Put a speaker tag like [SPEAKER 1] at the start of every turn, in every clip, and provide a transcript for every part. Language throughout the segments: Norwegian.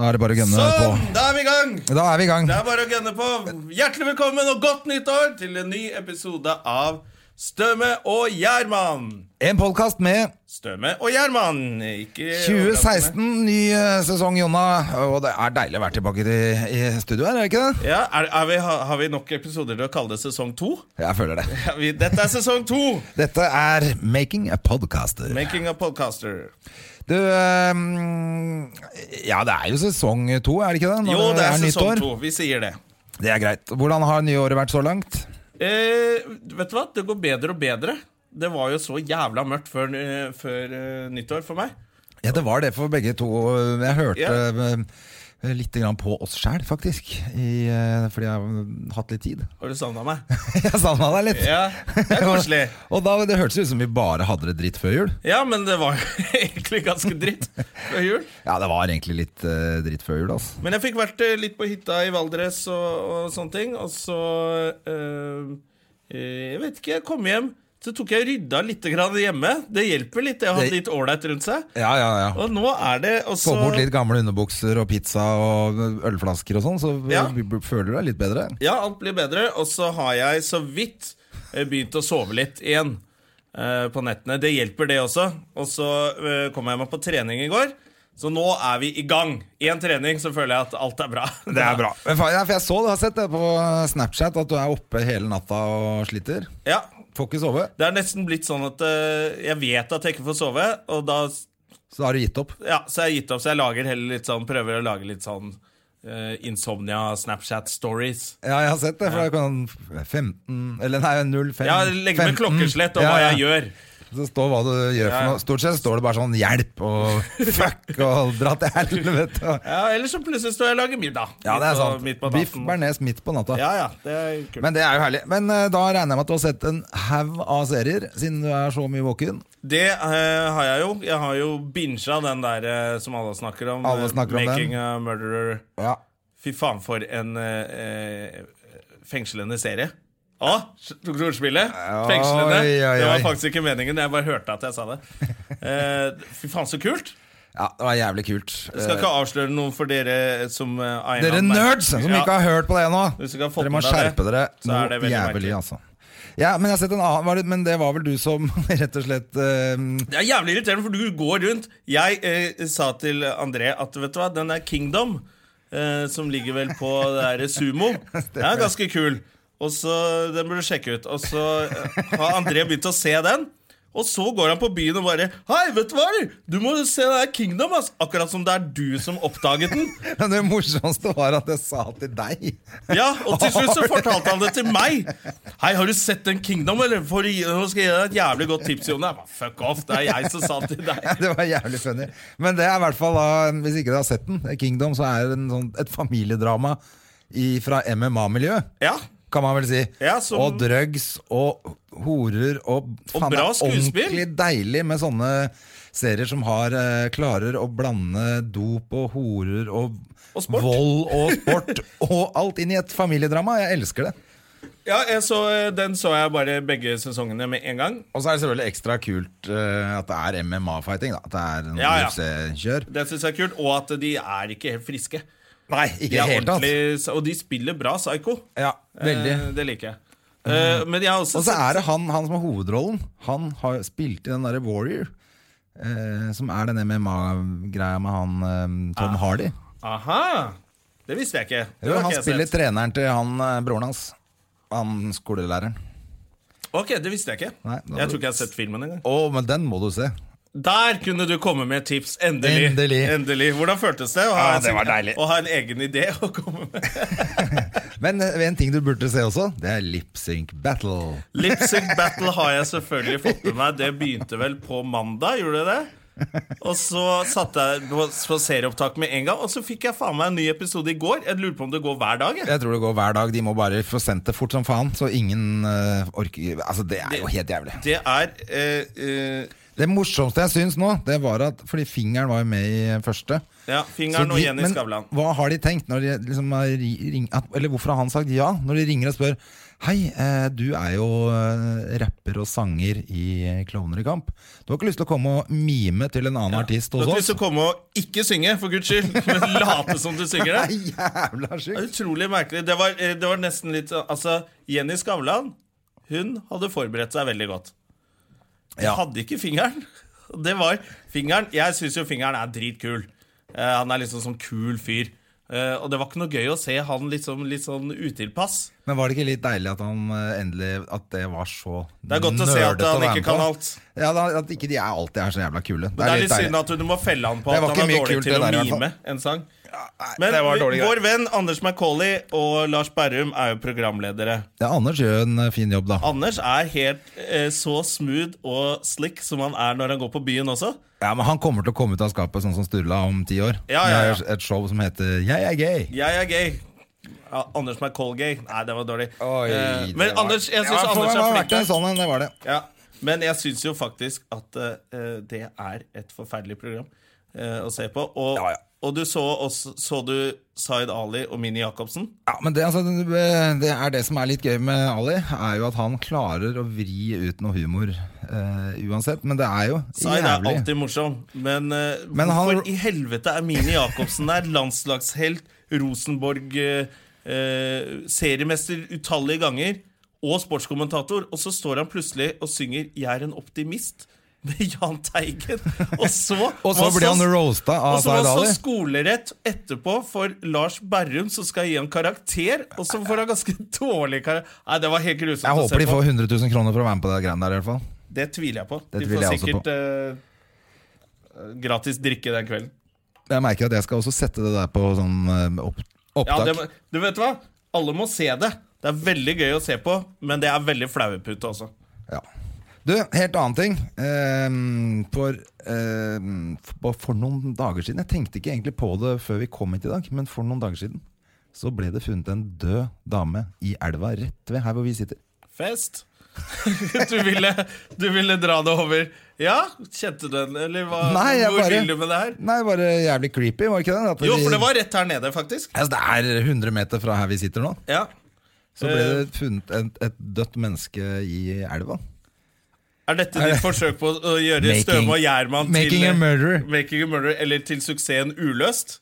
[SPEAKER 1] Da er det bare å gønne
[SPEAKER 2] Sånn,
[SPEAKER 1] på.
[SPEAKER 2] da er vi i gang!
[SPEAKER 1] Da er vi i gang.
[SPEAKER 2] Det er bare å gønne på. Hjertelig velkommen og godt nytt år til en ny episode av Støme og Gjerman.
[SPEAKER 1] En podkast med
[SPEAKER 2] Støme og Gjerman. Ikke
[SPEAKER 1] 2016, ny eh, sesong, Jonna. Og det er deilig å være tilbake til, i studio her, er det ikke det?
[SPEAKER 2] Ja, er, er vi, har, har vi nok episoder til å kalle det sesong to?
[SPEAKER 1] Jeg føler det.
[SPEAKER 2] Ja, vi, dette er sesong to!
[SPEAKER 1] Dette er Making a Podcaster.
[SPEAKER 2] Making a podcaster.
[SPEAKER 1] Du ehm, Ja, det er jo sesong to, er det ikke det? Når
[SPEAKER 2] Jo, det er
[SPEAKER 1] nytt år.
[SPEAKER 2] sesong to. Vi sier det.
[SPEAKER 1] Det er greit. Hvordan har nyåret vært så langt?
[SPEAKER 2] Eh, vet du hva? Det går bedre og bedre. Det var jo så jævla mørkt før, eh, før eh, nyttår for meg.
[SPEAKER 1] Ja, det var det for begge to. Jeg hørte
[SPEAKER 2] Ja.
[SPEAKER 1] eh, litt grann på oss sjæl, faktisk. I, eh, fordi jeg har hatt litt tid.
[SPEAKER 2] Har du savna meg?
[SPEAKER 1] Jeg savna deg litt.
[SPEAKER 2] Ja, det er koselig.
[SPEAKER 1] og da, det hørtes ut som vi bare hadde det dritt før jul.
[SPEAKER 2] Ja, men det var jo egentlig ganske dritt før jul.
[SPEAKER 1] Ja, det var egentlig litt eh, dritt før jul, altså.
[SPEAKER 2] Men jeg fikk vært eh, litt på hytta i Valdres og, og sånne ting, og så eh, eh, Jeg vet ikke, jeg kom hjem, så tok jeg og rydda litt grann hjemme. Det hjelper litt, det å ha
[SPEAKER 1] Det-
[SPEAKER 2] litt ålreit rundt seg.
[SPEAKER 1] Ja, ja, ja.
[SPEAKER 2] Og nå er det også
[SPEAKER 1] Få bort litt gamle underbukser og pizza og ølflasker og sånn, så
[SPEAKER 2] Ja.
[SPEAKER 1] b- b- føler du deg litt bedre.
[SPEAKER 2] Ja, alt blir bedre, og så har jeg så vidt eh, begynt å sove litt igjen eh, på nettene. Det hjelper, det også. Og så eh, kom jeg meg på trening i går, så nå er vi i gang. Én trening, så føler jeg at alt er bra.
[SPEAKER 1] Det er bra. Men faen, ja, for jeg så du har sett det på Snapchat, at du er oppe hele natta og sliter.
[SPEAKER 2] Ja,
[SPEAKER 1] Får ikke sove,
[SPEAKER 2] Det er nesten blitt sånn at eh, jeg vet at jeg ikke får sove, og da
[SPEAKER 1] så da har du gitt opp.
[SPEAKER 2] ja, så jeg har gitt opp. Så jeg lager heller litt sånn, prøver å lage litt sånn eh, insomnia Snapchat stories.
[SPEAKER 1] Ja, jeg har sett det, for det kan 15 Eller nei, 05
[SPEAKER 2] Ja, legge
[SPEAKER 1] 15.
[SPEAKER 2] med klokkeslett og hva
[SPEAKER 1] Ja, ja.
[SPEAKER 2] jeg gjør.
[SPEAKER 1] Så står hva du gjør for
[SPEAKER 2] ja.
[SPEAKER 1] noe. Stort sett står det bare sånn 'hjelp' og 'fuck' og 'dra til helvete'. og-
[SPEAKER 2] Ja, Eller så plutselig står jeg og lager middag.
[SPEAKER 1] Ja, det er
[SPEAKER 2] Midt på-
[SPEAKER 1] sant.
[SPEAKER 2] Midt på
[SPEAKER 1] Biff
[SPEAKER 2] natten.
[SPEAKER 1] bearnés midt på natta.
[SPEAKER 2] Ja, ja, det er kult.
[SPEAKER 1] Men det er jo herlig. Men eh, da regner jeg med at du har sett en haug av serier, siden du er så mye våken.
[SPEAKER 2] Det eh, har jeg jo. Jeg har jo bincha den der eh, som alle snakker om.
[SPEAKER 1] Alle
[SPEAKER 2] eh,
[SPEAKER 1] snakker om
[SPEAKER 2] 'Making
[SPEAKER 1] den.
[SPEAKER 2] a Murderer'.
[SPEAKER 1] Ja.
[SPEAKER 2] Fy faen, for en eh, eh, fengslende serie. Å, tok du ordspillet? Fengslende.
[SPEAKER 1] Oi, oi,
[SPEAKER 2] Det
[SPEAKER 1] oi.
[SPEAKER 2] var faktisk ikke meningen. Jeg bare hørte at jeg sa det. Eh, fy faen, så kult!
[SPEAKER 1] ja, det var jævlig kult.
[SPEAKER 2] Jeg skal ikke avsløre noe for dere som eh, av en
[SPEAKER 1] Eh, Dere
[SPEAKER 2] eller annen-
[SPEAKER 1] nerds som
[SPEAKER 2] Ja.
[SPEAKER 1] ikke har hørt på det nå,
[SPEAKER 2] Hvis du ikke har fått
[SPEAKER 1] dere må
[SPEAKER 2] med deg
[SPEAKER 1] skjerpe
[SPEAKER 2] det,
[SPEAKER 1] dere
[SPEAKER 2] så
[SPEAKER 1] noe
[SPEAKER 2] er det veldig
[SPEAKER 1] jævlig,
[SPEAKER 2] merkelig.
[SPEAKER 1] altså. Ja, men, jeg har sett en annen, var det, men det var vel du som rett og slett eh,
[SPEAKER 2] Det er jævlig irriterende, for du går rundt. Jeg eh, sa til André at vet du hva, den der Kingdom, eh, som ligger vel på det der Sumo, den er ganske kul. Og så, Den burde du sjekke ut. Og så eh, har André begynt å se den. Og så går han på byen og bare Hei, vet du hva? eller? Du må jo se den der Kingdom, ass! Akkurat som det er du som oppdaget den.
[SPEAKER 1] Men det morsomste var at jeg sa til deg.
[SPEAKER 2] Ja, Og til slutt så fortalte han det til meg. Hei, har du sett den Kingdom, eller? For, å gi- nå skal jeg gi deg et jævlig godt tips, Jon. Jeg bare, Fuck off, det er jeg som sa til deg.
[SPEAKER 1] Ja, det var jævlig funny. Men det er i hvert fall da, hvis ikke du har sett den, Kingdom, så er det en sånn, et familiedrama i, fra MMA-miljøet.
[SPEAKER 2] Ja,
[SPEAKER 1] Kan man vel si.
[SPEAKER 2] Ja, som-
[SPEAKER 1] Og drugs og horer og
[SPEAKER 2] Og
[SPEAKER 1] faen, det er
[SPEAKER 2] bra skuespill.
[SPEAKER 1] Ordentlig deilig med sånne serier som har, eh, klarer å blande dop og horer og,
[SPEAKER 2] Og sport.
[SPEAKER 1] vold og sport og alt inn i et familiedrama. Jeg elsker det.
[SPEAKER 2] Ja, jeg så, eh, den så jeg bare begge sesongene med en gang.
[SPEAKER 1] Og så er det selvfølgelig ekstra kult eh, at det er MMA-fighting. At det er en
[SPEAKER 2] Ja, ja.
[SPEAKER 1] UFC-kjør.
[SPEAKER 2] Det synes jeg er kult, Og at de er ikke helt friske.
[SPEAKER 1] Nei,
[SPEAKER 2] De
[SPEAKER 1] ikke
[SPEAKER 2] er
[SPEAKER 1] helt tatt.
[SPEAKER 2] ordentlig, Og de spiller bra psycho.
[SPEAKER 1] Ja, veldig. Mm.
[SPEAKER 2] Eh, det liker jeg. Eh, men jeg har også
[SPEAKER 1] Og så er det han, han som har hovedrollen. Han har spilt i den derre Warrior. Eh, som er den MMA-greia med han eh,
[SPEAKER 2] Ah.
[SPEAKER 1] Tom Hardy.
[SPEAKER 2] sett Aha! Det visste jeg ikke. Det
[SPEAKER 1] Jo,
[SPEAKER 2] har
[SPEAKER 1] han
[SPEAKER 2] ikke jeg
[SPEAKER 1] spiller
[SPEAKER 2] sett.
[SPEAKER 1] treneren til han eh, broren hans. Han skolelæreren.
[SPEAKER 2] Ok, det visste jeg ikke.
[SPEAKER 1] Nei, da-
[SPEAKER 2] jeg tror ikke jeg har sett filmen engang.
[SPEAKER 1] Å, men den må du se.
[SPEAKER 2] Der kunne du komme med et tips. Endelig.
[SPEAKER 1] Endelig.
[SPEAKER 2] Hvordan føltes det å ha,
[SPEAKER 1] Ja,
[SPEAKER 2] en
[SPEAKER 1] det var
[SPEAKER 2] sin-
[SPEAKER 1] deilig.
[SPEAKER 2] å ha en egen idé å komme med?
[SPEAKER 1] Men eh, en ting du burde se også, det er Lip Sync Battle.
[SPEAKER 2] Lipsync Battle har jeg selvfølgelig fått med meg. Det begynte vel på mandag, gjorde det det? Og så satte jeg på, på serieopptak med en gang, og så fikk jeg faen meg en ny episode i går. Jeg lurer på om det går hver dag. Jeg.
[SPEAKER 1] Jeg tror det går hver dag. De må bare få sendt det fort som faen, så ingen eh, orker Altså, det er jo helt jævlig.
[SPEAKER 2] Det er eh, eh,
[SPEAKER 1] Det morsomste jeg syns nå, det var at Fordi fingeren var jo med i første.
[SPEAKER 2] Ja,
[SPEAKER 1] Så
[SPEAKER 2] fingeren
[SPEAKER 1] de-
[SPEAKER 2] og Jenny
[SPEAKER 1] men
[SPEAKER 2] Skavlan.
[SPEAKER 1] Hva har de tenkt når de liksom har ri- ring, at, Eller hvorfor har han sagt ja når de ringer og spør Hei, eh, du er jo eh, rapper og sanger i eh, Klovner i kamp. Du har ikke lyst til å komme og mime til en annen artist
[SPEAKER 2] Du har
[SPEAKER 1] hos
[SPEAKER 2] ikke lyst
[SPEAKER 1] oss?
[SPEAKER 2] til å komme og ikke synge, for guds skyld, men late som du synger det.
[SPEAKER 1] Nei, jævla
[SPEAKER 2] Det
[SPEAKER 1] sjukt!
[SPEAKER 2] er Utrolig merkelig. Det var, eh, det var nesten litt Altså, Jenny Skavlan Hun hadde forberedt seg veldig godt. Jeg
[SPEAKER 1] Ja.
[SPEAKER 2] hadde ikke fingeren. Og Det var fingeren Jeg syns jo fingeren er dritkul. Eh, han er liksom sånn kul fyr. Eh, og det var ikke noe gøy å se han liksom, litt sånn utilpass.
[SPEAKER 1] Men var det ikke litt deilig at han eh, endelig At det var så
[SPEAKER 2] Det er godt å se at
[SPEAKER 1] nerdete
[SPEAKER 2] han
[SPEAKER 1] være
[SPEAKER 2] ikke
[SPEAKER 1] med
[SPEAKER 2] kan
[SPEAKER 1] på?
[SPEAKER 2] alt.
[SPEAKER 1] Ja, da, At ikke de er alltid er så jævla kule.
[SPEAKER 2] Det er litt
[SPEAKER 1] deilig.
[SPEAKER 2] synd at du må felle han på
[SPEAKER 1] Det
[SPEAKER 2] at
[SPEAKER 1] var
[SPEAKER 2] han
[SPEAKER 1] ikke
[SPEAKER 2] er
[SPEAKER 1] mye
[SPEAKER 2] dårlig
[SPEAKER 1] kult,
[SPEAKER 2] til
[SPEAKER 1] det
[SPEAKER 2] å
[SPEAKER 1] der, i hvert fall.
[SPEAKER 2] mime en sang.
[SPEAKER 1] Nei,
[SPEAKER 2] Men
[SPEAKER 1] det var dårlig
[SPEAKER 2] vi-
[SPEAKER 1] greie.
[SPEAKER 2] vår venn Anders Macauley og Lars Berrum er jo programledere.
[SPEAKER 1] Ja, Anders gjør en eh, fin jobb, da.
[SPEAKER 2] Anders er helt eh, så smooth og slick som han er når han går på byen også.
[SPEAKER 1] Ja, men Han kommer til å komme ut av skapet sånn som Sturla om ti år.
[SPEAKER 2] Ja, ja, ja.
[SPEAKER 1] Det er et show som heter Jeg er gay.
[SPEAKER 2] Jeg er gay. Ja, Anders McCall-gay. Nei, det var dårlig.
[SPEAKER 1] Oi,
[SPEAKER 2] Eh,
[SPEAKER 1] det
[SPEAKER 2] men
[SPEAKER 1] var-
[SPEAKER 2] Anders, jeg
[SPEAKER 1] Ja,
[SPEAKER 2] syns
[SPEAKER 1] for
[SPEAKER 2] Anders
[SPEAKER 1] meg var
[SPEAKER 2] er
[SPEAKER 1] det
[SPEAKER 2] flink.
[SPEAKER 1] verdt en
[SPEAKER 2] der.
[SPEAKER 1] Sånn, en, det var det.
[SPEAKER 2] Ja. Men jeg syns jo faktisk at eh, det er et forferdelig program eh, å se på. Og,
[SPEAKER 1] Ja, ja.
[SPEAKER 2] og du så, også, så du Zaid Ali og Mini Jacobsen.
[SPEAKER 1] Ja, men det, altså, det er det som er litt gøy med Ali, er jo at han klarer å vri ut noe humor eh, uansett. Men det er jo
[SPEAKER 2] Zaid er
[SPEAKER 1] jævlig.
[SPEAKER 2] alltid morsom, men, eh,
[SPEAKER 1] Men han-
[SPEAKER 2] hvorfor i helvete er Mini Jacobsen der? Landslagshelt, Rosenborg, eh, eh, seriemester utallige ganger og sportskommentator, og så står han plutselig og synger 'Jeg er en optimist' med Jahn Teigen, og så
[SPEAKER 1] Og så blir han roasta
[SPEAKER 2] og
[SPEAKER 1] av
[SPEAKER 2] så var
[SPEAKER 1] Zaid
[SPEAKER 2] han
[SPEAKER 1] Ali.
[SPEAKER 2] så skolerett etterpå for Lars Berrum, som skal gi han karakter. Og så får han ganske dårlig karakter. Nei, det var helt grusomt
[SPEAKER 1] Jeg
[SPEAKER 2] å se
[SPEAKER 1] håper de
[SPEAKER 2] på.
[SPEAKER 1] får 100 000 kroner for å være med på det greiene der. i hvert fall
[SPEAKER 2] Det tviler jeg på.
[SPEAKER 1] Det
[SPEAKER 2] de
[SPEAKER 1] tviler
[SPEAKER 2] får
[SPEAKER 1] jeg også
[SPEAKER 2] sikkert eh, gratis drikke den kvelden.
[SPEAKER 1] Jeg merker at jeg skal også sette det der på sånn eh, opp,
[SPEAKER 2] Ja,
[SPEAKER 1] opptak.
[SPEAKER 2] det, må- du vet hva? Alle må se det. Det er veldig gøy å se på, men det er veldig flauepute også.
[SPEAKER 1] Ja. Du, helt annen ting. Ehm, for, ehm, for, for noen dager siden Jeg tenkte ikke egentlig på det før vi kom hit i dag, men for noen dager siden så ble det funnet en død dame i elva rett ved her hvor vi sitter.
[SPEAKER 2] Fest. du, ville, du ville dra det over. Ja, kjente du den, eller hva,
[SPEAKER 1] Nei, jeg
[SPEAKER 2] hvor
[SPEAKER 1] bare-
[SPEAKER 2] vil du med det her?
[SPEAKER 1] Nei, bare jævlig creepy, var det ikke det? At
[SPEAKER 2] Jo,
[SPEAKER 1] vi-
[SPEAKER 2] for det var rett her nede, faktisk.
[SPEAKER 1] altså, Det er 100 meter fra her vi sitter nå.
[SPEAKER 2] Ja.
[SPEAKER 1] Så ble
[SPEAKER 2] Eh.
[SPEAKER 1] det funnet et, et dødt menneske i elva.
[SPEAKER 2] Er dette ditt forsøk på å gjøre
[SPEAKER 1] Making-
[SPEAKER 2] Støme og Gjerman
[SPEAKER 1] Making
[SPEAKER 2] til
[SPEAKER 1] a murderer.
[SPEAKER 2] Making a murderer, eller til suksessen Uløst?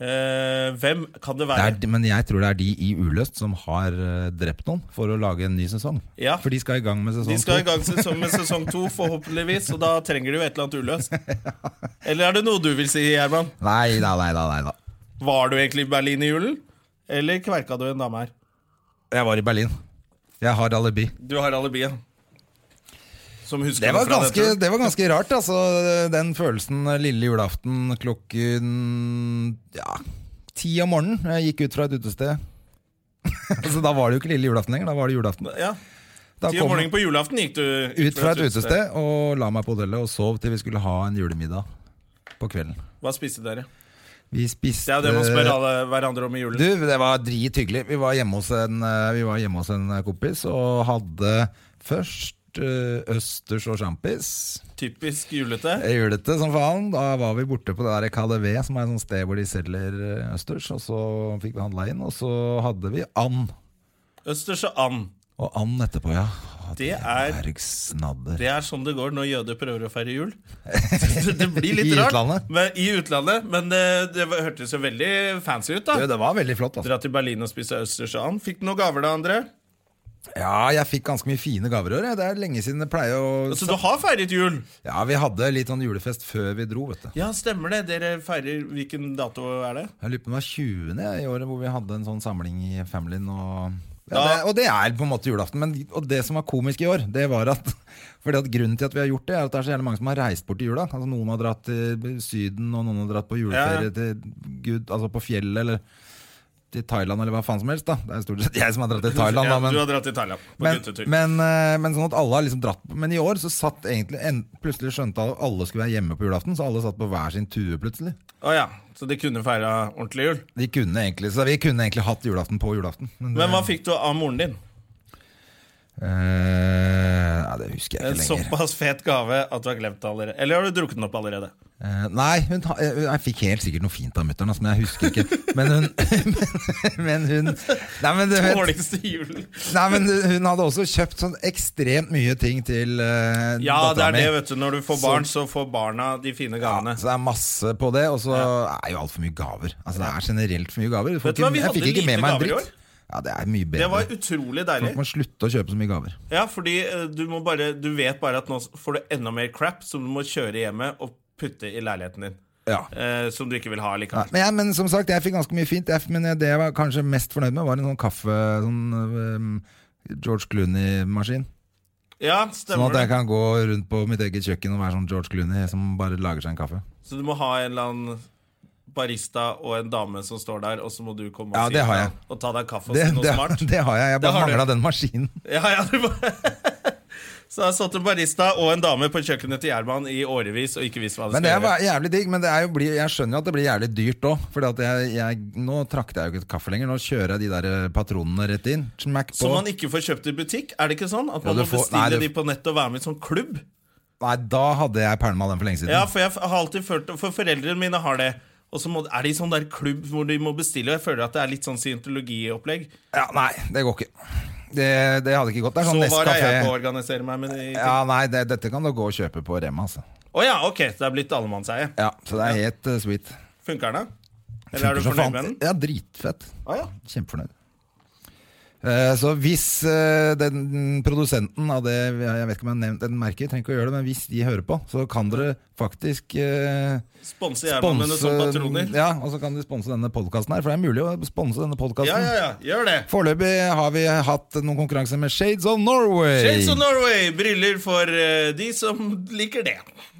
[SPEAKER 2] Eh, hvem kan det
[SPEAKER 1] Det
[SPEAKER 2] være?
[SPEAKER 1] er, de- men jeg tror det er de i Uløst som har eh, drept noen for å lage en ny sesong.
[SPEAKER 2] Ja.
[SPEAKER 1] For de skal i gang med sesong
[SPEAKER 2] De skal i
[SPEAKER 1] to.
[SPEAKER 2] gang sesong med sesong to, forhåpentligvis, og da trenger de jo et eller annet uløst. Eller er det noe du vil si, Gjerman?
[SPEAKER 1] Nei da, nei da, nei da.
[SPEAKER 2] Var du egentlig i Berlin i julen? Eller kverka du en dame her?
[SPEAKER 1] Jeg var i Berlin. Jeg har alibi.
[SPEAKER 2] Du har alibiet. Som husker
[SPEAKER 1] Det var
[SPEAKER 2] fra
[SPEAKER 1] ganske,
[SPEAKER 2] dette.
[SPEAKER 1] det var ganske rart, altså. Den følelsen lille julaften klokken ja, ti om morgenen. Jeg gikk ut fra et utested. altså, da var det jo ikke lille julaften lenger, da var det julaften.
[SPEAKER 2] Ja,
[SPEAKER 1] Da
[SPEAKER 2] Ti om morgenen på julaften gikk du
[SPEAKER 1] ut fra et utested og la meg på hotellet og sov til vi skulle ha en julemiddag på kvelden.
[SPEAKER 2] Hva spiste dere?
[SPEAKER 1] Vi spiste
[SPEAKER 2] Det er jo det man spør alle hverandre om i julen.
[SPEAKER 1] Eh, Du, det var drithyggelig. Vi var hjemme hos en, eh, vi var hjemme hos en kompis og hadde først eh, østers og sjampis.
[SPEAKER 2] Typisk julete.
[SPEAKER 1] Julete som faen. Da var vi borte på det der KDV, som er et sånt sted hvor de selger eh, østers. Og så fikk vi handla inn, og så hadde vi and.
[SPEAKER 2] Østers og and.
[SPEAKER 1] Og and etterpå, ja. Å,
[SPEAKER 2] Det er-
[SPEAKER 1] Berg snadder.
[SPEAKER 2] Det er sånn det går når jøder prøver å feire jul. Det, det blir litt
[SPEAKER 1] I
[SPEAKER 2] rart.
[SPEAKER 1] utlandet.
[SPEAKER 2] Men, I utlandet. Men det, det var- hørtes jo veldig fancy ut,
[SPEAKER 1] Jo,
[SPEAKER 2] da.
[SPEAKER 1] det var veldig flott. Altså.
[SPEAKER 2] Dra til Berlin og spise østers og and. Fikk du noen gaver, da, André?
[SPEAKER 1] Ja, jeg fikk ganske mye fine gaver i år. jeg. Det er lenge siden det pleier å
[SPEAKER 2] Så Altså, du har feiret jul?
[SPEAKER 1] Ja, vi hadde litt sånn julefest før vi dro, vet du.
[SPEAKER 2] Ja, stemmer det. Dere feirer Hvilken dato er det?
[SPEAKER 1] Jeg lurer på om det var 20. i året hvor vi hadde en sånn samling i Familien. Og, ja,
[SPEAKER 2] Da-
[SPEAKER 1] det, og det er på en måte julaften. Men, og det som var komisk i år, det var at fordi at Grunnen til at vi har gjort det, er at det er så jævlig mange som har reist bort i jula. Altså Noen har dratt til Syden, og noen har dratt på
[SPEAKER 2] Ja, ja.
[SPEAKER 1] juleferie til Gud, altså på fjellet, eller til Thailand eller hva faen som helst. da Det er stort sett jeg som har dratt til Thailand. da
[SPEAKER 2] Ja,
[SPEAKER 1] Men,
[SPEAKER 2] du har dratt til Thailand på
[SPEAKER 1] men,
[SPEAKER 2] guttetur.
[SPEAKER 1] men, eh, men sånn at alle har liksom dratt Men i år så satt egentlig en, plutselig skjønte alle at alle skulle være hjemme på julaften, så alle satt på hver sin tue plutselig.
[SPEAKER 2] Å ja, så de kunne feira ordentlig jul.
[SPEAKER 1] De kunne egentlig, så vi kunne egentlig hatt julaften på julaften. Men, det-
[SPEAKER 2] Men hva fikk du av moren din?
[SPEAKER 1] Eh, nei, det husker jeg
[SPEAKER 2] En
[SPEAKER 1] ikke lenger.
[SPEAKER 2] såpass fet gave at du har glemt det allerede. Eller har du drukket den opp allerede?
[SPEAKER 1] Eh, nei, hun, ta- eh, jeg fikk helt sikkert noe fint av mutter'n, altså, men jeg husker ikke. Men hun Men, men hun Nei, men du vet
[SPEAKER 2] Dårligste julen.
[SPEAKER 1] Nei, men hun hadde også kjøpt sånn ekstremt mye ting til uh,
[SPEAKER 2] Ja, det
[SPEAKER 1] dattera
[SPEAKER 2] er
[SPEAKER 1] mi.
[SPEAKER 2] det, vet du. Når du får barn, så får barna de fine gavene.
[SPEAKER 1] Så det er masse på det, og så er jo altfor mye gaver. Altså Det er generelt for mye gaver. Du får
[SPEAKER 2] Vet du hva,
[SPEAKER 1] ikke-
[SPEAKER 2] vi
[SPEAKER 1] jeg
[SPEAKER 2] hadde
[SPEAKER 1] fikk ikke
[SPEAKER 2] lite
[SPEAKER 1] med meg en
[SPEAKER 2] gaver i
[SPEAKER 1] dritt.
[SPEAKER 2] år.
[SPEAKER 1] Ja, det er mye bedre.
[SPEAKER 2] Det var utrolig deilig.
[SPEAKER 1] Folk må slutte å kjøpe så mye gaver.
[SPEAKER 2] Ja, fordi eh, du, må bare, du vet bare at nå får du enda mer crap som du må kjøre hjemme og putte i leiligheten din.
[SPEAKER 1] Ja.
[SPEAKER 2] Eh, som du ikke vil ha
[SPEAKER 1] Nei,
[SPEAKER 2] likevel.
[SPEAKER 1] men, jeg, men som sagt, jeg fikk ganske mye fint. Jeg, men det jeg var kanskje mest fornøyd med, var en sånn kaffe sånn, øhm, George Clooney-maskin.
[SPEAKER 2] Ja,
[SPEAKER 1] Sånn
[SPEAKER 2] stemmer
[SPEAKER 1] at jeg
[SPEAKER 2] det.
[SPEAKER 1] kan gå rundt på mitt eget kjøkken og være sånn George Clooney som bare lager seg en kaffe.
[SPEAKER 2] Så du må ha en eller annen barista og en dame som står der, og så må du komme og,
[SPEAKER 1] Ja,
[SPEAKER 2] si
[SPEAKER 1] det har
[SPEAKER 2] ifra
[SPEAKER 1] jeg.
[SPEAKER 2] og ta deg kaffe og
[SPEAKER 1] Det,
[SPEAKER 2] si noe
[SPEAKER 1] det,
[SPEAKER 2] smart.
[SPEAKER 1] det har jeg. Jeg
[SPEAKER 2] Det
[SPEAKER 1] bare
[SPEAKER 2] har du.
[SPEAKER 1] mangla den maskinen.
[SPEAKER 2] Ja, ja, du bare... Så det har stått en barista og en dame på kjøkkenet til Gjerman i årevis og ikke visst hva det
[SPEAKER 1] Men det
[SPEAKER 2] skulle gjøre.
[SPEAKER 1] var jævlig digg, men det er jo, bli- jeg skjønner jo at det blir jævlig dyrt òg. For jeg, jeg, nå trakter jeg jo ikke kaffe lenger. Nå kjører jeg de der eh, patronene rett inn. Smack på.
[SPEAKER 2] Som man ikke får kjøpt i butikk? Er det ikke sånn at
[SPEAKER 1] Jo,
[SPEAKER 2] man
[SPEAKER 1] du
[SPEAKER 2] må
[SPEAKER 1] får-
[SPEAKER 2] bestille
[SPEAKER 1] nei, du-
[SPEAKER 2] de på nett og være med i sånn klubb?
[SPEAKER 1] Nei, da hadde jeg pælma den for lenge siden.
[SPEAKER 2] Ja, for jeg har alltid følt For foreldrene mine har det. Og så må- er de i sånn der klubb hvor de må bestille, og jeg føler at det er litt sånn scientologiopplegg.
[SPEAKER 1] Ja, nei, det går ikke. Det, det hadde ikke gått. Det er
[SPEAKER 2] Så
[SPEAKER 1] sånn
[SPEAKER 2] var det jeg på å
[SPEAKER 1] Nescafé.
[SPEAKER 2] organisere meg med de
[SPEAKER 1] Ja, nei, det, dette kan du gå og kjøpe på Rema, altså.
[SPEAKER 2] Å ja, ok, det er blitt allemannseie.
[SPEAKER 1] Ja, så det er helt eh, sweet.
[SPEAKER 2] Funker den, da? Eller er
[SPEAKER 1] Funker
[SPEAKER 2] du
[SPEAKER 1] som
[SPEAKER 2] fornøyd med
[SPEAKER 1] faen.
[SPEAKER 2] den?
[SPEAKER 1] Ja, dritfett.
[SPEAKER 2] Å ja.
[SPEAKER 1] Kjempefornøyd. Eh, Så hvis eh, den produsenten av det Jeg vet ikke om jeg har nevnt den merket, trenger ikke å gjøre det, men hvis de hører på, så kan dere faktisk eh,
[SPEAKER 2] Sponse Gjerman med noen sånne patroner.
[SPEAKER 1] Ja, og så kan de sponse denne podkasten her, for det er mulig å sponse denne podkasten.
[SPEAKER 2] Ja, ja, ja, gjør det.
[SPEAKER 1] Foreløpig har vi hatt noen konkurranser med Shades of Norway.
[SPEAKER 2] Shades of Norway, briller for eh, de som liker det.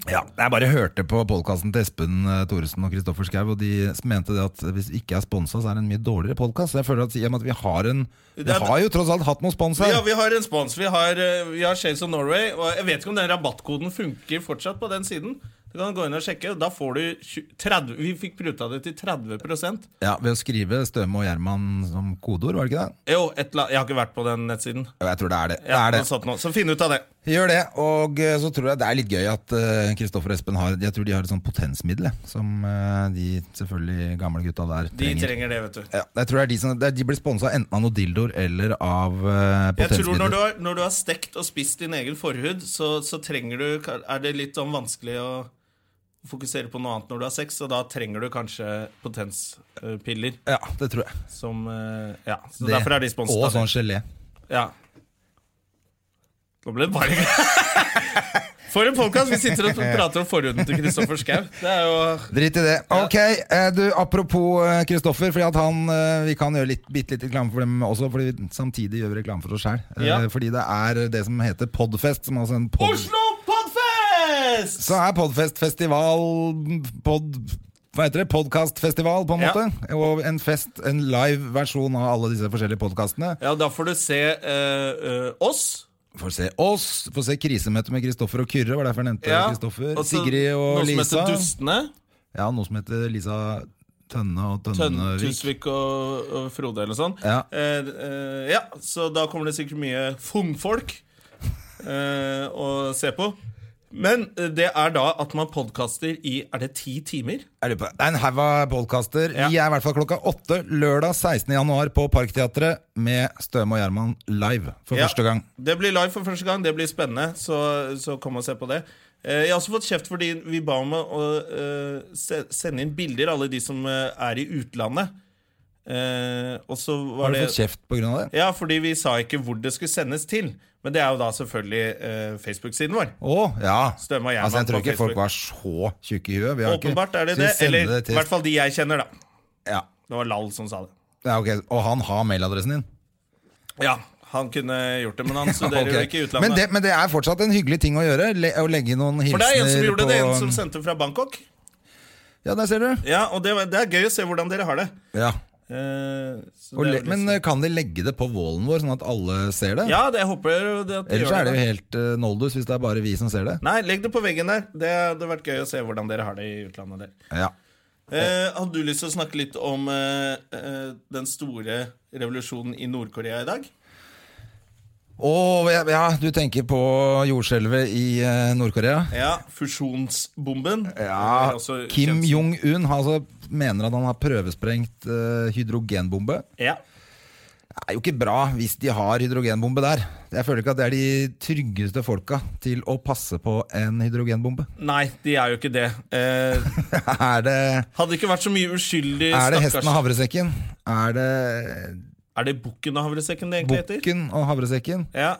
[SPEAKER 1] Ja, jeg bare hørte på podkasten til Espen eh, Thoresen og Kristoffer Schau, og de mente det at hvis vi ikke er sponsa, så er det en mye dårligere podkast. Jeg føler at, i og med at vi har en
[SPEAKER 2] er-
[SPEAKER 1] Vi har jo tross alt hatt noen spons her.
[SPEAKER 2] Ja, vi har en spons. Vi har, eh, vi har Shades of Norway. Og jeg vet ikke om den rabattkoden funker fortsatt på den siden. Du kan gå inn og sjekke. Da får du tju- 30 Vi fikk pruta det til 30
[SPEAKER 1] Ja, Ved å skrive Støme og Gjerman som kodeord, var det ikke det?
[SPEAKER 2] Jo, et la, jeg har ikke vært på den nettsiden.
[SPEAKER 1] Jo, Jeg tror det er det. det,
[SPEAKER 2] Ja,
[SPEAKER 1] er
[SPEAKER 2] noe
[SPEAKER 1] det.
[SPEAKER 2] sånt nå. Så finn ut av det.
[SPEAKER 1] Gjør det. Og eh, så tror jeg det er litt gøy at eh, Kristoffer og Espen har Jeg tror de har et sånt potensmiddel eh, som eh, de selvfølgelig gamle gutta der
[SPEAKER 2] De
[SPEAKER 1] trenger.
[SPEAKER 2] trenger det, vet du.
[SPEAKER 1] Ja, jeg tror det er de, som, det er- de blir sponsa enten av noen dildoer eller av eh,
[SPEAKER 2] Jeg tror når du,
[SPEAKER 1] potensmiddel.
[SPEAKER 2] har, når du har stekt og spist din egen forhud, så, så trenger du Er det litt sånn vanskelig å fokusere på noe annet når du har sex, og da trenger du kanskje potenspiller
[SPEAKER 1] Ja, det tror jeg.
[SPEAKER 2] som eh, Ja, så
[SPEAKER 1] Det.
[SPEAKER 2] derfor er de sponset.
[SPEAKER 1] Og
[SPEAKER 2] av det.
[SPEAKER 1] sånn gelé.
[SPEAKER 2] Ja. Nå ble det bare For en podkast! Vi sitter og prater om forhuden til Kristoffer Schau. Det er jo
[SPEAKER 1] Drit i det. Ok, eh, du, Apropos eh, Kristoffer. Fordi at han, eh, Vi kan gjøre litt, bitte litt reklame for dem også, Fordi vi samtidig gjør vi reklame for oss sjøl.
[SPEAKER 2] Ja.
[SPEAKER 1] Fordi det er det som heter Podfest. Som altså en pod
[SPEAKER 2] Oslo Podfest!
[SPEAKER 1] Så er Podfest-festival pod, Hva heter det? Podkastfestival, på en
[SPEAKER 2] Ja.
[SPEAKER 1] måte. Og en fest, en live versjon av alle disse forskjellige podkastene.
[SPEAKER 2] Ja, da får du se eh, eh, oss.
[SPEAKER 1] Får se oss, får se krisemøte med Kristoffer og Kyrre. Var derfor jeg nevnte
[SPEAKER 2] Ja.
[SPEAKER 1] Kristoffer.
[SPEAKER 2] Og så
[SPEAKER 1] Sigrid og
[SPEAKER 2] noe
[SPEAKER 1] Lisa.
[SPEAKER 2] Som heter Dustene.
[SPEAKER 1] Ja, noe som heter Lisa Tønne og
[SPEAKER 2] Tønn,
[SPEAKER 1] Tønnevik.
[SPEAKER 2] Tusvik og, og Frode eller sånn.
[SPEAKER 1] Ja.
[SPEAKER 2] Eh, eh, ja, så da kommer det sikkert mye fungfolk eh, å se på. Men eh, det er da at man podkaster i Er det ti timer?
[SPEAKER 1] Jeg lurer på- Det er en haug av podkaster.
[SPEAKER 2] Ja.
[SPEAKER 1] Vi er i hvert fall klokka åtte lørdag 16. januar på Parkteatret med Støme og Gjerman live for
[SPEAKER 2] Ja.
[SPEAKER 1] første gang.
[SPEAKER 2] Det blir live for første gang. Det blir spennende, så, så kom og se på det. Eh, Jeg har også fått kjeft fordi vi ba om å eh, se- sende inn bilder, alle de som eh, er i utlandet. Eh, og så var
[SPEAKER 1] Har du
[SPEAKER 2] det
[SPEAKER 1] fått kjeft pga. det?
[SPEAKER 2] Ja, fordi vi sa ikke hvor det skulle sendes til. Men det er jo da selvfølgelig eh, Facebook-siden vår.
[SPEAKER 1] Å, ja.
[SPEAKER 2] Støme og Gjerman
[SPEAKER 1] altså, jeg tror
[SPEAKER 2] på
[SPEAKER 1] ikke folk
[SPEAKER 2] Facebook.
[SPEAKER 1] var så tjukke i huet. Vi har ikke-
[SPEAKER 2] Åpenbart er det
[SPEAKER 1] Så vi
[SPEAKER 2] det.
[SPEAKER 1] sender
[SPEAKER 2] Eller
[SPEAKER 1] det til-
[SPEAKER 2] i hvert fall de jeg kjenner, da.
[SPEAKER 1] ja.
[SPEAKER 2] Det var Lall som sa det.
[SPEAKER 1] Ja, ok. Og han har mailadressen din?
[SPEAKER 2] Ja, han kunne gjort det, men han studerer
[SPEAKER 1] Ok.
[SPEAKER 2] jo ikke i utlandet.
[SPEAKER 1] men, det, men det er fortsatt en hyggelig ting å gjøre. Le å legge noen hilsener
[SPEAKER 2] For det er en som gjorde
[SPEAKER 1] på
[SPEAKER 2] det, en som sendte fra Bangkok.
[SPEAKER 1] Ja, der ser du.
[SPEAKER 2] Ja, og det, var- det er gøy å se hvordan dere har det.
[SPEAKER 1] Ja.
[SPEAKER 2] Eh, så
[SPEAKER 1] Og
[SPEAKER 2] det er
[SPEAKER 1] le,
[SPEAKER 2] jo
[SPEAKER 1] men
[SPEAKER 2] liksom-
[SPEAKER 1] eh, kan de legge det på wallen vår, sånn at alle ser det?
[SPEAKER 2] Ja, det jeg håper jo det at de
[SPEAKER 1] Ellers
[SPEAKER 2] gjør
[SPEAKER 1] er det
[SPEAKER 2] da.
[SPEAKER 1] jo helt eh, noldus hvis det er bare vi som ser det.
[SPEAKER 2] Nei, legg det på veggen der. Det hadde vært gøy å se hvordan dere har det i utlandet. der
[SPEAKER 1] Ja.
[SPEAKER 2] Eh, hadde du lyst til å snakke litt om eh, eh, den store revolusjonen i Nord-Korea i dag?
[SPEAKER 1] Og ja, ja, du tenker på jordskjelvet i eh, Nord-Korea?
[SPEAKER 2] Ja, fusjonsbomben.
[SPEAKER 1] Ja, altså,
[SPEAKER 2] Eller også
[SPEAKER 1] Kim
[SPEAKER 2] kjent-
[SPEAKER 1] Jong-un har altså, mener at han har prøvesprengt eh, hydrogenbombe.
[SPEAKER 2] Ja.
[SPEAKER 1] Det er jo ikke bra hvis de har hydrogenbombe der. Jeg føler ikke at det er de tryggeste folka til å passe på en hydrogenbombe.
[SPEAKER 2] Nei, de er jo ikke det. Eh,
[SPEAKER 1] er det,
[SPEAKER 2] hadde det ikke vært så mye uskyldig
[SPEAKER 1] er det hesten og
[SPEAKER 2] stakkars
[SPEAKER 1] havresekken? Er det
[SPEAKER 2] Er det bukken og havresekken det egentlig heter?
[SPEAKER 1] bukken og havresekken?
[SPEAKER 2] Ja.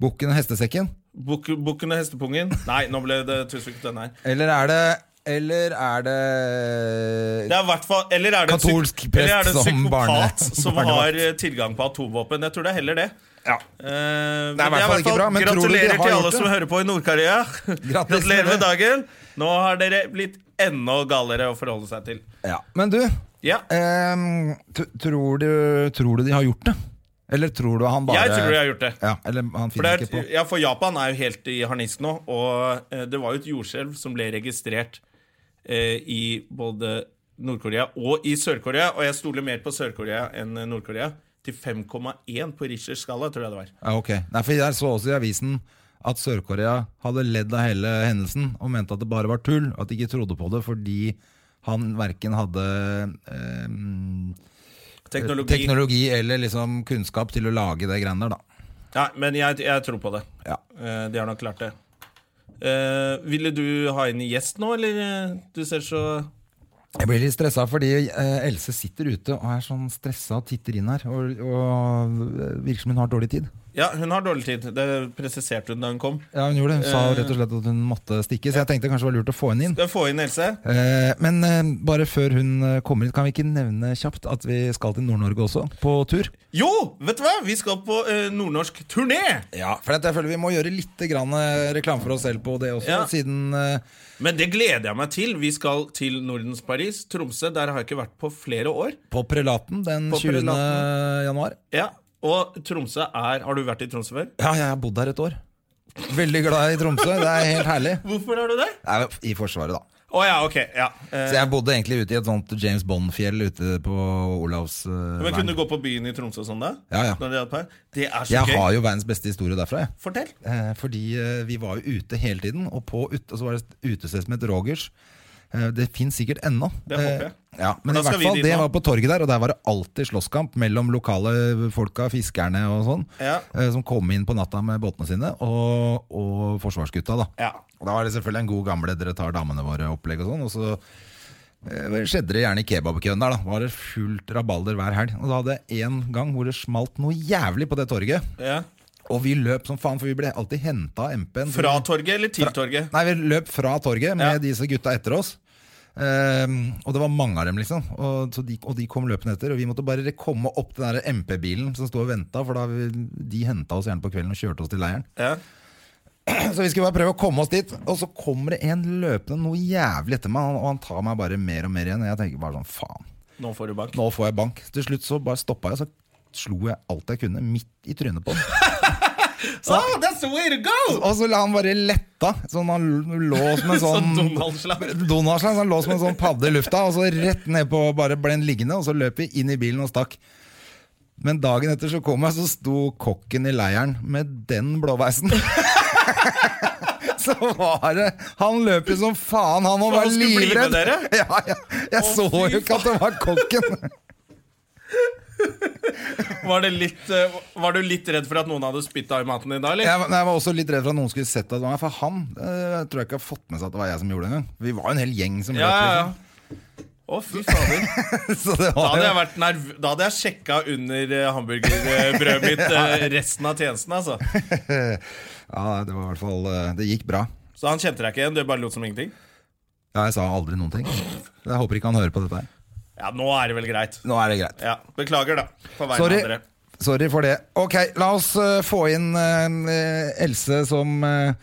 [SPEAKER 1] Bukken og hestesekken?
[SPEAKER 2] Buk bukken og hestepungen. Nei, nå ble det tusenfrykt denne her.
[SPEAKER 1] Eller er det Eller er det
[SPEAKER 2] Det er i hvert fall, eller er det en psyk-
[SPEAKER 1] Katolsk prest
[SPEAKER 2] eller er det en
[SPEAKER 1] som
[SPEAKER 2] psykopat
[SPEAKER 1] barne-
[SPEAKER 2] som har
[SPEAKER 1] barnevakt.
[SPEAKER 2] eh, tilgang på atomvåpen? Jeg tror det er heller det.
[SPEAKER 1] Ja.
[SPEAKER 2] Eh, men
[SPEAKER 1] hvert fall ikke bra, men tror du de
[SPEAKER 2] gratulerer
[SPEAKER 1] har
[SPEAKER 2] til
[SPEAKER 1] gjort
[SPEAKER 2] alle
[SPEAKER 1] det?
[SPEAKER 2] som hører på i Nord-Korea.
[SPEAKER 1] med
[SPEAKER 2] Gratulerer med
[SPEAKER 1] det.
[SPEAKER 2] dagen. Nå har dere blitt enda galere å forholde seg til.
[SPEAKER 1] ja. Men du,
[SPEAKER 2] Ja,
[SPEAKER 1] ehm, t- tror, du, tror du de har gjort det? Eller tror du han bare
[SPEAKER 2] jeg tror jeg har gjort det.
[SPEAKER 1] Ja, eller han
[SPEAKER 2] For, det
[SPEAKER 1] finner
[SPEAKER 2] er,
[SPEAKER 1] ikke på.
[SPEAKER 2] ja, for Japan er jo helt i harnisk nå, og eh, det var jo et jordskjelv som ble registrert eh, i både Nord-Korea og i Sør-Korea, og jeg stoler mer på Sør-Korea enn eh, Nord-Korea. Til 5,1 på Richters skala, tror jeg det var.
[SPEAKER 1] Ja, ok. Nei, for Jeg så også i avisen at Sør-Korea hadde ledd av hele hendelsen og mente at det bare var tull. At de ikke trodde på det fordi han verken hadde ehm,
[SPEAKER 2] Teknologi.
[SPEAKER 1] teknologi eller liksom kunnskap til å lage det greiene der, da.
[SPEAKER 2] Nei, men jeg, jeg tror på det.
[SPEAKER 1] Ja.
[SPEAKER 2] Eh, de har nok klart det. Eh, ville du ha inn gjest nå, eller? eh, Du ser så
[SPEAKER 1] Jeg blir litt stressa fordi eh, Else sitter ute og er sånn stressa og titter inn her. Og, og virker som hun har dårlig tid.
[SPEAKER 2] Ja, hun har dårlig tid. Det presiserte hun da hun kom.
[SPEAKER 1] Ja, Hun gjorde det. Hun sa rett og slett at hun måtte stikke, så jeg tenkte kanskje det var lurt å få henne inn.
[SPEAKER 2] Skal jeg få inn Else?
[SPEAKER 1] Eh, men eh, bare før hun eh, kommer hit, kan vi ikke nevne kjapt at vi skal til Nord-Norge også, på tur?
[SPEAKER 2] Jo, vet du hva? Vi skal på eh, nordnorsk turné!
[SPEAKER 1] Ja, for at jeg føler vi må gjøre litt grann, eh, reklame for oss selv på det også,
[SPEAKER 2] Ja.
[SPEAKER 1] siden eh,
[SPEAKER 2] Men det gleder jeg meg til. Vi skal til Nordens Paris. Tromsø. Der har jeg ikke vært på flere år.
[SPEAKER 1] på Prelaten den
[SPEAKER 2] På
[SPEAKER 1] 20.
[SPEAKER 2] Prelaten.
[SPEAKER 1] januar.
[SPEAKER 2] Ja, Og Tromsø er Har du vært i Tromsø før?
[SPEAKER 1] Ja, jeg har bodd der et år. Veldig glad i Tromsø. Det er helt herlig.
[SPEAKER 2] Hvorfor har du det?
[SPEAKER 1] Jeg er jo I Forsvaret, da.
[SPEAKER 2] Å ja, ok. ja Eh,
[SPEAKER 1] Så jeg bodde egentlig ute i et sånt James Bond-fjell ute på eh,
[SPEAKER 2] Men
[SPEAKER 1] Olavsvern.
[SPEAKER 2] kunne du gå på byen i Tromsø og sånn, da?
[SPEAKER 1] Ja, ja.
[SPEAKER 2] Når de hadde par? Det er så
[SPEAKER 1] Jeg
[SPEAKER 2] gøy.
[SPEAKER 1] har jo verdens beste historie derfra, jeg.
[SPEAKER 2] Fortell.
[SPEAKER 1] Eh, fordi eh, vi var jo ute hele tiden, og på ut, og så var det et utested som het Rogers. Eh, det fins sikkert ennå.
[SPEAKER 2] Det håper jeg.
[SPEAKER 1] Eh, ja, men
[SPEAKER 2] da
[SPEAKER 1] i
[SPEAKER 2] skal
[SPEAKER 1] hvert
[SPEAKER 2] vi
[SPEAKER 1] fall,
[SPEAKER 2] dit
[SPEAKER 1] det
[SPEAKER 2] nå.
[SPEAKER 1] var på torget der, og der var det alltid slåsskamp mellom lokale folka, fiskerne og sånn,
[SPEAKER 2] Ja.
[SPEAKER 1] eh, som kom inn på natta med båtene sine, og, og forsvarsgutta, da.
[SPEAKER 2] Ja.
[SPEAKER 1] Og da var det selvfølgelig en god gamle 'dere tar damene våre'-opplegg og sånn. Og så eh, skjedde det gjerne i kebabkøen der, da. Var det fullt rabalder hver helg. Og da hadde jeg en gang hvor det smalt noe jævlig på det torget.
[SPEAKER 2] Ja.
[SPEAKER 1] Og vi løp som faen, for vi ble alltid henta av MP-en.
[SPEAKER 2] Fra torget eller til torget?
[SPEAKER 1] Nei, vi løp fra torget med
[SPEAKER 2] Ja.
[SPEAKER 1] disse gutta etter oss. Ehm, og det var mange av dem, liksom. Og, så de, og de kom løpende etter. Og vi måtte bare komme opp den der MP-bilen som sto og venta, for da vi, de henta oss gjerne på kvelden og kjørte oss til leiren.
[SPEAKER 2] Ja.
[SPEAKER 1] Så vi skulle bare prøve å komme oss dit. Og så kommer det en løpende noe jævlig etter meg, og han tar meg bare mer og mer igjen. Og jeg tenker bare sånn, faen.
[SPEAKER 2] Nå får du bank.
[SPEAKER 1] Nå får jeg bank. Til slutt så bare stoppa jeg, og så slo jeg alt jeg kunne, midt i trynet på han.
[SPEAKER 2] Oh, that's the way to go!
[SPEAKER 1] Og så la han bare letta, sånn han lå som en sånn
[SPEAKER 2] Sånn Donald-slapp.
[SPEAKER 1] Donald-slang, så han lå som en sånn padde i lufta, og så rett ned på bare ble han liggende, og så løp vi inn i bilen og stakk. Men dagen etter så kom jeg, så sto kokken i leiren med den blåveisen. Så var det Han løp jo som faen, han og
[SPEAKER 2] For
[SPEAKER 1] var
[SPEAKER 2] han skulle bli med
[SPEAKER 1] livredd.
[SPEAKER 2] dere?
[SPEAKER 1] Ja, ja. Jeg
[SPEAKER 2] Å,
[SPEAKER 1] så
[SPEAKER 2] fy
[SPEAKER 1] jo ikke at det var kokken.
[SPEAKER 2] Var, det litt, eh, var du litt redd for at noen hadde spytta i maten din da, eller?
[SPEAKER 1] Jeg, var- jeg var også litt redd for at noen skulle sett at det var meg, for han eh, tror jeg ikke har fått med seg at det var jeg som gjorde det engang. Vi var jo en hel gjeng som
[SPEAKER 2] Ja,
[SPEAKER 1] løp.
[SPEAKER 2] ja,
[SPEAKER 1] Liksom.
[SPEAKER 2] ja. Å, fy fader.
[SPEAKER 1] Så det
[SPEAKER 2] Da
[SPEAKER 1] var
[SPEAKER 2] hadde
[SPEAKER 1] jo
[SPEAKER 2] jeg, vært nerv da hadde jeg sjekka under eh, hamburgerbrødet mitt eh, resten av tjenesten, altså.
[SPEAKER 1] Ja, det var i hvert fall eh, Det gikk bra.
[SPEAKER 2] Så han kjente deg ikke igjen? Du bare lot som ingenting?
[SPEAKER 1] Ja, jeg sa aldri noen ting. Jeg håper ikke han hører på dette her.
[SPEAKER 2] Ja, nå er det vel greit.
[SPEAKER 1] Nå er det greit.
[SPEAKER 2] Ja, Beklager, da. På vegne
[SPEAKER 1] Sorry.
[SPEAKER 2] av dere.
[SPEAKER 1] Sorry for det. Ok, la oss eh, få inn eh, Else som eh,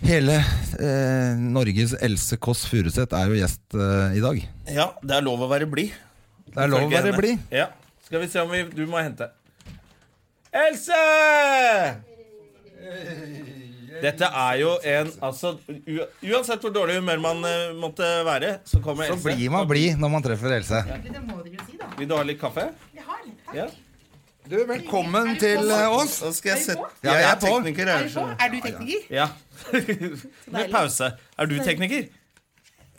[SPEAKER 1] Hele eh, Norges Else Kåss Furuseth er jo gjest eh, i dag.
[SPEAKER 2] Ja, det er lov å være blid.
[SPEAKER 1] Det er lov å være blid.
[SPEAKER 2] Ja. Skal vi se om vi Du må hente. Else! Dette er jo en Altså, u uansett hvor dårlig humør man eh, måtte være, så kommer
[SPEAKER 1] Så
[SPEAKER 2] Else.
[SPEAKER 1] blir man blid når man treffer Else.
[SPEAKER 3] Det må dere jo si, da.
[SPEAKER 2] Vil du ha litt kaffe?
[SPEAKER 3] Jeg har. Takk.
[SPEAKER 2] Ja.
[SPEAKER 1] Du, velkommen til eh, oss.
[SPEAKER 2] Da skal jeg sette
[SPEAKER 1] Ja, jeg er på.
[SPEAKER 2] tekniker.
[SPEAKER 3] Er, du på? er du tekniker?
[SPEAKER 2] Ja. Med pause. Er du tekniker?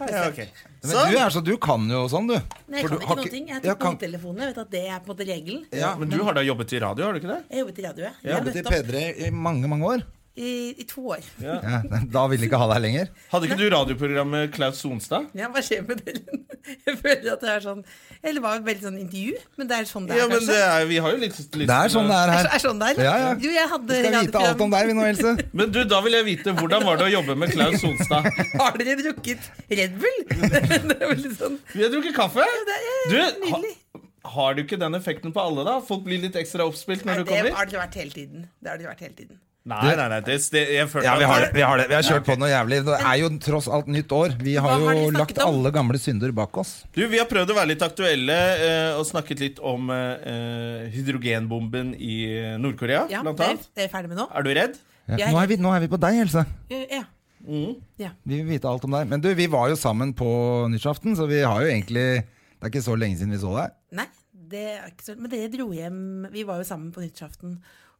[SPEAKER 2] Ja, ok.
[SPEAKER 1] Men
[SPEAKER 2] Sånn.
[SPEAKER 1] du er så du kan jo sånn, du.
[SPEAKER 4] Nei, jeg
[SPEAKER 1] For
[SPEAKER 4] kan
[SPEAKER 1] du
[SPEAKER 4] ikke
[SPEAKER 1] har
[SPEAKER 4] noen
[SPEAKER 1] ikke-
[SPEAKER 4] ting. Jeg
[SPEAKER 1] Ja,
[SPEAKER 4] tok
[SPEAKER 1] kan-
[SPEAKER 4] hodetelefonene. Jeg vet at det er på en måte regelen.
[SPEAKER 1] Ja,
[SPEAKER 2] Men du har da jobbet i radio, har du ikke det?
[SPEAKER 4] Jeg jobbet i radio, jeg.
[SPEAKER 2] Ja,
[SPEAKER 4] Jeg
[SPEAKER 1] jobbet i
[SPEAKER 4] møtte opp
[SPEAKER 1] P3 i mange, mange år.
[SPEAKER 4] i, i to år.
[SPEAKER 1] Ja, da ville de ikke ha deg lenger.
[SPEAKER 2] Hadde ikke du radioprogrammet Klaus Sonstad?
[SPEAKER 4] Ja, hva skjer med det? Jeg føler at det er sånn Eller det var jo veldig sånn intervju, men det er sånn det er,
[SPEAKER 2] Ja, men
[SPEAKER 4] kanskje.
[SPEAKER 2] det er, vi har jo litt, litt
[SPEAKER 1] Det er sånn det er
[SPEAKER 4] Er,
[SPEAKER 1] her.
[SPEAKER 4] så- er sånn det er?
[SPEAKER 1] Ja, ja.
[SPEAKER 4] Jo, jeg hadde
[SPEAKER 1] Vi skal vite alt om deg vi nå, Else.
[SPEAKER 2] Men du, da vil jeg vite hvordan var det å jobbe med Klaus Sonstad?
[SPEAKER 4] Har dere drukket Red Bull? det er veldig sånn
[SPEAKER 2] Vi har drukket kaffe.
[SPEAKER 4] det er eh,
[SPEAKER 2] Du, ha,
[SPEAKER 4] nydelig.
[SPEAKER 2] har du ikke den effekten på alle, da? Folk blir litt ekstra oppspilt
[SPEAKER 4] Nei,
[SPEAKER 2] når du
[SPEAKER 4] det
[SPEAKER 2] kommer?
[SPEAKER 4] har det ikke vært hele tiden. Det har det ikke vært hele tiden.
[SPEAKER 2] Nei, nei, nei. Det, det, jeg følte
[SPEAKER 1] Ja, vi har det.
[SPEAKER 2] at-
[SPEAKER 1] Vi har, det. Vi har kjørt på noe jævlig. Det er jo tross alt nytt år. Vi har
[SPEAKER 4] Hva har
[SPEAKER 1] jo
[SPEAKER 4] de
[SPEAKER 1] lagt
[SPEAKER 4] snakket om?
[SPEAKER 1] alle gamle synder bak oss.
[SPEAKER 2] Du, Vi har prøvd å være litt aktuelle eh, og snakket litt om eh, hydrogenbomben i eh, Nord-Korea,
[SPEAKER 4] Ja,
[SPEAKER 2] blant
[SPEAKER 4] det er,
[SPEAKER 2] annet.
[SPEAKER 4] det er ferdig med nå.
[SPEAKER 2] Er du redd?
[SPEAKER 1] Ja.
[SPEAKER 4] Jeg-
[SPEAKER 1] Nå, er vi, nå er vi på deg, Else.
[SPEAKER 4] Ja.
[SPEAKER 2] Mm.
[SPEAKER 1] Vi vil vite alt om deg. Men du, vi var jo sammen på nyttårsaften, så vi har jo egentlig Det er ikke så lenge siden vi så deg.
[SPEAKER 4] Nei, det er ikke så Men dere dro hjem Vi var jo sammen på nyttårsaften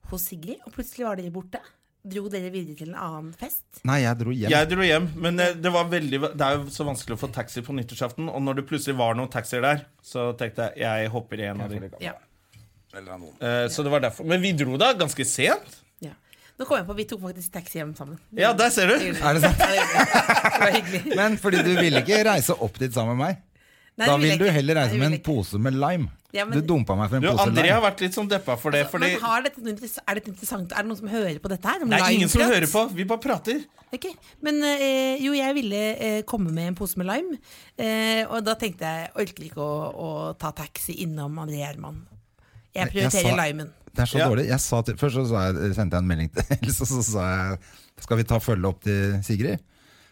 [SPEAKER 4] hos Sigrid, og plutselig var dere borte. Dro dere videre til en annen fest?
[SPEAKER 1] Nei, jeg dro hjem.
[SPEAKER 2] Jeg dro hjem, men eh, det, var veldig, det er jo så vanskelig å få taxi på nyttårsaften. Og når det plutselig var noen taxier der, så tenkte jeg jeg hopper i en av de.
[SPEAKER 4] Ja.
[SPEAKER 2] Eh, så det var derfor. Men vi dro da ganske sent.
[SPEAKER 4] ja. Nå kom jeg på, vi tok faktisk taxi hjem sammen.
[SPEAKER 2] Ja, der ser du.
[SPEAKER 1] Er det sant?
[SPEAKER 4] Ja, det var hyggelig.
[SPEAKER 1] Men fordi du ville ikke reise opp dit sammen med meg.
[SPEAKER 4] Nei,
[SPEAKER 1] Da
[SPEAKER 4] det
[SPEAKER 1] vil
[SPEAKER 4] jeg
[SPEAKER 1] du
[SPEAKER 4] ikke.
[SPEAKER 1] heller reise
[SPEAKER 4] Nei, det vil
[SPEAKER 1] med
[SPEAKER 4] jeg
[SPEAKER 1] en
[SPEAKER 4] ikke.
[SPEAKER 1] pose med lime.
[SPEAKER 4] Ja,
[SPEAKER 1] Du
[SPEAKER 4] men-
[SPEAKER 1] dumpa meg for en
[SPEAKER 2] Du,
[SPEAKER 1] pose
[SPEAKER 2] André har
[SPEAKER 1] lime.
[SPEAKER 2] vært litt sånn deppa for det, fordi
[SPEAKER 4] Men har dette noe, interess- er dette interessant? Er det noen som hører på dette her?
[SPEAKER 2] det er ingen som hører på. Vi bare prater.
[SPEAKER 4] Ok, Men eh, jo, jeg ville eh, komme med en pose med lime. Eh, og da tenkte jeg orker ikke å, å ta taxi innom André Gjerman. Jeg
[SPEAKER 1] jeg
[SPEAKER 4] prioriterer
[SPEAKER 1] sa-
[SPEAKER 4] limen.
[SPEAKER 1] Det er så
[SPEAKER 2] Ja.
[SPEAKER 1] dårlig. Jeg sa til, først så sa jeg, sendte jeg en melding til Else, så sa jeg Skal vi ta følge opp til Sigrid?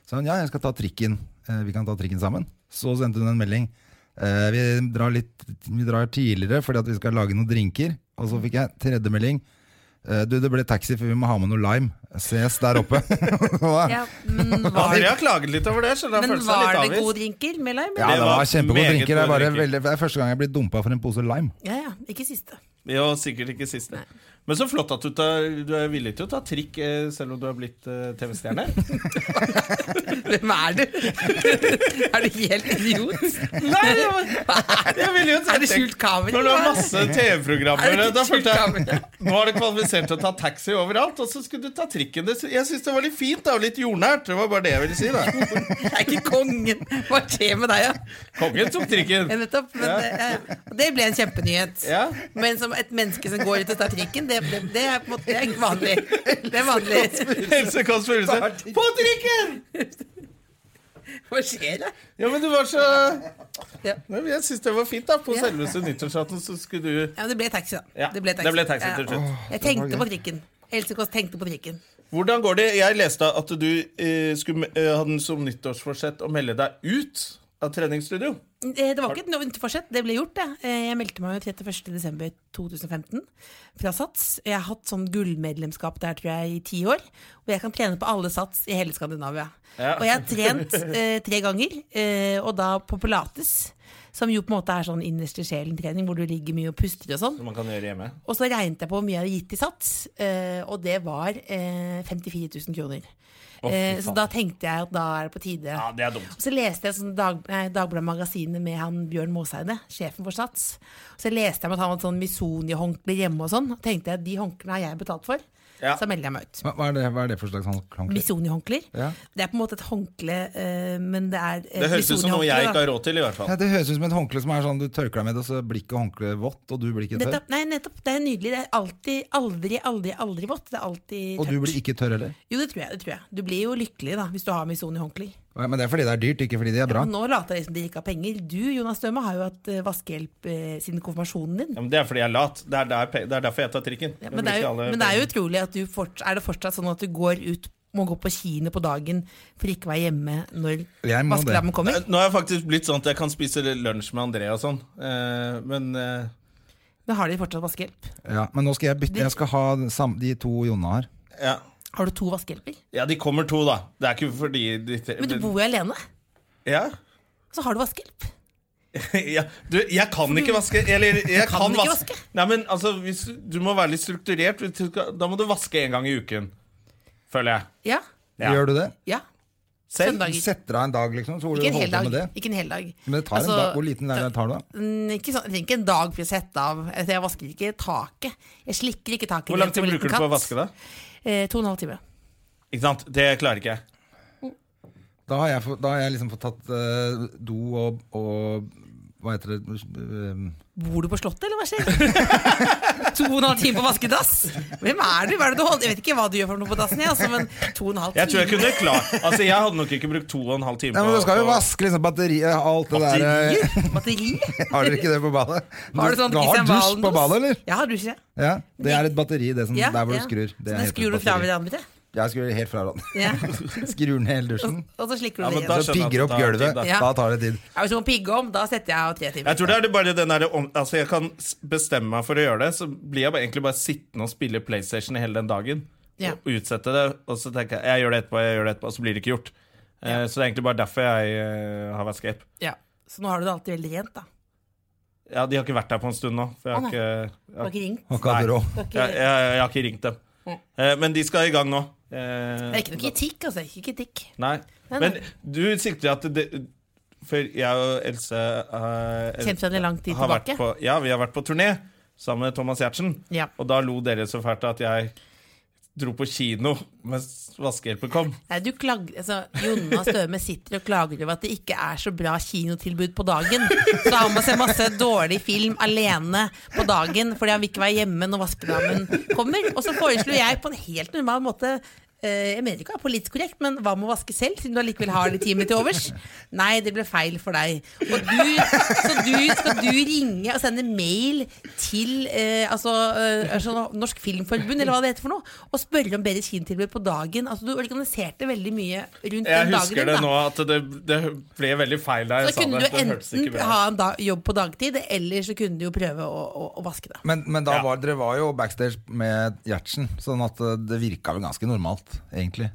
[SPEAKER 1] Så sa hun ja, jeg skal ta trikken. Eh, Vi kan ta trikken sammen. Så sendte hun en melding. Eh, Vi drar, litt, vi drar tidligere fordi at vi skal lage noen drinker. Og så fikk jeg tredje melding. Eh, Du, det ble taxi, for vi må ha med noe lime. Ses der oppe. ja,
[SPEAKER 4] Ja, men var,
[SPEAKER 2] André har klaget litt over det, så det har
[SPEAKER 4] men
[SPEAKER 2] følt seg
[SPEAKER 4] var
[SPEAKER 2] litt
[SPEAKER 4] det gode
[SPEAKER 2] avvist.
[SPEAKER 4] drinker med lime?
[SPEAKER 1] det
[SPEAKER 2] det
[SPEAKER 1] var
[SPEAKER 2] var
[SPEAKER 1] kjempegode
[SPEAKER 2] meget
[SPEAKER 1] drinker. Det er,
[SPEAKER 2] gode
[SPEAKER 1] bare
[SPEAKER 2] drinker.
[SPEAKER 1] veldig, det er første gang jeg blir dumpa for en pose lime.
[SPEAKER 4] Ja, ja, ikke siste.
[SPEAKER 2] Jo, sikkert ikke siste. Men så flott at du, tar, du er villig til å ta trikk eh, selv om du er blitt eh, TV-stjerne.
[SPEAKER 4] Hvem er du? er du helt idiot?
[SPEAKER 2] Nei, jeg, jeg ville jo
[SPEAKER 4] Er det skjult kamera?
[SPEAKER 2] Når det var masse
[SPEAKER 4] Er
[SPEAKER 2] TV-programmer
[SPEAKER 4] det ikke
[SPEAKER 2] Da følte
[SPEAKER 4] skjult
[SPEAKER 2] jeg
[SPEAKER 4] kamera?
[SPEAKER 2] Nå er det kvalifisert til å ta taxi overalt Og så skulle du ta trikken Det- Jeg synes det var litt fint da og Litt jordnært Det var bare det jeg ville si da
[SPEAKER 4] Jeg er ikke kongen. Hva skjer med deg, da? Ja?
[SPEAKER 2] Kongen tok
[SPEAKER 4] Ja,
[SPEAKER 2] trikken
[SPEAKER 4] nettopp. Men,
[SPEAKER 2] Ja.
[SPEAKER 4] det- ja, ja. Og det ble en kjempenyhet.
[SPEAKER 2] Ja.
[SPEAKER 4] Men som et menneske som går ut og tar trikken, det, det, det er på en måte det er ikke vanlig. Det er vanlig.
[SPEAKER 2] Helse Kåss Furuseth På trikken
[SPEAKER 4] Hva skjer da?
[SPEAKER 2] Ja, men du var så
[SPEAKER 4] Ja.
[SPEAKER 2] Nei, men Jeg synes det var fint da På
[SPEAKER 4] Ja.
[SPEAKER 2] selveste nyttårsaften Så skulle du
[SPEAKER 4] Ja, men det ble taxi, da.
[SPEAKER 2] Ja,
[SPEAKER 4] det ble taxi,
[SPEAKER 2] det ble taxi til slutt.
[SPEAKER 4] Ja. Jeg tenkte på trikken. Else Kåss tenkte på trikken.
[SPEAKER 2] Hvordan går det? Jeg leste at du eh, skulle, eh, hadde som nyttårsforsett Å melde deg ut av treningsstudio
[SPEAKER 4] Eh, Det var ikke et nytt forsett, det ble gjort. Det. Eh, Jeg meldte meg jo 31.12.2015 fra Sats. Jeg har hatt sånn gullmedlemskap der tror jeg i ti år. Og jeg kan trene på alle Sats i hele Skandinavia.
[SPEAKER 2] Ja.
[SPEAKER 4] Og jeg har trent eh, tre ganger, eh, og da på Pilates. Som jo på en måte er sånn innerste sjelen-trening, hvor du ligger mye og puster og sånn.
[SPEAKER 2] Som man kan gjøre hjemme
[SPEAKER 4] Og så regnet jeg på hvor mye jeg hadde gitt i sats, eh, og det var eh, 54 000 kroner.
[SPEAKER 2] fy
[SPEAKER 4] Eh, så
[SPEAKER 2] faen.
[SPEAKER 4] da tenkte jeg at da er det på tide.
[SPEAKER 2] Ja, det er dumt
[SPEAKER 4] Og så leste jeg sånn dag, nei, Dagbladet Magasinet med han Bjørn Måseide, sjefen for Sats. Og så leste jeg om at han hadde sånn Misoni-håndkle hjemme og sånn. Og tenkte jeg de håndklene har jeg betalt for.
[SPEAKER 2] Ja.
[SPEAKER 4] Så melder jeg meg ut.
[SPEAKER 1] Hva hva er det, hva er det for slags sånn håndkle?
[SPEAKER 4] Misoni-håndklær.
[SPEAKER 1] Ja.
[SPEAKER 4] Det er på en måte et håndkle, eh, men det er et
[SPEAKER 2] Det høres ut som noe jeg
[SPEAKER 4] Missoni-håndkle, da.
[SPEAKER 2] ikke har råd til i hvert fall
[SPEAKER 1] Ja, det høres ut som et håndkle som er sånn du tørker deg med, det, og så blir ikke håndkleet vått, og du blir ikke tørr.
[SPEAKER 4] Nettopp, nei, nettopp. Det er nydelig. Det er alltid, aldri, aldri, aldri vått. Det er alltid
[SPEAKER 1] Og du
[SPEAKER 4] tørt.
[SPEAKER 1] blir ikke tørr heller.
[SPEAKER 4] Jo, det tror jeg. det tror jeg Du blir jo lykkelig da, hvis du har Misoni-håndklær.
[SPEAKER 1] Ja, Men det er fordi det er dyrt, ikke fordi det er bra.
[SPEAKER 4] Og Nå later jeg som de ikke har penger. Du, Jonas Støme, har jo hatt eh, vaskehjelp eh, siden konfirmasjonen din.
[SPEAKER 2] Ja, men Det er fordi jeg er lat. Det er, der, pe- det er derfor jeg tar trikken.
[SPEAKER 4] Ja, men, det er jo, men det er jo utrolig at du fort, Er det fortsatt sånn at du går ut må gå på kino på dagen for ikke å være hjemme når
[SPEAKER 1] Jeg må det.
[SPEAKER 4] vaskelammen kommer.
[SPEAKER 2] Eh, Nå har jeg faktisk blitt sånn at jeg kan spise lunsj med André og sånn. Eh, men eh,
[SPEAKER 4] Da har de fortsatt vaskehjelp.
[SPEAKER 1] Ja, men nå skal jeg bytte. Jeg skal ha sam, de to Jonna har.
[SPEAKER 2] ja.
[SPEAKER 4] Har du to vaskehjelper?
[SPEAKER 2] ja, de kommer to, da. Det er ikke fordi de
[SPEAKER 4] Men du bor jo alene,
[SPEAKER 2] ja.
[SPEAKER 4] så har du vaskehjelp.
[SPEAKER 2] ja. Du, jeg kan ikke vaske. Eller, jeg
[SPEAKER 4] kan
[SPEAKER 2] kan,
[SPEAKER 4] ikke
[SPEAKER 2] vaske.
[SPEAKER 4] vaske.
[SPEAKER 2] Nei, men altså, hvis, du må være litt strukturert. Hvis du skal- Da må du vaske en gang i uken. Føler jeg.
[SPEAKER 4] Ja.
[SPEAKER 2] Ja.
[SPEAKER 1] Gjør du det?
[SPEAKER 4] ja.
[SPEAKER 2] Selv?
[SPEAKER 4] Søndager.
[SPEAKER 1] Setter av en dag, liksom, så hvor du
[SPEAKER 4] Ikke en hel
[SPEAKER 1] holder på
[SPEAKER 4] dag.
[SPEAKER 1] med det?
[SPEAKER 4] Ikke en hel dag.
[SPEAKER 1] Men det tar
[SPEAKER 4] Altså,
[SPEAKER 1] en dag. Hvor liten er det tar du, da?
[SPEAKER 4] Mm, Ikke sånn, jeg trenger ikke en dag for å sette av. Altså, Jeg vasker ikke taket. Jeg slikker ikke taket.
[SPEAKER 2] Hvor lang tid bruker du på å vaske, da?
[SPEAKER 4] Eh, to og en halv time.
[SPEAKER 2] Ikke sant? Det klarer ikke jeg.
[SPEAKER 1] Da har jeg, fått- da har jeg liksom fått tatt eh, do og, og Hva heter det Eh,
[SPEAKER 4] Bor du på Slottet, eller hva skjer? to og en halv time på vaskedass? Hvem er du? Hva er det du holder? Jeg vet ikke hva du gjør for noe på dassen, jeg, altså, men to og en halv time
[SPEAKER 2] Jeg tror jeg kunne klart Altså, jeg hadde nok ikke brukt to og en halv time
[SPEAKER 1] Nei, men
[SPEAKER 2] på-
[SPEAKER 1] Du skal jo
[SPEAKER 2] på-
[SPEAKER 1] vaske liksom batteriet og alt det der. eh,
[SPEAKER 4] Batterier? Batteri?
[SPEAKER 1] Har dere ikke det på badet?
[SPEAKER 4] Har du sånn
[SPEAKER 1] du har
[SPEAKER 4] Christian
[SPEAKER 1] dusj på
[SPEAKER 4] Valen-dos?
[SPEAKER 1] badet, eller?
[SPEAKER 4] Ja, har du ikke det?
[SPEAKER 1] Ja, Det er et batteri det som,
[SPEAKER 4] Ja,
[SPEAKER 1] der hvor
[SPEAKER 4] ja.
[SPEAKER 1] du skrur. Det
[SPEAKER 4] Så
[SPEAKER 1] er
[SPEAKER 4] den
[SPEAKER 1] helt
[SPEAKER 4] skrur du
[SPEAKER 1] et
[SPEAKER 4] fra
[SPEAKER 1] batteri.
[SPEAKER 4] hverandre?
[SPEAKER 1] Jeg skrur helt fra hverandre.
[SPEAKER 4] Ja.
[SPEAKER 1] Skrur ned hele dusjen.
[SPEAKER 4] Og så slikker
[SPEAKER 2] Ja,
[SPEAKER 4] du det
[SPEAKER 2] men
[SPEAKER 4] igjen.
[SPEAKER 2] da
[SPEAKER 1] Så
[SPEAKER 2] skjønner jeg at
[SPEAKER 1] pigger
[SPEAKER 2] det
[SPEAKER 1] opp
[SPEAKER 2] tar
[SPEAKER 1] gulvet.
[SPEAKER 2] tid, da.
[SPEAKER 4] Ja.
[SPEAKER 1] Da tar det tid.
[SPEAKER 4] Ja, Hvis du må pigge om, da setter jeg av tre timer.
[SPEAKER 2] Jeg tror det er det bare den der om, Altså jeg kan s- bestemme meg for å gjøre det Så blir jeg bare, egentlig bare sittende og spille Playstation hele den dagen
[SPEAKER 4] Ja.
[SPEAKER 2] Og utsette det Og så tenker jeg, jeg gjør det etterpå, jeg gjør det etterpå Og så blir det ikke gjort Eh, Så det er egentlig bare derfor jeg eh, har vaskehjelp
[SPEAKER 4] Ja. Så nå har du det alltid veldig rent, da.
[SPEAKER 2] Ja, de har ikke vært her på en stund nå For jeg har
[SPEAKER 4] Å, nei.
[SPEAKER 2] ikke, jeg,
[SPEAKER 4] Du
[SPEAKER 2] har
[SPEAKER 4] har
[SPEAKER 2] ikke-
[SPEAKER 4] ikke ringt.
[SPEAKER 1] Og hva hadde du råd?
[SPEAKER 4] Du har ikke... Mm.
[SPEAKER 2] jeg, jeg, jeg har ikke ringt dem Eh, Men de skal i gang nå Eh,
[SPEAKER 4] Det er ikke noe kritikk, altså. Ikke kritikk.
[SPEAKER 2] Nei.
[SPEAKER 4] Nei,
[SPEAKER 2] Men
[SPEAKER 4] nei.
[SPEAKER 2] du sikter at det For jeg og Else eh,
[SPEAKER 4] Kjent hverandre i lang tid
[SPEAKER 2] har vært
[SPEAKER 4] tilbake.
[SPEAKER 2] på, Ja, vi har vært på turné sammen med Thomas Giertsen.
[SPEAKER 4] Ja.
[SPEAKER 2] Og da lo dere så fælt at jeg dro på kino mens vaskehjelpen kom.
[SPEAKER 4] Nei, du klag... altså, Jonna Støme sitter og klager over at det ikke er så bra kinotilbud på dagen. Så han må se masse dårlig film alene på dagen fordi han vil ikke være hjemme når vaskedamen kommer. Og så foreslo jeg på en helt normal måte eh, jeg mener ikke å være politisk korrekt, men hva med å vaske selv, siden du allikevel har de timene til overs? Nei, det ble feil for deg. Og du, så du, skal du ringe og sende mail til eh, altså, eh, altså Norsk Filmforbund, eller hva det heter for noe, og spørre om bedre kinotilbud på dagen? Altså, du organiserte veldig mye rundt
[SPEAKER 2] Jeg
[SPEAKER 4] den dagen.
[SPEAKER 2] husker
[SPEAKER 4] din,
[SPEAKER 2] det
[SPEAKER 4] da.
[SPEAKER 2] nå at det, det ble veldig feil da jeg
[SPEAKER 4] Så
[SPEAKER 2] sa
[SPEAKER 4] kunne
[SPEAKER 2] det.
[SPEAKER 4] du
[SPEAKER 2] Det hørtes ikke
[SPEAKER 4] enten
[SPEAKER 2] bra ut.
[SPEAKER 4] ha en da, jobb på dagtid, eller så kunne du jo prøve å, å, å vaske det.
[SPEAKER 1] Men, men da
[SPEAKER 2] Ja.
[SPEAKER 1] var, dere var jo backstage med Gjertsen, sånn at eh, det virka vel ganske normalt, egentlig.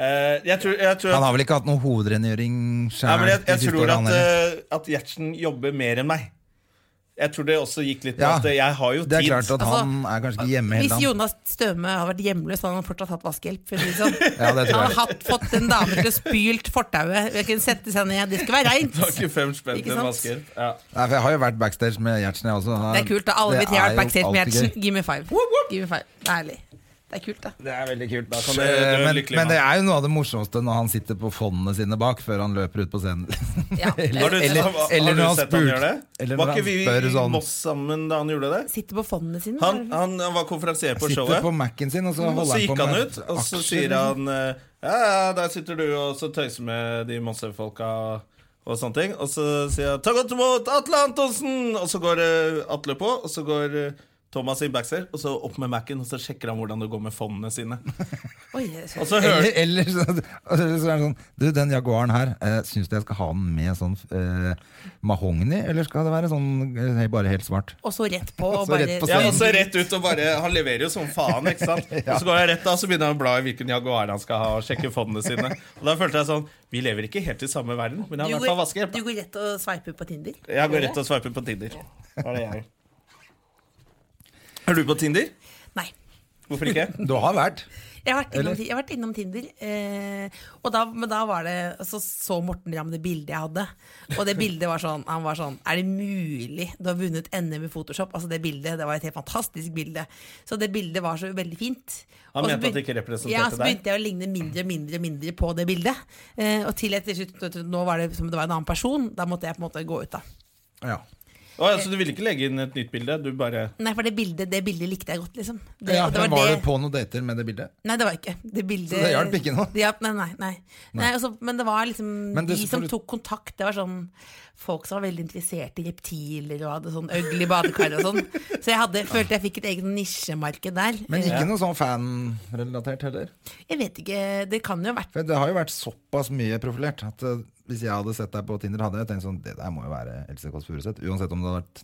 [SPEAKER 2] Eh, jeg tror, jeg tror
[SPEAKER 1] Han
[SPEAKER 2] at,
[SPEAKER 1] har vel ikke hatt noen hovedrengjøring
[SPEAKER 2] Nei,
[SPEAKER 1] sjæl?
[SPEAKER 2] men jeg, jeg tror at, eh, at Gjertsen jobber mer enn meg. Jeg tror det også gikk litt på
[SPEAKER 1] Ja,
[SPEAKER 2] at jeg har jo tid.
[SPEAKER 1] det er klart at
[SPEAKER 4] Altså,
[SPEAKER 1] han er kanskje ikke hjemme hele
[SPEAKER 4] Hvis
[SPEAKER 1] dagen.
[SPEAKER 4] Jonas Støme hadde vært hjemløs, hadde han fortsatt hatt vaskehjelp. For å si det sånn.
[SPEAKER 1] Ja, det tror jeg.
[SPEAKER 4] Han har hatt, fått en dame til å spylt fortauet. Jeg kunne sette seg ned, det skulle være
[SPEAKER 2] Det var
[SPEAKER 4] reint.
[SPEAKER 2] ikke fem spenn til en
[SPEAKER 4] Ikke sant?
[SPEAKER 2] vaskehjelp. Ja.
[SPEAKER 1] Nei, for jeg har jo vært backstage med Gjertsen, jeg også. Han-
[SPEAKER 4] Det er kult, da. Alle vi
[SPEAKER 1] det
[SPEAKER 4] tre har
[SPEAKER 1] er
[SPEAKER 4] vært
[SPEAKER 1] jo
[SPEAKER 4] backstage med
[SPEAKER 1] alltid
[SPEAKER 4] Gjertsen.
[SPEAKER 1] gøy.
[SPEAKER 4] Give me five. Give me five. Det er ærlig. Det er kult, da.
[SPEAKER 1] Det er veldig kult.
[SPEAKER 2] Da kan du
[SPEAKER 1] Eh,
[SPEAKER 2] dø
[SPEAKER 1] men,
[SPEAKER 2] lykkelig,
[SPEAKER 1] men det
[SPEAKER 2] mann.
[SPEAKER 1] er jo noe av det morsomste når han sitter på fondene sine bak, før han løper ut på scenen.
[SPEAKER 4] Ja.
[SPEAKER 1] eller,
[SPEAKER 2] Har du,
[SPEAKER 1] eller,
[SPEAKER 2] har,
[SPEAKER 1] eller når
[SPEAKER 2] har du
[SPEAKER 1] han
[SPEAKER 2] sett han
[SPEAKER 1] spurte-
[SPEAKER 2] gjøre det?
[SPEAKER 1] eller når
[SPEAKER 2] Var ikke
[SPEAKER 1] han
[SPEAKER 2] vi
[SPEAKER 1] spør
[SPEAKER 2] i
[SPEAKER 1] sånn
[SPEAKER 2] Moss sammen da han gjorde det?
[SPEAKER 4] Sitter på fondene sine.
[SPEAKER 2] Han,
[SPEAKER 4] eller?
[SPEAKER 2] han, han var konferansier på
[SPEAKER 1] Sitter
[SPEAKER 2] showet, Mm,
[SPEAKER 1] på Mac-en sin, og så
[SPEAKER 2] og
[SPEAKER 1] holder
[SPEAKER 2] så
[SPEAKER 1] han på
[SPEAKER 2] gikk
[SPEAKER 1] med
[SPEAKER 2] han ut, og så
[SPEAKER 1] aksjer,
[SPEAKER 2] sier
[SPEAKER 1] liksom.
[SPEAKER 2] han eh, Ja, ja, der sitter du og så tøyser med de Moss-folka og sånne ting. Og så sier han 'ta godt imot Atle Antonsen', og så går eh, Atle på, og så går eh, Thomas inn backstage, og så opp med Mac-en, og så sjekker han hvordan det går med fondene sine.
[SPEAKER 4] Oi, jeg-
[SPEAKER 2] Og så hører
[SPEAKER 1] Eller, eller så, eller så er det sånn Du, den Jaguaren her, eh, syns du jeg skal ha den med sånn eh, mahogni, eller skal det være sånn eh, bare helt svart?
[SPEAKER 4] Og så rett på. Og
[SPEAKER 1] så
[SPEAKER 4] bare,
[SPEAKER 1] rett på
[SPEAKER 2] ja,
[SPEAKER 1] scenen.
[SPEAKER 2] og så rett ut og bare Han leverer jo som faen, ikke sant? Og så går jeg rett da, så begynner han å bla i hvilken Jaguar han skal ha, og sjekke fondene sine. Og da følte jeg sånn Vi lever ikke helt i samme verden, men jeg har i
[SPEAKER 4] du,
[SPEAKER 2] hvert fall
[SPEAKER 4] går,
[SPEAKER 2] vaskehjelp.
[SPEAKER 4] du går rett og sveiper på Tinder.
[SPEAKER 2] Jeg går rett og sveiper på Tinder. Det er det jeg gjør. Er du på Tinder?
[SPEAKER 4] Nei.
[SPEAKER 2] Hvorfor ikke?
[SPEAKER 1] Du har vært.
[SPEAKER 4] Jeg har vært innom, Ti- jeg har vært innom Tinder, eh, og da, men da var det så, så Morten Ramm det bildet jeg hadde. Og det bildet var sånn Han var sånn Er det mulig du har vunnet NM i Photoshop? Altså Det bildet, det var et helt fantastisk bilde. Så det bildet var så veldig fint.
[SPEAKER 2] Han
[SPEAKER 4] Og så
[SPEAKER 2] mente at det
[SPEAKER 4] begyn-
[SPEAKER 2] ikke representerte
[SPEAKER 4] ja, så
[SPEAKER 2] deg.
[SPEAKER 4] begynte jeg å ligne mindre og mindre og mindre på det bildet. Eh, og til etter slutt, nå var det som om det var en annen person. Da måtte jeg på en måte gå ut, da.
[SPEAKER 1] Ja.
[SPEAKER 2] Å, ja, så du ville ikke legge inn et nytt bilde? Du bare
[SPEAKER 4] Nei, for det bildet, det bildet likte jeg godt, liksom. Det,
[SPEAKER 1] Ja,
[SPEAKER 4] og det
[SPEAKER 1] men
[SPEAKER 4] var
[SPEAKER 1] var
[SPEAKER 4] det-
[SPEAKER 1] du på noen dater med det bildet?
[SPEAKER 4] Nei, det var ikke. Det bildet,
[SPEAKER 1] Så det hjalp ikke noe?
[SPEAKER 4] Det hjalp- nei, nei, nei. nei. altså, men det var liksom
[SPEAKER 1] Men det
[SPEAKER 4] de
[SPEAKER 1] som
[SPEAKER 4] som
[SPEAKER 1] får du-
[SPEAKER 4] tok kontakt. Det var sånn folk som var veldig interessert i reptiler og hadde sånn øgle i badekar og sånn. Så jeg hadde, følte jeg fikk et eget nisjemarked der.
[SPEAKER 1] Men
[SPEAKER 4] Eh,
[SPEAKER 1] ikke noe sånn fanrelatert heller.
[SPEAKER 4] Jeg vet ikke, det kan jo ha vært
[SPEAKER 1] For det har jo vært såpass mye profilert at eh, hvis jeg hadde sett deg på Tinder, hadde jeg tenkt sånn Det der må jo være Else Kåss Furuseth. Uansett om det hadde vært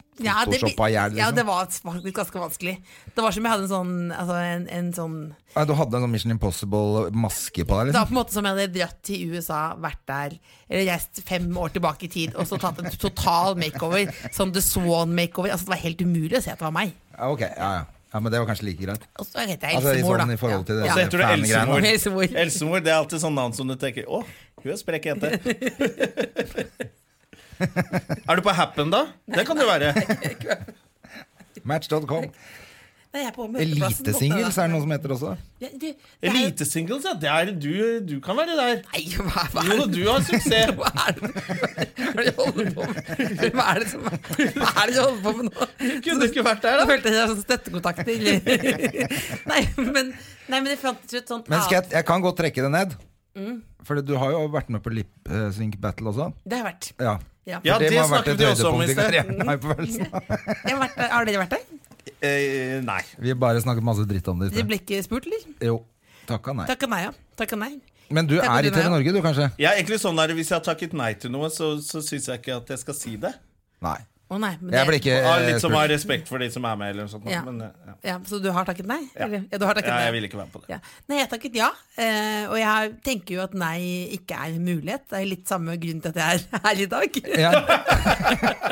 [SPEAKER 4] det,
[SPEAKER 1] photoshoppa i hjel.
[SPEAKER 4] ja, det
[SPEAKER 1] Liksom.
[SPEAKER 4] var faktisk ganske vanskelig. Det var som jeg hadde en sånn, altså en, en sånn
[SPEAKER 1] Nei, Du hadde en sånn Mission Impossible-maske på deg.
[SPEAKER 4] Det var
[SPEAKER 1] Liksom.
[SPEAKER 4] på en måte som jeg hadde dratt til USA, vært der, eller reist fem år tilbake i tid, og så tatt en total makeover. Sånn The Swan makeover. Altså, det var helt umulig å se at det var meg.
[SPEAKER 1] Ja, ok, ja, ja. ja, Men det var kanskje like greit.
[SPEAKER 4] Og så heter jeg
[SPEAKER 1] Altså, i
[SPEAKER 4] Elsemor,
[SPEAKER 1] sånn i forhold til det
[SPEAKER 4] Ja.
[SPEAKER 2] Så heter du
[SPEAKER 1] fan-greiene.
[SPEAKER 2] Elsemor.
[SPEAKER 4] Elsemor.
[SPEAKER 2] Elsemor, det er alltid sånn navn som du tenker Å, hun er sprek jente. er du på Happen, da? Det kan du være.
[SPEAKER 1] Match.com.
[SPEAKER 4] Nei, jeg er på møteplassen borte,
[SPEAKER 1] Elitesingles
[SPEAKER 4] da.
[SPEAKER 1] er det noe som heter også.
[SPEAKER 4] Ja, du, det er jo-
[SPEAKER 2] Elitesingles, ja. Det er, du, du kan være der.
[SPEAKER 4] Nei, hva, hva er
[SPEAKER 2] Jo,
[SPEAKER 4] det?
[SPEAKER 2] du har suksess.
[SPEAKER 4] Hva er det hva er det du holder på med? Hva er det som Hva er det du holder på med nå?
[SPEAKER 2] Kunne ikke vært der,
[SPEAKER 4] Da
[SPEAKER 2] da.
[SPEAKER 4] følte jeg sånn støttekontakter. Nei, men, nei, men det fantes jo et sånt
[SPEAKER 1] Men skal jeg, jeg kan godt trekke det ned.
[SPEAKER 4] Mm.
[SPEAKER 1] For du har jo vært med på Lip eh, Sync Battle også.
[SPEAKER 4] Det har jeg vært.
[SPEAKER 1] Ja.
[SPEAKER 4] Ja.
[SPEAKER 2] Ja, det
[SPEAKER 1] må ha vært
[SPEAKER 2] snakket
[SPEAKER 1] et
[SPEAKER 2] vi også om
[SPEAKER 1] høydepunkt
[SPEAKER 2] i
[SPEAKER 1] i
[SPEAKER 2] sted.
[SPEAKER 1] karrieren, har jeg på følelsen av.
[SPEAKER 4] Jeg har, vært der. har dere vært der?
[SPEAKER 2] Eh, nei.
[SPEAKER 1] Vi har bare snakket masse dritt om det. i
[SPEAKER 4] Dere
[SPEAKER 1] sted.
[SPEAKER 4] ble ikke spurt, eller?
[SPEAKER 1] Jo. Takka nei.
[SPEAKER 4] Takk og nei, ja. Takk og nei.
[SPEAKER 1] Men du
[SPEAKER 4] Takk og
[SPEAKER 1] er i
[SPEAKER 4] du nei,
[SPEAKER 1] TV
[SPEAKER 4] ja.
[SPEAKER 1] Norge, du, kanskje?
[SPEAKER 2] Jeg er egentlig sånn der, Hvis jeg har takket nei til noe, så, så syns jeg ikke at jeg skal si det.
[SPEAKER 1] Nei.
[SPEAKER 4] Å nei, men
[SPEAKER 1] Jeg
[SPEAKER 4] det-
[SPEAKER 1] ble ikke
[SPEAKER 2] Ah,
[SPEAKER 1] eh,
[SPEAKER 2] litt som har
[SPEAKER 1] spurt.
[SPEAKER 2] respekt for de som er med, eller noe sånt.
[SPEAKER 4] Ja.
[SPEAKER 2] Men, eh, ja.
[SPEAKER 4] ja, Så du har takket nei? Eller? Ja, du har takket
[SPEAKER 2] Ja,
[SPEAKER 4] nei.
[SPEAKER 2] jeg ville ikke være med på det.
[SPEAKER 4] Ja. Nei, jeg takket ja. eh, og jeg har- tenker jo at nei ikke er en mulighet. Det er jo litt samme grunn til at jeg er her i dag.
[SPEAKER 1] Ja.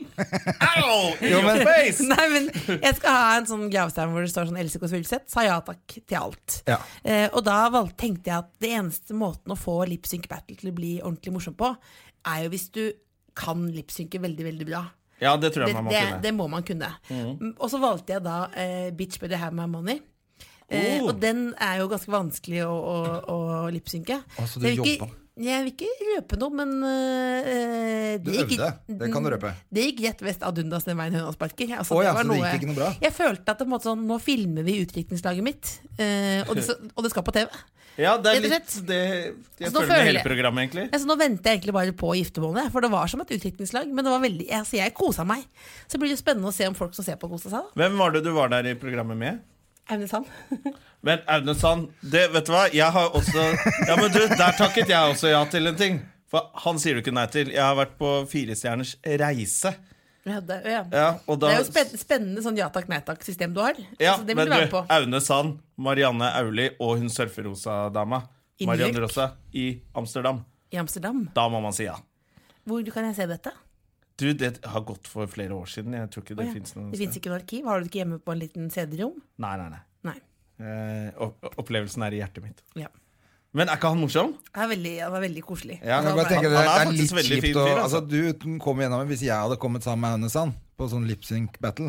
[SPEAKER 2] Au! In
[SPEAKER 1] Jo,
[SPEAKER 2] your
[SPEAKER 1] men-
[SPEAKER 2] face!
[SPEAKER 4] Nei, men jeg skal ha en sånn gravstein hvor det står sånn Else Kåss Furuseth sa ja takk til alt.
[SPEAKER 1] Ja.
[SPEAKER 4] Eh, og da valg, tenkte jeg at det eneste måten å få lip sync battle til å bli ordentlig morsom på, er jo hvis du kan lip synke veldig, veldig bra.
[SPEAKER 2] Ja, det tror jeg man må
[SPEAKER 4] det,
[SPEAKER 2] kunne.
[SPEAKER 4] det må man kunne. Mm. Og så valgte jeg da eh, Bitch Better Have My Money. Eh,
[SPEAKER 2] Oh.
[SPEAKER 4] Og den er jo ganske vanskelig å, å, å lipsynke.
[SPEAKER 1] Å, så du
[SPEAKER 4] jeg, vil
[SPEAKER 1] jobba.
[SPEAKER 4] ikke, jeg vil ikke røpe noe, men eh,
[SPEAKER 1] Du
[SPEAKER 4] gikk-
[SPEAKER 1] øvde. Det kan du røpe.
[SPEAKER 4] Det gikk rett vest ad undas den veien høna sparker. Altså,
[SPEAKER 1] Å ja,
[SPEAKER 4] var
[SPEAKER 1] så det gikk ikke noe bra?
[SPEAKER 4] Jeg følte at det på en måte sånn, nå filmer vi utdrikningslaget mitt, eh, og, det, så- og det skal på TV.
[SPEAKER 2] Ja, det er
[SPEAKER 4] Rett og
[SPEAKER 2] litt
[SPEAKER 4] slett.
[SPEAKER 2] det, Jeg
[SPEAKER 4] Altså,
[SPEAKER 2] føler
[SPEAKER 4] nå
[SPEAKER 2] med
[SPEAKER 4] føler
[SPEAKER 2] hele
[SPEAKER 4] jeg-
[SPEAKER 2] programmet, egentlig.
[SPEAKER 4] Altså, nå venter jeg egentlig bare på giftermålet, for det var som et utdrikningslag. Men det var veldig, altså, jeg kosa meg. Så blir det jo spennende å se om folk som ser på, koser seg. da.
[SPEAKER 2] Hvem var det du var der i programmet med?
[SPEAKER 4] Aune Sand.
[SPEAKER 2] Men Aune Sand, det, vet du hva? Jeg har også Ja, men du, Der takket jeg også ja til en ting. For han sier du ikke nei til. Jeg har vært på Firestjerners reise.
[SPEAKER 4] Ja, det, ja.
[SPEAKER 2] Ja, og da,
[SPEAKER 4] det er jo spen spennende sånn ja takk, nei takk-system du har.
[SPEAKER 2] Ja,
[SPEAKER 4] altså, det
[SPEAKER 2] men
[SPEAKER 4] vil du være på.
[SPEAKER 2] Aune Sand, Marianne Auli og hun surferosa-dama.
[SPEAKER 4] I New
[SPEAKER 2] Marianne
[SPEAKER 4] York?
[SPEAKER 2] Rosa i Amsterdam.
[SPEAKER 4] I Amsterdam.
[SPEAKER 2] Da må man si ja.
[SPEAKER 4] Hvor kan jeg se dette?
[SPEAKER 2] Du, Det har gått for flere år siden. Jeg tror ikke det
[SPEAKER 4] Å ja,
[SPEAKER 2] finnes noe
[SPEAKER 4] det fins ikke noe arkiv? Har du det ikke hjemme på en liten CD-rom?
[SPEAKER 2] Nei, nei, nei.
[SPEAKER 4] Nei.
[SPEAKER 2] Eh, opp opplevelsen er i hjertet mitt.
[SPEAKER 4] Ja.
[SPEAKER 2] Men er ikke han morsom?
[SPEAKER 4] Det er veldig, det er veldig koselig.
[SPEAKER 1] Jeg
[SPEAKER 2] Ja,
[SPEAKER 1] kan
[SPEAKER 4] Altså,
[SPEAKER 1] bare tenke det,
[SPEAKER 2] Han er
[SPEAKER 1] det er
[SPEAKER 2] faktisk
[SPEAKER 1] litt
[SPEAKER 2] veldig fin
[SPEAKER 1] kjipt å
[SPEAKER 2] fyr, altså.
[SPEAKER 1] altså, Du kom gjennom Hvis jeg hadde kommet sammen med Aune Sand på sånn lip sync battle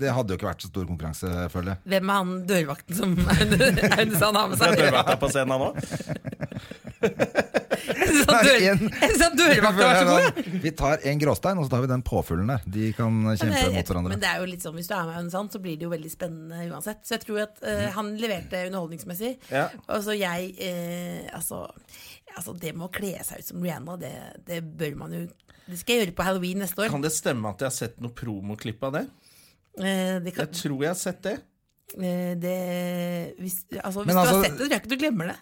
[SPEAKER 1] Det hadde jo ikke vært så stor konkurranse, føler jeg.
[SPEAKER 4] Hvem er han dørvakten som Aune Aune Sand har med
[SPEAKER 2] Jeg
[SPEAKER 4] seg?
[SPEAKER 2] dør at jeg er på scenen nå.
[SPEAKER 4] Jeg syns han sånn dør-
[SPEAKER 1] Igjen.
[SPEAKER 4] jeg synes han dørvakten var så god! ja.
[SPEAKER 1] sånn. Vi tar en gråstein, og så tar vi den påfuglen der. De kan
[SPEAKER 4] Men
[SPEAKER 1] kjempe
[SPEAKER 4] jeg-
[SPEAKER 1] mot
[SPEAKER 4] Men
[SPEAKER 1] hverandre.
[SPEAKER 4] det er jo litt sånn, hvis du er med Aune Sand, så blir det jo veldig spennende uansett. Så jeg tror at eh, han leverte underholdningsmessig.
[SPEAKER 2] Ja.
[SPEAKER 4] Og så jeg eh, altså, altså, det med å kle seg ut som Rihanna, det, det bør man jo Det skal jeg gjøre på halloween neste år.
[SPEAKER 2] Kan det stemme at jeg har sett noe promoklipp av det?
[SPEAKER 4] Eh, det
[SPEAKER 2] Jeg
[SPEAKER 4] kan,
[SPEAKER 2] tror jeg har sett det.
[SPEAKER 4] eh, det, hvis altså, hvis
[SPEAKER 1] Men
[SPEAKER 4] du
[SPEAKER 1] altså-
[SPEAKER 4] har sett det, tror jeg ikke du glemmer det.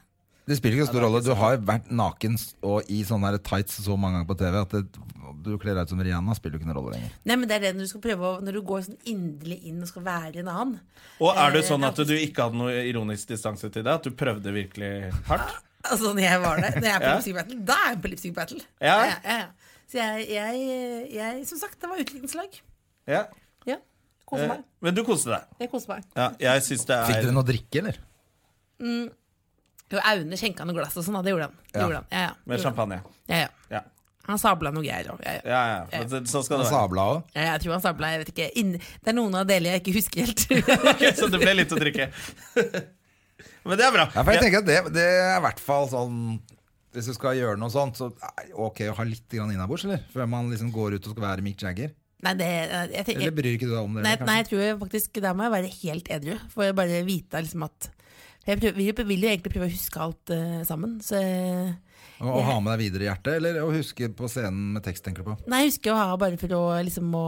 [SPEAKER 1] Det spiller ikke så stor rolle. Du har vært naken s- og i sånne her tights så mange ganger på TV at det, du kler deg ut som Rihanna, spiller jo ikke noen rolle lenger.
[SPEAKER 4] Nei, men det er det når du skal prøve å, Når du går sånn inderlig inn og skal være en annen.
[SPEAKER 2] Og er det
[SPEAKER 4] Eh,
[SPEAKER 2] sånn at
[SPEAKER 4] ja.
[SPEAKER 2] du ikke hadde noe ironisk distanse til det? At du prøvde virkelig hardt?
[SPEAKER 4] Altså når jeg var der, når jeg er på
[SPEAKER 2] Ja.
[SPEAKER 4] Lipstick Battle, da er jeg på Lipstick Battle.
[SPEAKER 2] Ja.
[SPEAKER 4] Ja, ja, ja. Så jeg, jeg, jeg Som sagt, det var utviklingslag.
[SPEAKER 2] Ja.
[SPEAKER 4] Ja. Koser
[SPEAKER 2] Eh,
[SPEAKER 4] meg.
[SPEAKER 2] Men du koste deg.
[SPEAKER 4] Jeg koser meg.
[SPEAKER 2] Ja, jeg syns det
[SPEAKER 1] Fikk
[SPEAKER 2] er
[SPEAKER 1] dere noe å drikke, eller?
[SPEAKER 4] Jo, Aune skjenka noe glass og sånn, da, det gjorde han. Det
[SPEAKER 1] Ja.
[SPEAKER 4] gjorde han. Ja, ja.
[SPEAKER 2] med
[SPEAKER 4] Gjorde han.
[SPEAKER 2] champagne.
[SPEAKER 4] Ja, ja.
[SPEAKER 2] Ja,
[SPEAKER 4] Han sabla noe greier òg. Ja, ja.
[SPEAKER 2] ja. ja. Men så- Sånn skal det være.
[SPEAKER 1] Sabla òg?
[SPEAKER 4] Ja, jeg tror han sabla, jeg vet ikke. Inn, det er noen av delene jeg ikke husker helt.
[SPEAKER 2] Ok, Så det ble litt å drikke. Men det er bra.
[SPEAKER 1] Ja, for jeg
[SPEAKER 2] Ja,
[SPEAKER 1] tenker at det, det er i hvert fall sånn Hvis du skal gjøre noe sånt, så er det ok å ha litt grann innabords, eller? Før man liksom går ut og skal være Mick Jagger.
[SPEAKER 4] Nei, det, jeg, tenker-
[SPEAKER 1] Eller bryr ikke du deg om det?
[SPEAKER 4] Nei,
[SPEAKER 1] eller kanskje?
[SPEAKER 4] nei, jeg tror jeg faktisk der må jeg være helt edru. For jeg bare vite liksom at for jeg prøver, Vi vil jo egentlig prøve å huske alt eh, sammen. Så eh,
[SPEAKER 1] Å, å ha med deg videre i hjertet, eller å huske på scenen med tekst, tenker du på?
[SPEAKER 4] Nei, jeg husker å ha bare for å, liksom, å,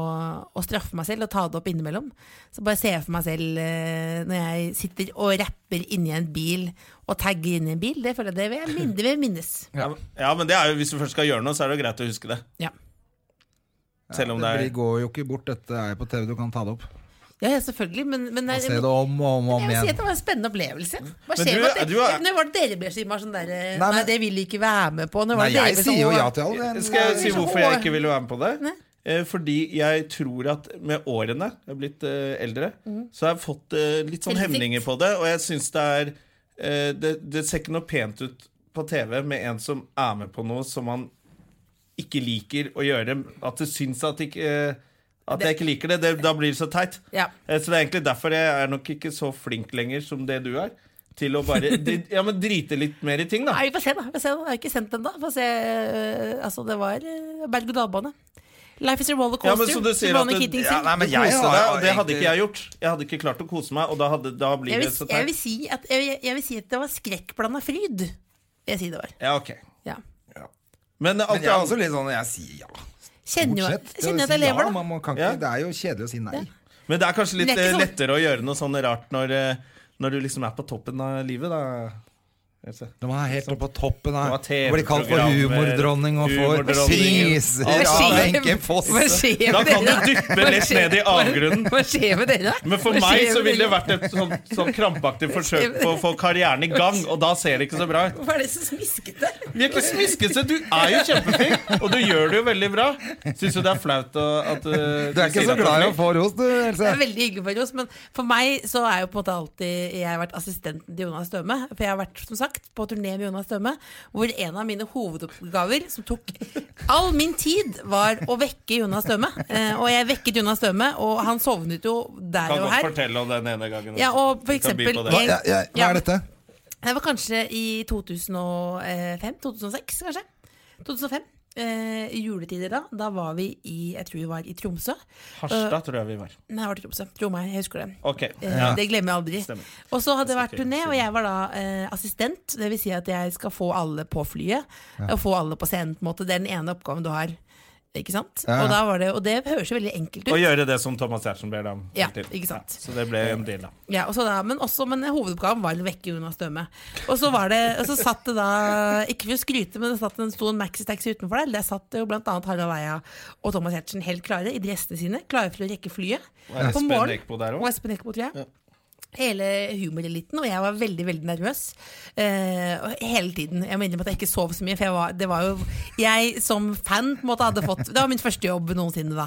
[SPEAKER 4] å straffe meg selv og ta det opp innimellom. Så bare ser jeg for meg selv eh, når jeg sitter og rapper inni en bil og tagger inni en bil. Det føler jeg det vil jeg minne, det vil jeg minnes.
[SPEAKER 2] Ja, ja, men det er jo, Hvis du først skal gjøre noe, så er det jo greit å huske det.
[SPEAKER 4] Ja.
[SPEAKER 2] Selv om det
[SPEAKER 1] det
[SPEAKER 2] er
[SPEAKER 1] blir- går jo ikke bort, dette er jo på TV, du kan ta det opp.
[SPEAKER 4] Ja, ja, selvfølgelig, men, men
[SPEAKER 1] Og
[SPEAKER 4] jeg,
[SPEAKER 1] se det om og om, og om
[SPEAKER 4] jeg vil si at
[SPEAKER 1] igjen.
[SPEAKER 4] det var en spennende opplevelse. Hva
[SPEAKER 2] Men
[SPEAKER 4] skjer
[SPEAKER 2] du-
[SPEAKER 4] med at det,
[SPEAKER 2] du er-
[SPEAKER 4] når var det dere ble så innmari sånn der eh,
[SPEAKER 1] Nei,
[SPEAKER 4] Nei,
[SPEAKER 1] men-
[SPEAKER 4] det vil de ikke være med på. Når var
[SPEAKER 1] Nei,
[SPEAKER 4] det dere
[SPEAKER 1] jeg
[SPEAKER 4] ble sånn,
[SPEAKER 1] sier jo
[SPEAKER 4] «Å,
[SPEAKER 1] ja til alle. men- eh,
[SPEAKER 2] Skal jeg si hvorfor jeg ikke ville være med på
[SPEAKER 4] Nei.
[SPEAKER 2] det? Eh, Fordi jeg tror at med årene, jeg er blitt eh, eldre, så har jeg fått eh, litt sånn
[SPEAKER 4] Selvinnsikt.
[SPEAKER 2] hemninger på det. Og jeg syns det er eh, det, det ser ikke noe pent ut på TV med en som er med på noe som man ikke liker å gjøre. At det syns at, ikke, eh, at jeg ikke liker det. det. Da blir det så teit.
[SPEAKER 4] Ja.
[SPEAKER 2] Eh, Så det er egentlig derfor jeg er nok ikke så flink lenger som det du er. Til å bare dri- ja, men drite litt mer i ting, da.
[SPEAKER 4] Nei, vi får se, da. Vi får se, da. Jeg har ikke sendt den, da. Vi Får se. øh, Altså, det var øh, berg-og-dal-bane. Life is a rollercoaster.
[SPEAKER 2] Ja, men så du sier at
[SPEAKER 4] Simone
[SPEAKER 2] du,
[SPEAKER 4] Keating
[SPEAKER 2] ja,
[SPEAKER 4] sier.
[SPEAKER 2] nei, men jeg
[SPEAKER 1] koste
[SPEAKER 2] sa det,
[SPEAKER 1] deg,
[SPEAKER 2] og det hadde
[SPEAKER 1] egentlig.
[SPEAKER 2] ikke jeg gjort. Jeg hadde ikke klart å kose meg, og da, hadde, da blir
[SPEAKER 4] jeg,
[SPEAKER 2] det
[SPEAKER 4] vil,
[SPEAKER 2] så
[SPEAKER 4] jeg, vil
[SPEAKER 2] teit.
[SPEAKER 4] si at, jeg, vil- jeg vil si at det var skrekkblanda fryd. Vil jeg si det var.
[SPEAKER 2] Ja, ok.
[SPEAKER 4] Ja.
[SPEAKER 2] Men eh, alt
[SPEAKER 1] Men jeg er
[SPEAKER 2] annet
[SPEAKER 1] også litt sånn, jeg sier ja.
[SPEAKER 4] Kjenner jo
[SPEAKER 1] Fortsett.
[SPEAKER 4] kjenner jeg at
[SPEAKER 1] Si
[SPEAKER 4] jeg
[SPEAKER 1] ja,
[SPEAKER 4] lever, da.
[SPEAKER 1] man, man kan
[SPEAKER 2] Ja.
[SPEAKER 1] ikke, det er jo kjedelig å si nei.
[SPEAKER 2] Men det er kanskje litt
[SPEAKER 4] Men det er ikke
[SPEAKER 2] eh,
[SPEAKER 4] sånn-
[SPEAKER 2] lettere å gjøre noe sånn rart når, eh, når du liksom er på toppen av livet, da. Else.
[SPEAKER 1] Når man er helt oppe på toppen
[SPEAKER 2] Det
[SPEAKER 1] av
[SPEAKER 2] var TV-programmer,
[SPEAKER 1] Blir kalt for humordronning og får
[SPEAKER 2] humordronning.
[SPEAKER 1] priser
[SPEAKER 2] Alt
[SPEAKER 1] av
[SPEAKER 2] annet.
[SPEAKER 1] Wenche Foss.
[SPEAKER 4] Hva skjer
[SPEAKER 2] Da
[SPEAKER 4] med
[SPEAKER 2] kan du
[SPEAKER 4] dere?
[SPEAKER 2] dyppe lett ned i avgrunnen.
[SPEAKER 4] Hva skjer med dere?
[SPEAKER 2] Men for
[SPEAKER 4] Hva
[SPEAKER 2] meg
[SPEAKER 4] skjer
[SPEAKER 2] så
[SPEAKER 4] med
[SPEAKER 2] ville det
[SPEAKER 4] dere?
[SPEAKER 2] vært et sånn, sånn krampaktig forsøk på å få karrieren i gang, og da ser det ikke så bra ut.
[SPEAKER 4] Hva er det så smiskete?
[SPEAKER 2] Vi er ikke smiskete, du er jo kjempeflink, og du gjør det jo veldig bra. Syns jo det er flaut å- at eh,
[SPEAKER 1] Du er ikke
[SPEAKER 2] sier
[SPEAKER 1] så
[SPEAKER 2] at
[SPEAKER 1] glad i å
[SPEAKER 2] flink.
[SPEAKER 1] få ros, du,
[SPEAKER 4] Det
[SPEAKER 1] Else.
[SPEAKER 4] er veldig hyggelig for oss, men for meg så er jo på en måte alltid Jeg har vært assistenten til Jonas Støme. For jeg har vært som sagt på turné med Jonas Støme, hvor en av mine hovedoppgaver, som tok all min tid, var å vekke Jonas Støme. Eh, og jeg vekket Jonas Støme, og han sovnet jo der
[SPEAKER 2] Kan
[SPEAKER 4] og
[SPEAKER 2] godt
[SPEAKER 4] her.
[SPEAKER 2] fortelle om den ene gangen.
[SPEAKER 4] Ja, og for
[SPEAKER 2] Vi kan by på
[SPEAKER 4] eksempel
[SPEAKER 2] det.
[SPEAKER 1] Hva,
[SPEAKER 4] jeg-
[SPEAKER 1] ja, ja, hva
[SPEAKER 4] Ja.
[SPEAKER 1] er dette?
[SPEAKER 4] Det var kanskje i 2005-2006, kanskje. 2005. Eh, i juletider da. Da var vi i Jeg tror vi var i Tromsø.
[SPEAKER 2] Harstad tror jeg vi var.
[SPEAKER 4] Nei, det var til Tromsø. Tro meg, jeg husker det.
[SPEAKER 2] Ok.
[SPEAKER 4] Eh,
[SPEAKER 2] Ja.
[SPEAKER 4] Det glemmer jeg aldri.
[SPEAKER 2] Stemmer.
[SPEAKER 4] Og så hadde det vært
[SPEAKER 2] Ok,
[SPEAKER 4] turné, og jeg var da eh, assistent. Det vil si at jeg skal få alle på flyet, og få alle på scenen. på en måte Det er den ene oppgaven du har. Ikke sant?
[SPEAKER 1] ja.
[SPEAKER 4] Og, da var det, og det høres jo veldig enkelt ut.
[SPEAKER 2] Og gjøre det som Thomas Giertsen ber deg om.
[SPEAKER 4] Ja,
[SPEAKER 2] Til.
[SPEAKER 4] ikke sant.
[SPEAKER 2] Så det ble en deal, da.
[SPEAKER 4] Ja, og så da, men, også, men hovedoppgaven var å vekke Jonas Døme. Og så, var det, og så satt det da Ikke for å skryte, men det satt en stor maxitaxi utenfor der. Der satt det jo blant annet Harald Eia og Thomas Hertzen helt klare i dressene sine. Klare for å rekke flyet.
[SPEAKER 2] det
[SPEAKER 4] På
[SPEAKER 2] Espen
[SPEAKER 4] morgenen.
[SPEAKER 2] Eckbo der også?
[SPEAKER 4] Og Espen Eckbo, tror jeg. Hele humoreliten, og jeg var veldig veldig nervøs. Eh, og hele tiden. Jeg må innrømme at jeg ikke sov så mye. For jeg, var, det var jo, jeg som fan på en måte hadde fått Det var min første jobb noensinne. da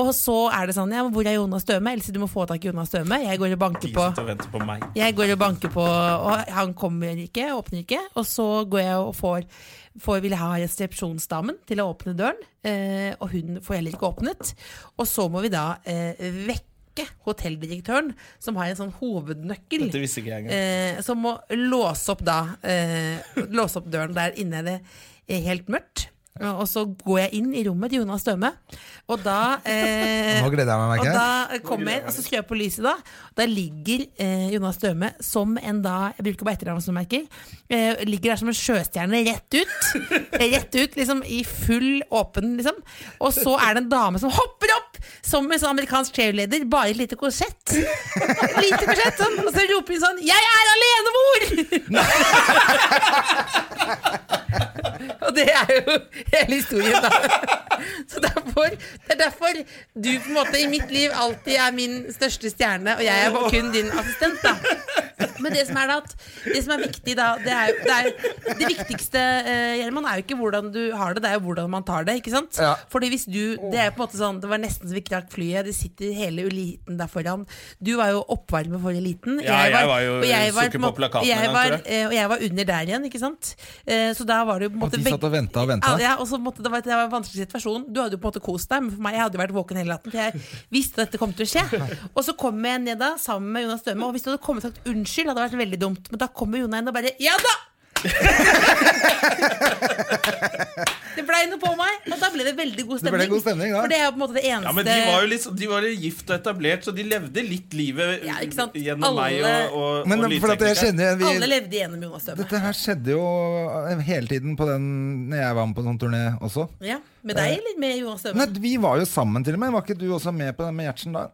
[SPEAKER 4] Og så er det sånn ja, men 'Hvor er Jonas Døme?' Else, du må få tak i Jonas Døme. Jeg går og banker
[SPEAKER 2] De
[SPEAKER 4] på.
[SPEAKER 2] sitter og venter på meg.
[SPEAKER 4] Jeg går og banker på, og han kommer ikke, åpner ikke. Og så går jeg og får, får vil jeg ha resepsjonsdamen til å åpne døren, eh, og hun får heller ikke åpnet. Og så må vi da eh, vekke hotelldirektøren, som har en sånn hovednøkkel.
[SPEAKER 2] Dette visste ikke jeg engang.
[SPEAKER 4] Eh, som må låse opp da eh, Låse opp døren der inne er det eh, helt mørkt. Og så går jeg inn i rommet til Jonas Døme, og da eh,
[SPEAKER 1] Nå gleder jeg meg, merker jeg.
[SPEAKER 4] Og da kommer jeg, og så skrur jeg på lyset da. Da ligger eh, Jonas Døme som en da Jeg bruker bare etternavn som du merker. Eh, ligger der som en sjøstjerne rett ut. Rett ut, liksom i full åpen, liksom. Og så er det en dame som hopper opp som en sånn amerikansk cheerleader, bare i et lite korsett. Et lite korsett, sånn. Og så roper hun sånn 'Jeg er alenemor!' Og det er jo hele historien, da. Så derfor, det er derfor du på en måte i mitt liv alltid er min største stjerne, og jeg er bare kun din assistent, da. Men det som er da at Det som er viktig da Det, er, jo- det, er, det viktigste eh, Gjerman, er jo ikke hvordan du har det, det er jo hvordan man tar det. ikke sant?
[SPEAKER 1] Ja.
[SPEAKER 4] Fordi hvis du Det er på en måte sånn Det var nesten så vi knakk flyet. Det sitter hele eliten der foran. Du var jo oppvarmer for eliten.
[SPEAKER 2] Ja, jeg var jo
[SPEAKER 4] og jeg var
[SPEAKER 2] sukker på
[SPEAKER 4] en måte-
[SPEAKER 2] plakaten en
[SPEAKER 4] Jeg
[SPEAKER 2] gang,
[SPEAKER 4] var,
[SPEAKER 2] tror jeg.
[SPEAKER 4] Eh, Og jeg var under der igjen, ikke sant? Eh, Så da var det jo på en
[SPEAKER 1] Og
[SPEAKER 4] måte
[SPEAKER 1] de satt og ventet og ventet.
[SPEAKER 4] Ja, Ja, og så måtte det, var, det var en vanskelig situasjon. Du hadde jo på en måte kost deg, men for meg jeg hadde jo vært våken hele natten. For jeg visste at dette kom til å skje. Og så kom jeg ned da sammen med Jonas Døme, og hvis du hadde kommet og sagt unnskyld, hadde det vært veldig dumt. Men da kommer Jonas inn og bare Ja da! Det blei noe på meg, og da ble det veldig god
[SPEAKER 1] Det
[SPEAKER 4] stemning.
[SPEAKER 1] ble god stemning, da.
[SPEAKER 4] For det er jo på en måte det eneste
[SPEAKER 2] Ja, men de var jo litt, så- de var jo gift og etablert, så de levde litt livet
[SPEAKER 4] Ja, ikke sant?
[SPEAKER 2] gjennom meg
[SPEAKER 4] Alle-
[SPEAKER 2] og, og,
[SPEAKER 1] Men
[SPEAKER 2] og
[SPEAKER 1] for at jeg
[SPEAKER 2] lydteknikeren.
[SPEAKER 1] kjenner igjen vi-
[SPEAKER 4] Alle levde gjennom Jonas Støme.
[SPEAKER 1] Dette her skjedde jo eh, hele tiden på den Når jeg var med på sånn turné også.
[SPEAKER 4] Ja, Med deg eller med Jonas Støme?
[SPEAKER 1] Eh, Nei, Vi var jo sammen til og med. Var ikke du også med på den med Gjertsen da?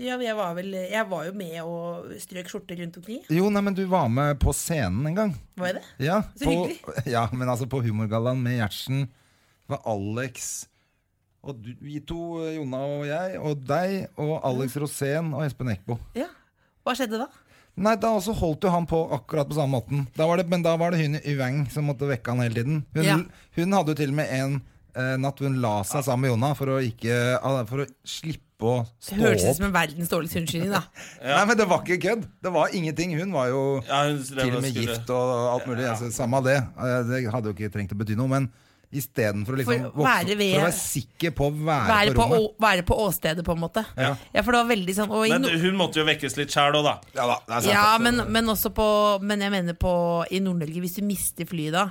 [SPEAKER 4] Ja, jeg var, vel, jeg var jo med og strøk skjorte rundt omkring.
[SPEAKER 1] Jo, nei, men du var med på scenen en gang.
[SPEAKER 4] Var jeg det?
[SPEAKER 1] Ja,
[SPEAKER 4] Så
[SPEAKER 1] på, ja men altså på Humorgallaen med Gjertsen var Alex og du, vi to, Jonna og jeg, og deg og Alex Rosén og Espen Eckbo.
[SPEAKER 4] Ja. Hva skjedde da?
[SPEAKER 1] Nei, da også holdt jo han på akkurat på samme måten. Da var det, men da var det hun i Ueng som måtte vekke han hele tiden. Hun,
[SPEAKER 4] Ja. Ah.
[SPEAKER 1] hun hadde jo til og med en eh, natt hun la seg sammen med Jonna for å, ikke, ah, for å slippe å
[SPEAKER 4] Det
[SPEAKER 1] stå
[SPEAKER 4] hørtes ut
[SPEAKER 1] opp.
[SPEAKER 4] som en verdens dårligste unnskyldning, da.
[SPEAKER 1] Nei, men det var ikke kødd! Det var ingenting. Hun var jo
[SPEAKER 2] Ja, hun drev
[SPEAKER 1] til og med
[SPEAKER 2] skulle-
[SPEAKER 1] gift og alt mulig. Altså, samme av det. Eh, Det hadde jo ikke trengt å bety noe, men istedenfor å liksom
[SPEAKER 4] For å
[SPEAKER 1] vokse,
[SPEAKER 4] være ved-
[SPEAKER 1] for å være sikker på å være,
[SPEAKER 4] Være på,
[SPEAKER 1] på rommet.
[SPEAKER 4] å- være på åstedet, på en måte.
[SPEAKER 1] Ja.
[SPEAKER 4] for det var veldig sånn og i
[SPEAKER 2] Men
[SPEAKER 4] no-
[SPEAKER 2] hun måtte jo vekkes litt sjæl òg, da.
[SPEAKER 1] Ja da, det er sant.
[SPEAKER 4] Ja, men, men også på Men jeg mener på i Nord-Norge, hvis du mister flyet da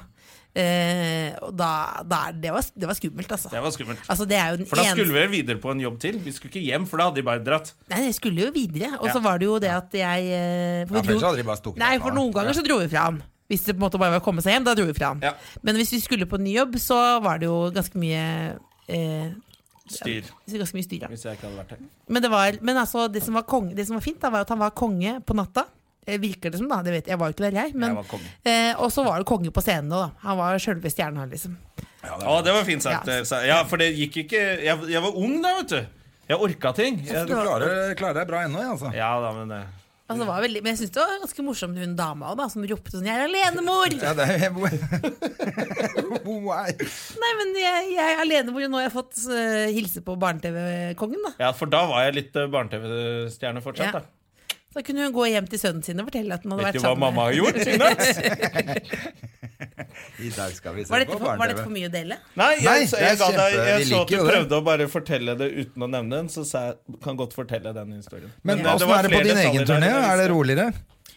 [SPEAKER 4] eh, og da, da er- det, var, det var skummelt, altså.
[SPEAKER 2] Det var skummelt.
[SPEAKER 4] altså det er jo den
[SPEAKER 2] For da
[SPEAKER 4] eneste-
[SPEAKER 2] skulle vi videre på en jobb til. Vi skulle ikke hjem, for da hadde de bare dratt.
[SPEAKER 4] Nei, jeg skulle jo videre. Og
[SPEAKER 2] Ja.
[SPEAKER 4] så var det jo det at jeg eh,
[SPEAKER 1] Ja,
[SPEAKER 4] for vi
[SPEAKER 1] for ellers hadde de bare stukket
[SPEAKER 4] Nei,
[SPEAKER 1] av.
[SPEAKER 4] for noen ganger så dro vi fra ham. Hvis det på en måte bare var å komme seg hjem, da dro vi fra ham.
[SPEAKER 2] Ja.
[SPEAKER 4] Men hvis vi skulle på ny jobb, så var det jo ganske mye eh,
[SPEAKER 2] Styr.
[SPEAKER 4] Ganske mye styr, ja.
[SPEAKER 2] Hvis jeg ikke hadde vært her.
[SPEAKER 4] Men, det, var, men altså, det, som var konge, det som var fint, da, var at han var konge på natta. Eh, Virker det som, da. Det vet, jeg var jo ikke der, jeg. Men,
[SPEAKER 2] Jeg var konge.
[SPEAKER 4] eh, og så var det konge på scenen òg, da. Han var sjølve stjerna, liksom.
[SPEAKER 2] Å, det var fint sagt.
[SPEAKER 4] Ja.
[SPEAKER 2] eh, sa- Ja, for det gikk ikke Jeg, jeg var ung da, vet du. Jeg orka ting.
[SPEAKER 1] Du
[SPEAKER 2] Jeg,
[SPEAKER 1] klarer, klarer deg bra ennå, jeg, altså.
[SPEAKER 2] ja da, men eh,
[SPEAKER 4] Altså, det var veldig, men jeg syns det var ganske morsomt hun dama òg, da, som ropte sånn 'Jeg er alenemor!'
[SPEAKER 1] Ja, det er Why?
[SPEAKER 4] Nei, men jeg, jeg er alenemor, og nå har jeg fått eh, hilse på barne-TV-kongen, da.
[SPEAKER 2] Ja, for da var jeg litt eh, barne-TV-stjerne fortsatt,
[SPEAKER 4] Ja.
[SPEAKER 2] da.
[SPEAKER 4] Så kunne hun gå hjem til sønnen sin og fortelle at hun hadde
[SPEAKER 2] Vet
[SPEAKER 4] vært
[SPEAKER 2] du hva
[SPEAKER 4] sammen
[SPEAKER 2] mamma har gjort siden da?
[SPEAKER 1] I dag skal vi se
[SPEAKER 4] Var dette,
[SPEAKER 1] på
[SPEAKER 4] for, var dette
[SPEAKER 1] barne-TV.
[SPEAKER 4] for mye å dele?
[SPEAKER 2] Nei, jeg,
[SPEAKER 1] Nei,
[SPEAKER 2] jeg,
[SPEAKER 1] det er
[SPEAKER 2] ga deg,
[SPEAKER 1] kjempe- vi
[SPEAKER 2] jeg så at du
[SPEAKER 1] liker jo det.
[SPEAKER 2] prøvde å bare fortelle det uten å nevne den, så sa jeg kan godt fortelle den historien.
[SPEAKER 1] Men
[SPEAKER 2] eh,
[SPEAKER 1] åssen
[SPEAKER 2] var
[SPEAKER 1] er det på
[SPEAKER 2] flere
[SPEAKER 1] din
[SPEAKER 2] detaljer
[SPEAKER 1] egen
[SPEAKER 2] der,
[SPEAKER 1] turné?
[SPEAKER 2] jeg
[SPEAKER 1] Er det
[SPEAKER 2] visste.
[SPEAKER 1] roligere?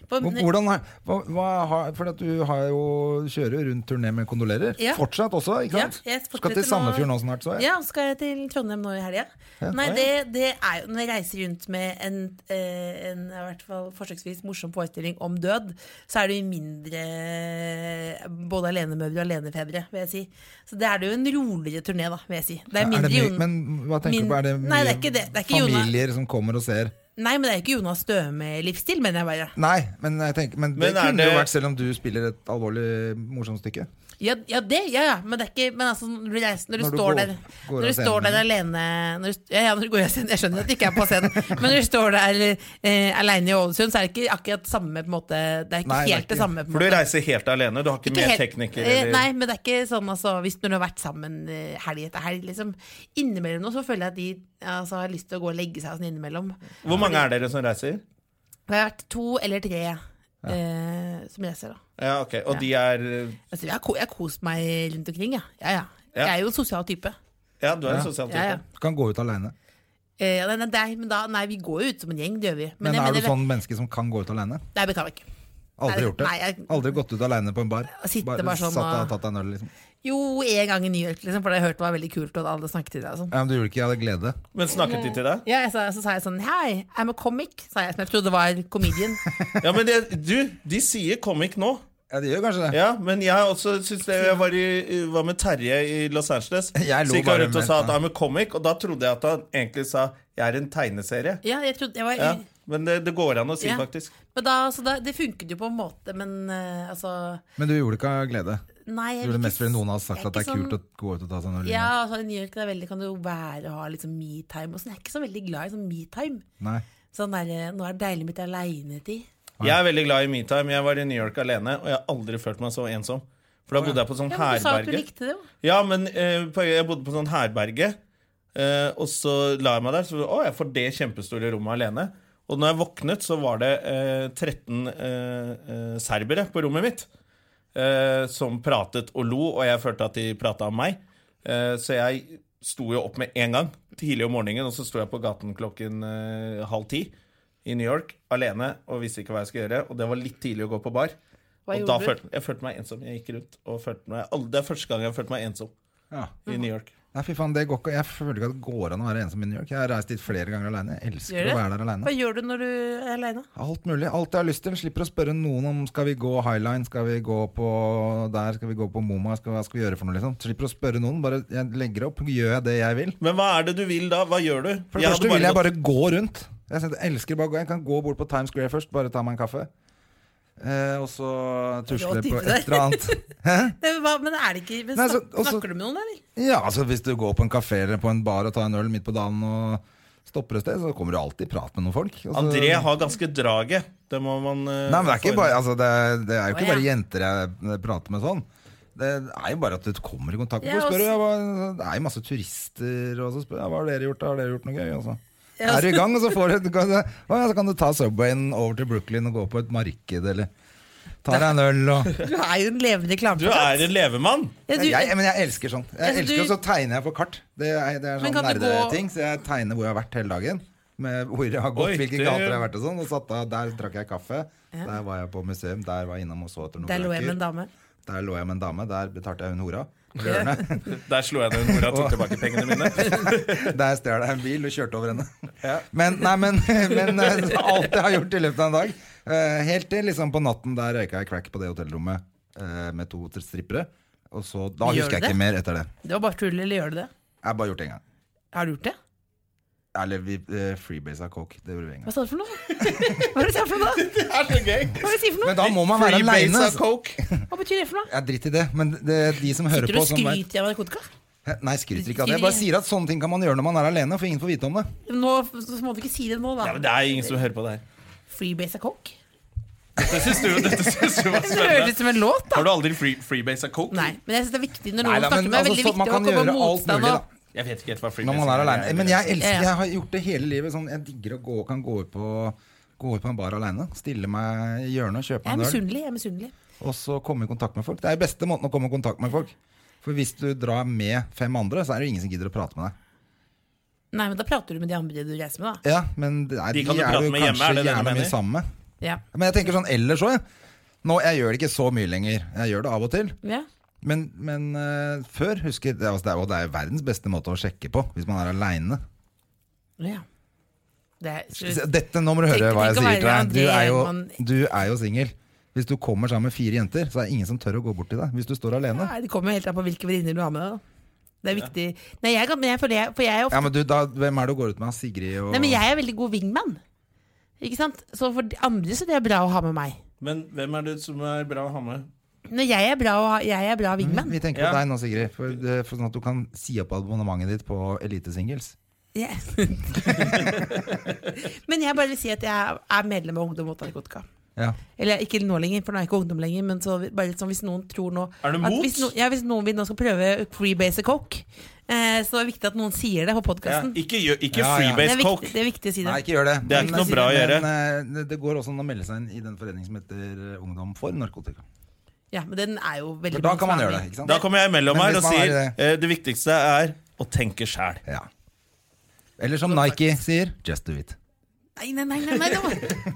[SPEAKER 4] På-
[SPEAKER 1] Hvor- Hvordan er, hva, hva har, for at du har jo, kjører jo rundt turné med Kondolerer.
[SPEAKER 4] Ja.
[SPEAKER 1] Fortsatt også, ikke sant?
[SPEAKER 4] Ja, jeg
[SPEAKER 1] Skal til
[SPEAKER 4] fortsetter nå.
[SPEAKER 1] Sandefjord nå snart, så jeg.
[SPEAKER 4] Ja, skal jeg til Trondheim nå i helga? Nei, det, det er jo når jeg reiser rundt med en, eh, en i hvert fall forsøksvis morsom forestilling om død, så er det jo mindre eh, både alenemødre og alenefedre, vil jeg si. Så det er det jo en roligere turné, da, vil jeg si. Det er
[SPEAKER 1] Er
[SPEAKER 4] mindre
[SPEAKER 1] det mye,
[SPEAKER 4] Jon-
[SPEAKER 1] men hva tenker
[SPEAKER 4] min-
[SPEAKER 1] du på? Er det mye
[SPEAKER 4] Nei, det er ikke det. Det er ikke Jonas-
[SPEAKER 1] familier som kommer og ser?
[SPEAKER 4] Nei, men det er jo ikke Jonas Støme-livsstil, mener jeg bare.
[SPEAKER 1] Nei, men, jeg tenker, men,
[SPEAKER 2] Men
[SPEAKER 1] det
[SPEAKER 2] er
[SPEAKER 1] kunne
[SPEAKER 2] det-
[SPEAKER 1] jo vært selv om du spiller et alvorlig morsomt stykke.
[SPEAKER 4] Ja, ja det, ja, ja. Men det er ikke Men altså, når du, reiser, når du,
[SPEAKER 1] Når du
[SPEAKER 4] står
[SPEAKER 1] går-
[SPEAKER 4] der
[SPEAKER 1] går
[SPEAKER 4] Når
[SPEAKER 1] av
[SPEAKER 4] du står
[SPEAKER 1] scenen.
[SPEAKER 4] der alene når du, Ja, ja, når du går av scenen. Jeg skjønner at det ikke er på scenen, men når du står der eh, alene i Ålesund, så er det ikke akkurat samme på en måte Det er
[SPEAKER 1] Nei,
[SPEAKER 4] ikke
[SPEAKER 1] det er
[SPEAKER 4] helt det,
[SPEAKER 1] ikke-
[SPEAKER 4] samme. på en
[SPEAKER 2] For du
[SPEAKER 4] måte.
[SPEAKER 2] reiser helt alene? Du har ikke,
[SPEAKER 4] Ikke
[SPEAKER 2] med
[SPEAKER 4] helt-
[SPEAKER 2] tekniker?
[SPEAKER 4] eh,
[SPEAKER 2] eller-
[SPEAKER 4] Nei, men det er ikke sånn altså, hvis når du har vært sammen eh, helg etter helg, liksom. Innimellom nå så føler jeg at de altså, har lyst til å gå og legge seg og sånn innimellom.
[SPEAKER 2] Hvor mange er dere som reiser?
[SPEAKER 4] Det har vært to eller tre eh, som reiser, da.
[SPEAKER 2] Ja, ok, Og de er eh,
[SPEAKER 4] Altså, jeg har ko- jeg har kost meg rundt omkring, jeg. Ja. Ja, ja.
[SPEAKER 2] Ja.
[SPEAKER 4] Jeg er jo en sosial type.
[SPEAKER 2] Ja, du er en sosial type.
[SPEAKER 4] Ja, ja.
[SPEAKER 1] Du kan gå ut aleine.
[SPEAKER 4] Eh, ja, nei, nei, nei, men da, nei, vi går jo ut som en gjeng, det gjør vi. Men,
[SPEAKER 1] Men,
[SPEAKER 4] jeg
[SPEAKER 1] er du
[SPEAKER 4] mener-
[SPEAKER 1] sånn menneske som kan gå ut aleine?
[SPEAKER 4] Nei, det kan vi ikke.
[SPEAKER 1] Aldri
[SPEAKER 4] Nei,
[SPEAKER 1] gjort det?
[SPEAKER 4] nei, jeg-
[SPEAKER 1] Aldri gått ut aleine på en bar?
[SPEAKER 4] Sitte bare sånn
[SPEAKER 1] satt deg og
[SPEAKER 4] og-
[SPEAKER 1] tatt deg en øl, liksom?
[SPEAKER 4] Jo, en gang i New York, liksom, for det jeg hørte var veldig kult, og alle snakket til deg og sånn.
[SPEAKER 1] Ja, men du gjorde det ikke jeg hadde glede?
[SPEAKER 2] Men snakket
[SPEAKER 4] Eh.
[SPEAKER 2] de til deg?
[SPEAKER 4] Ja, jeg sa, så sa jeg sånn Hei, I'm a comic, sa jeg, som jeg trodde var comedian.
[SPEAKER 2] Ja, men det, du, de sier comic nå.
[SPEAKER 1] Ja, det gjør kanskje det.
[SPEAKER 2] Ja, men jeg også synes det Jeg var, i, var med Terje i Los Angeles.
[SPEAKER 1] Jeg lo
[SPEAKER 2] Så gikk han
[SPEAKER 1] bare
[SPEAKER 2] rundt
[SPEAKER 1] med-
[SPEAKER 2] og sa at han er comic, og da trodde jeg at han egentlig sa jeg er en tegneserie.
[SPEAKER 4] ja, jeg trodde jeg var
[SPEAKER 2] Ja, men det, det går an å si,
[SPEAKER 4] Ja.
[SPEAKER 2] faktisk.
[SPEAKER 4] Men da, så da, det funket jo på en måte, men eh, altså
[SPEAKER 1] Men du gjorde det ikke av glede?
[SPEAKER 4] Nei, jeg
[SPEAKER 1] Du gjorde det
[SPEAKER 4] vil
[SPEAKER 1] mest
[SPEAKER 4] ikke
[SPEAKER 1] fordi noen har
[SPEAKER 4] s-
[SPEAKER 1] sagt
[SPEAKER 4] jeg
[SPEAKER 1] at det er
[SPEAKER 4] ikke sånn-
[SPEAKER 1] kult å gå ut og ta seg en øl?
[SPEAKER 4] ja, altså, I New York det er veldig, kan det jo være å ha liksom me-time og sånn. Jeg er ikke så veldig glad i sånn me-time.
[SPEAKER 1] Nei.
[SPEAKER 4] Sånn der, eh, nå er det deilig med litt aleinetid.
[SPEAKER 2] Jeg er veldig glad i metime. Jeg var i New York alene, og jeg har aldri følt meg så ensom. For da bodde jeg på sånn
[SPEAKER 4] Ja, men du sa at du
[SPEAKER 2] herberge.
[SPEAKER 4] likte det jo.
[SPEAKER 2] Ja, men eh, på- jeg bodde på sånn herberge, eh, og så la jeg meg der. Så å, jeg får det kjempestore rommet alene. Og når jeg våknet, så var det eh, 13 eh, eh, serbere på rommet mitt eh, som pratet og lo, og jeg følte at de prata om meg. Eh, så jeg sto jo opp med en gang tidlig om morgenen, og så sto jeg på gaten klokken eh, halv ti i New York alene og visste ikke hva jeg skulle gjøre. Og det var litt tidlig å gå på bar.
[SPEAKER 4] Hva
[SPEAKER 2] og
[SPEAKER 4] gjorde
[SPEAKER 2] da
[SPEAKER 4] du?
[SPEAKER 2] følte jeg følte meg ensom. Jeg gikk rundt og følte meg all- Det er første gang jeg har følt meg ensom.
[SPEAKER 1] Ja.
[SPEAKER 2] i New York.
[SPEAKER 1] Nei, fy faen, det går ikke. Jeg føler ikke at det går an å være ensom i New York. Jeg har reist dit flere ganger alene. Jeg
[SPEAKER 4] Gjør
[SPEAKER 1] elsker
[SPEAKER 4] det?
[SPEAKER 1] å være der
[SPEAKER 4] Hva
[SPEAKER 1] alene.
[SPEAKER 4] gjør du når du er aleine?
[SPEAKER 1] Alt mulig. Alt jeg har lyst til. Slipper å spørre noen om skal vi gå Highline, skal vi gå på der, skal vi gå på Moma, skal, hva skal vi gjøre for noe, liksom. Slipper å spørre noen. Bare jeg legger opp, gjør jeg det jeg vil.
[SPEAKER 2] Men hva er det du vil da? Hva gjør du?
[SPEAKER 1] For det
[SPEAKER 2] Jeg hadde
[SPEAKER 1] første vil jeg
[SPEAKER 2] gått-
[SPEAKER 1] bare gå rundt. Jeg, synes, jeg elsker bare å gå. Jeg kan gå bort på Times Square først, bare ta meg en kaffe. Eh, og så tusle
[SPEAKER 4] Rått
[SPEAKER 1] på
[SPEAKER 4] type der.
[SPEAKER 1] et eller annet. Hæ?
[SPEAKER 4] Eh, Men, er det ikke, men
[SPEAKER 1] Nei, så-
[SPEAKER 4] snak,
[SPEAKER 1] også-
[SPEAKER 4] snakker du med noen, eller?
[SPEAKER 1] Ja, altså hvis du går på en kafé eller på en bar og tar en øl midt på dagen og stopper et sted, så kommer du alltid i prat med noen folk. Altså, Og så-
[SPEAKER 2] André har ganske draget. Det må man eh,
[SPEAKER 1] Nei, men det er,
[SPEAKER 2] få
[SPEAKER 1] ikke
[SPEAKER 2] inn.
[SPEAKER 1] bare, altså, det, er- det er jo
[SPEAKER 4] Å,
[SPEAKER 1] ikke
[SPEAKER 4] ja.
[SPEAKER 1] bare jenter jeg prater med sånn. Det er jo bare at du kommer i kontakt med
[SPEAKER 4] Ja,
[SPEAKER 1] folk. Spør,
[SPEAKER 4] og s-
[SPEAKER 1] ja, hva- det er jo masse turister, og så spør jeg hva har dere gjort, da? har dere gjort noe gøy? Og så
[SPEAKER 4] Ja,
[SPEAKER 1] er du i
[SPEAKER 4] så-
[SPEAKER 1] gang, og så, får du, kan, du- å, ja, så kan du ta Subwayen over til Brooklyn og gå på et marked, eller ta deg en øl og
[SPEAKER 4] Du er jo en levende
[SPEAKER 2] Du
[SPEAKER 4] klageplakat.
[SPEAKER 2] er en levemann.
[SPEAKER 4] Ja, du-
[SPEAKER 1] jeg, Men jeg elsker sånn. Jeg
[SPEAKER 4] Altså,
[SPEAKER 1] elsker
[SPEAKER 4] du-
[SPEAKER 1] og så tegner jeg på kart. Det er, det er sånn
[SPEAKER 4] Men kan du gå-
[SPEAKER 1] nerdeting, så jeg tegner hvor jeg har vært hele dagen. Med hvor jeg har gått,
[SPEAKER 2] Oi,
[SPEAKER 1] hvilke
[SPEAKER 2] det-
[SPEAKER 1] gater jeg har vært og sånn. Og satt av, Der drakk jeg kaffe. Der var jeg på museum. Der var jeg innom og så etter noen
[SPEAKER 4] Der lå jeg med en dame.
[SPEAKER 1] Der lå jeg med en dame, der betalte jeg hun hora.
[SPEAKER 2] Der slo jeg ned hvor jeg tok tilbake pengene mine.
[SPEAKER 1] Der stjal jeg en bil og kjørte over henne. Men, nei, men, men eh, alt jeg har gjort i løpet av en dag eh, Helt til liksom på natten der røyka jeg crack på det hotellrommet eh, med to strippere. Og så, da
[SPEAKER 4] Gjør
[SPEAKER 1] husker jeg
[SPEAKER 4] det?
[SPEAKER 1] ikke mer etter det.
[SPEAKER 4] Det var bare tull, eller gjør du det?
[SPEAKER 1] Jeg har bare gjort det én gang.
[SPEAKER 4] Har du gjort det?
[SPEAKER 1] Eller vi eh, freebasa coke. Det gjorde vi en gang.
[SPEAKER 4] Hva sa du for noe? Hva er det du sa for noe? da?
[SPEAKER 2] Det er så gøy.
[SPEAKER 4] Hva er det du sier for
[SPEAKER 1] Men
[SPEAKER 4] noe?
[SPEAKER 1] da må man være
[SPEAKER 2] Freebase
[SPEAKER 1] aleine.
[SPEAKER 2] av coke.
[SPEAKER 4] Hva betyr det for noe?
[SPEAKER 1] Ja, dritt i det. Men det, de som hører
[SPEAKER 4] Sitter du
[SPEAKER 1] på
[SPEAKER 4] og
[SPEAKER 1] som vet-
[SPEAKER 4] skryter av narkotika?
[SPEAKER 1] Hæ? Nei, skryter ikke av det. Jeg bare sier at sånne ting kan man gjøre når man er alene, for ingen får vite om det.
[SPEAKER 4] Nå, så må du ikke si det nå,
[SPEAKER 2] Ja,
[SPEAKER 4] da.
[SPEAKER 2] men det er ingen som hører på det her.
[SPEAKER 4] Freebase av coke?
[SPEAKER 2] Dette syns du, dette syns du var
[SPEAKER 4] Det høres ut
[SPEAKER 2] spennende.
[SPEAKER 4] som en låt, da.
[SPEAKER 2] Har du aldri free, freebase av coke?
[SPEAKER 4] Nei, men jeg synes det er viktig når
[SPEAKER 1] Nei,
[SPEAKER 4] noen
[SPEAKER 1] da,
[SPEAKER 4] snakker
[SPEAKER 1] men
[SPEAKER 4] med meg.
[SPEAKER 1] altså,
[SPEAKER 4] Veldig
[SPEAKER 1] så, man
[SPEAKER 4] viktig å
[SPEAKER 1] kan
[SPEAKER 4] komme
[SPEAKER 1] gjøre alt
[SPEAKER 4] motstand
[SPEAKER 1] mulig, da.
[SPEAKER 4] og
[SPEAKER 2] Jeg vet ikke helt
[SPEAKER 1] Når
[SPEAKER 2] hva freebase
[SPEAKER 1] man er alene. Men jeg
[SPEAKER 4] Ja,
[SPEAKER 1] elsker
[SPEAKER 4] ja.
[SPEAKER 1] Jeg har gjort det hele livet. Sånn, jeg digger å gå, kan gå ut på Gå ut på en bar alene, stille meg i hjørnet, kjøpe
[SPEAKER 4] Jeg er
[SPEAKER 1] meg en øl,
[SPEAKER 4] misunnelig. jeg er misunnelig
[SPEAKER 1] og så komme i kontakt med folk. Det er den beste måten å komme i kontakt med folk. For hvis du drar med fem andre, så er det jo ingen som gidder å prate med deg.
[SPEAKER 4] Nei, men da prater du med de andre du reiser med, da.
[SPEAKER 1] Ja, men det er,
[SPEAKER 2] De
[SPEAKER 1] de,
[SPEAKER 2] kan du
[SPEAKER 1] er
[SPEAKER 2] prate
[SPEAKER 1] du
[SPEAKER 2] med
[SPEAKER 1] kanskje
[SPEAKER 2] hjemme, er det det du
[SPEAKER 1] gjerne
[SPEAKER 2] mener?
[SPEAKER 1] mye sammen med.
[SPEAKER 4] Ja.
[SPEAKER 1] Men jeg tenker sånn ellers òg, jeg. Nå, jeg gjør det ikke så mye lenger. Jeg gjør det av og til.
[SPEAKER 4] ja.
[SPEAKER 1] Men, men eh, før, husker det, er- altså, det, er, og det er jo verdens beste måte å sjekke på hvis man er aleine.
[SPEAKER 4] ja. Det er, så,
[SPEAKER 1] Dette, nå må du høre
[SPEAKER 4] Tenk-
[SPEAKER 1] hva jeg
[SPEAKER 4] tenk å
[SPEAKER 1] sier til
[SPEAKER 4] være
[SPEAKER 1] deg. Du er jo,
[SPEAKER 4] André Gjerman.
[SPEAKER 1] du er jo singel. Hvis du kommer sammen med fire jenter, så er det ingen som tør å gå bort til deg. Hvis du står alene.
[SPEAKER 4] nei, det kommer jo helt an på hvilke venninner du har med deg. da. Det er viktig. Nei, jeg, kan, men jeg, føler jeg, for jeg er ofte
[SPEAKER 1] Ja, men du, da, hvem er det du går ut med? Sigrid og
[SPEAKER 4] Nei, men jeg er veldig god wingman. Ikke sant? Så for de andre så det er bra å ha med meg.
[SPEAKER 2] Men hvem er det som er bra å ha med?
[SPEAKER 4] Når jeg er bra, å ha- jeg er bra
[SPEAKER 1] vi,
[SPEAKER 4] wingman.
[SPEAKER 1] vi tenker
[SPEAKER 2] Ja.
[SPEAKER 1] på deg nå, Sigrid. For, det- for sånn at du kan si opp abonnementet ditt på Elite Singles.
[SPEAKER 4] Ja. men jeg bare vil si at jeg er medlem av Ungdom mot narkotika.
[SPEAKER 1] Ja.
[SPEAKER 4] Eller ikke nå lenger, for nå er jeg ikke ungdom lenger. Men så bare litt sånn hvis noen tror nå
[SPEAKER 2] Er du
[SPEAKER 4] at
[SPEAKER 2] mot?
[SPEAKER 4] Hvis, no, ja, hvis noen vil nå skal prøve freebase coke, eh, så er det viktig at noen sier det på
[SPEAKER 2] Ja,
[SPEAKER 4] podkasten.
[SPEAKER 2] ikke gjør- ikke
[SPEAKER 1] Ja, ja.
[SPEAKER 4] det,
[SPEAKER 2] freebase
[SPEAKER 4] er viktig-
[SPEAKER 2] coke.
[SPEAKER 4] det er viktig å si det.
[SPEAKER 1] Nei, ikke gjør det.
[SPEAKER 2] Det er ikke
[SPEAKER 1] Men-
[SPEAKER 2] noe bra å gjøre.
[SPEAKER 1] Men, eh, det- det går også an å melde seg inn i den foreningen som heter eh, Ungdom for narkotika.
[SPEAKER 4] Ja, men den er jo veldig
[SPEAKER 1] For da
[SPEAKER 4] mange
[SPEAKER 1] kan man
[SPEAKER 4] som er
[SPEAKER 1] gjøre det.
[SPEAKER 4] med.
[SPEAKER 1] ikke sant?
[SPEAKER 2] Da kommer jeg imellom
[SPEAKER 1] Men
[SPEAKER 2] her
[SPEAKER 1] hvis
[SPEAKER 2] og
[SPEAKER 1] man er i
[SPEAKER 2] sier
[SPEAKER 1] det-
[SPEAKER 2] eh, det viktigste er å tenke sjæl.
[SPEAKER 1] Ja. Eller som Nike sier, just do it.
[SPEAKER 4] Nei, nei, nei, nei, nei nå,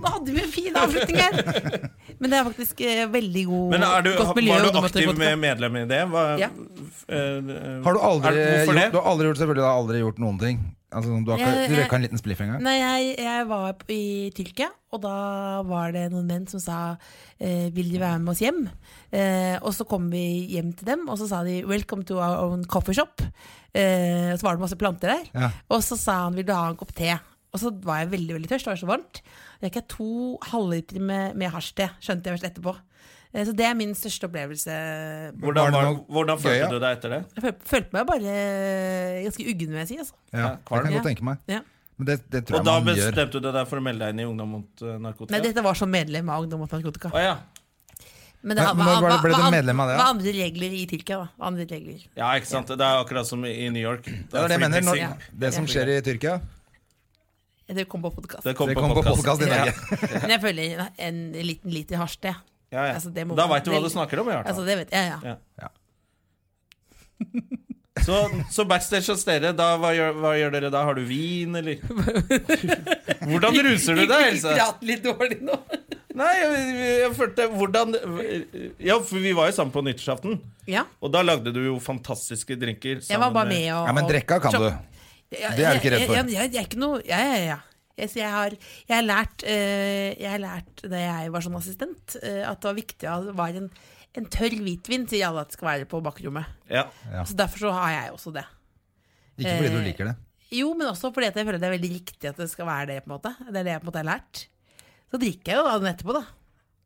[SPEAKER 4] nå hadde vi en fin avslutning her! Men det er faktisk eh, veldig god,
[SPEAKER 2] Men er du,
[SPEAKER 4] godt miljø. i
[SPEAKER 2] var du
[SPEAKER 4] Ungdom mot
[SPEAKER 2] aktiv
[SPEAKER 4] narkotika.
[SPEAKER 2] med medlem i det? Hva,
[SPEAKER 4] Ja.
[SPEAKER 2] f- eh,
[SPEAKER 1] Har du aldri,
[SPEAKER 2] er- hvorfor
[SPEAKER 1] gjort,
[SPEAKER 2] det?
[SPEAKER 1] du har aldri gjort selvfølgelig, du har aldri gjort noen ting? Altså, du har ikke,
[SPEAKER 4] Jeg-
[SPEAKER 1] du
[SPEAKER 4] jeg-
[SPEAKER 1] røyka en liten spliff en gang?
[SPEAKER 4] Nei, jeg, jeg var på- i Tyrkia, og da var det noen menn som sa eh, 'Vil de være med oss hjem?' Eh, og så kom vi hjem til dem, og så sa de 'Welcome to our own coffee shop'. Eh, og så var det masse planter der.
[SPEAKER 1] Ja.
[SPEAKER 4] Og så sa han 'Vil du ha en kopp te?' Og så var jeg veldig veldig tørst, det var så varmt. Jeg gikk to halvlitere med, med hasjte, skjønte jeg først etterpå. Eh, så det er min største opplevelse.
[SPEAKER 1] Var
[SPEAKER 2] Hvordan,
[SPEAKER 1] det
[SPEAKER 2] var,
[SPEAKER 1] noe
[SPEAKER 2] hvordan
[SPEAKER 1] gøy, ja?
[SPEAKER 2] følte du deg etter det?
[SPEAKER 4] Jeg føl- følte meg bare ganske uggen, vil jeg si. Altså.
[SPEAKER 1] Ja, det kan jeg godt tenke meg.
[SPEAKER 4] Ja.
[SPEAKER 1] Men det, det tror jeg
[SPEAKER 2] Og da
[SPEAKER 1] man gjør.
[SPEAKER 2] bestemte du deg for å melde deg inn i Ungdom mot eh, narkotika?
[SPEAKER 4] Nei, dette var som medlem av Ungdom mot narkotika.
[SPEAKER 2] Å, ja.
[SPEAKER 1] Men
[SPEAKER 4] Men
[SPEAKER 1] når var det- ble du
[SPEAKER 4] an-
[SPEAKER 1] medlem av det, da?
[SPEAKER 4] hva andre regler i Tyrkia, da? Hva Andre regler.
[SPEAKER 2] ja, ikke sant? Det er akkurat som i New York.
[SPEAKER 1] Det er det jeg mener. Når,
[SPEAKER 2] freebasing.
[SPEAKER 1] det som skjer i Tyrkia,
[SPEAKER 4] Det kom på podkast.
[SPEAKER 2] Det kom
[SPEAKER 1] det
[SPEAKER 2] på
[SPEAKER 1] kom på
[SPEAKER 2] podcast.
[SPEAKER 1] podkast i Norge.
[SPEAKER 4] Men jeg føler en- en liten liter hasj, det.
[SPEAKER 2] Ja, ja.
[SPEAKER 4] Altså, det må
[SPEAKER 2] da
[SPEAKER 4] man-
[SPEAKER 2] veit du hva du snakker om. i hvert fall.
[SPEAKER 4] Altså, det vet jeg, ja.
[SPEAKER 2] Ja.
[SPEAKER 1] Ja.
[SPEAKER 2] Så, så backstage hos dere, da, hva, gjør, hva gjør dere da? Har du vin, eller? Hvordan ruser du deg, Else?
[SPEAKER 4] litt dårlig nå.
[SPEAKER 2] Nei, jeg, jeg følte Hvordan Ja, for vi var jo sammen på nyttårsaften.
[SPEAKER 4] Ja.
[SPEAKER 2] Og da lagde du jo fantastiske drinker.
[SPEAKER 4] Jeg var
[SPEAKER 2] sammen
[SPEAKER 4] bare med og
[SPEAKER 1] Ja, men drekka kan du. Det er du ikke redd for.
[SPEAKER 4] Jeg, jeg, jeg, jeg er ikke noe Ja, ja, ja. Jeg, så jeg, har, jeg, har lært, eh, jeg har lært da jeg var sånn assistent, eh, at det var viktig at det var en, en tørr hvitvin til alle at det skal være på bakrommet.
[SPEAKER 2] Ja.
[SPEAKER 1] Ja.
[SPEAKER 4] Så Derfor så har jeg også det.
[SPEAKER 1] Ikke fordi du liker det.
[SPEAKER 4] Jo, men også fordi at jeg føler det er veldig riktig at det skal være det. på en måte Det er det jeg på en måte har lært. Så drikker jeg jo den etterpå, da.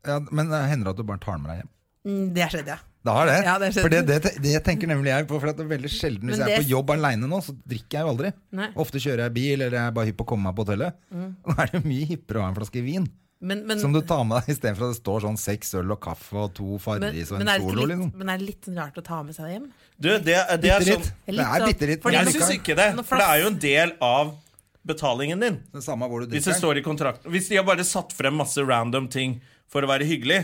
[SPEAKER 1] Ja, men det hender det at du bare tar den med deg hjem?
[SPEAKER 4] Mm, Det har skjedd, ja.
[SPEAKER 1] Det har det.
[SPEAKER 4] Ja, det har skjedd.
[SPEAKER 1] for det, det, det tenker nemlig jeg på. For at det er veldig sjelden Hvis
[SPEAKER 4] Men
[SPEAKER 1] jeg er
[SPEAKER 4] det-
[SPEAKER 1] på jobb aleine nå, så drikker jeg jo aldri.
[SPEAKER 4] Nei.
[SPEAKER 1] Ofte kjører jeg bil, eller jeg er bare hypp på å komme meg på hotellet. Da er det mye hippere å ha en flaske vin.
[SPEAKER 4] Men, men,
[SPEAKER 1] Som du tar med deg istedenfor at det står sånn seks øl og kaffe og to
[SPEAKER 4] men,
[SPEAKER 1] Farris og
[SPEAKER 4] men
[SPEAKER 1] en
[SPEAKER 4] er det ikke
[SPEAKER 1] solo.
[SPEAKER 4] litt,
[SPEAKER 1] Liksom.
[SPEAKER 4] men er det litt rart å ta med seg det hjem?
[SPEAKER 2] Du, det, det er
[SPEAKER 1] Bitte
[SPEAKER 2] sånn
[SPEAKER 1] litt.
[SPEAKER 4] Litt
[SPEAKER 1] Det er
[SPEAKER 4] sånn-
[SPEAKER 1] bitte litt.
[SPEAKER 4] fordi
[SPEAKER 2] Jeg
[SPEAKER 4] du
[SPEAKER 2] syns
[SPEAKER 4] kan-
[SPEAKER 2] ikke det.
[SPEAKER 4] Noe
[SPEAKER 2] For det
[SPEAKER 4] flass.
[SPEAKER 2] er jo en del av betalingen din.
[SPEAKER 1] Det samme hvor du
[SPEAKER 2] Hvis det
[SPEAKER 1] drikker.
[SPEAKER 2] står i kontrakten Hvis de har bare satt frem masse random ting for å være hyggelig,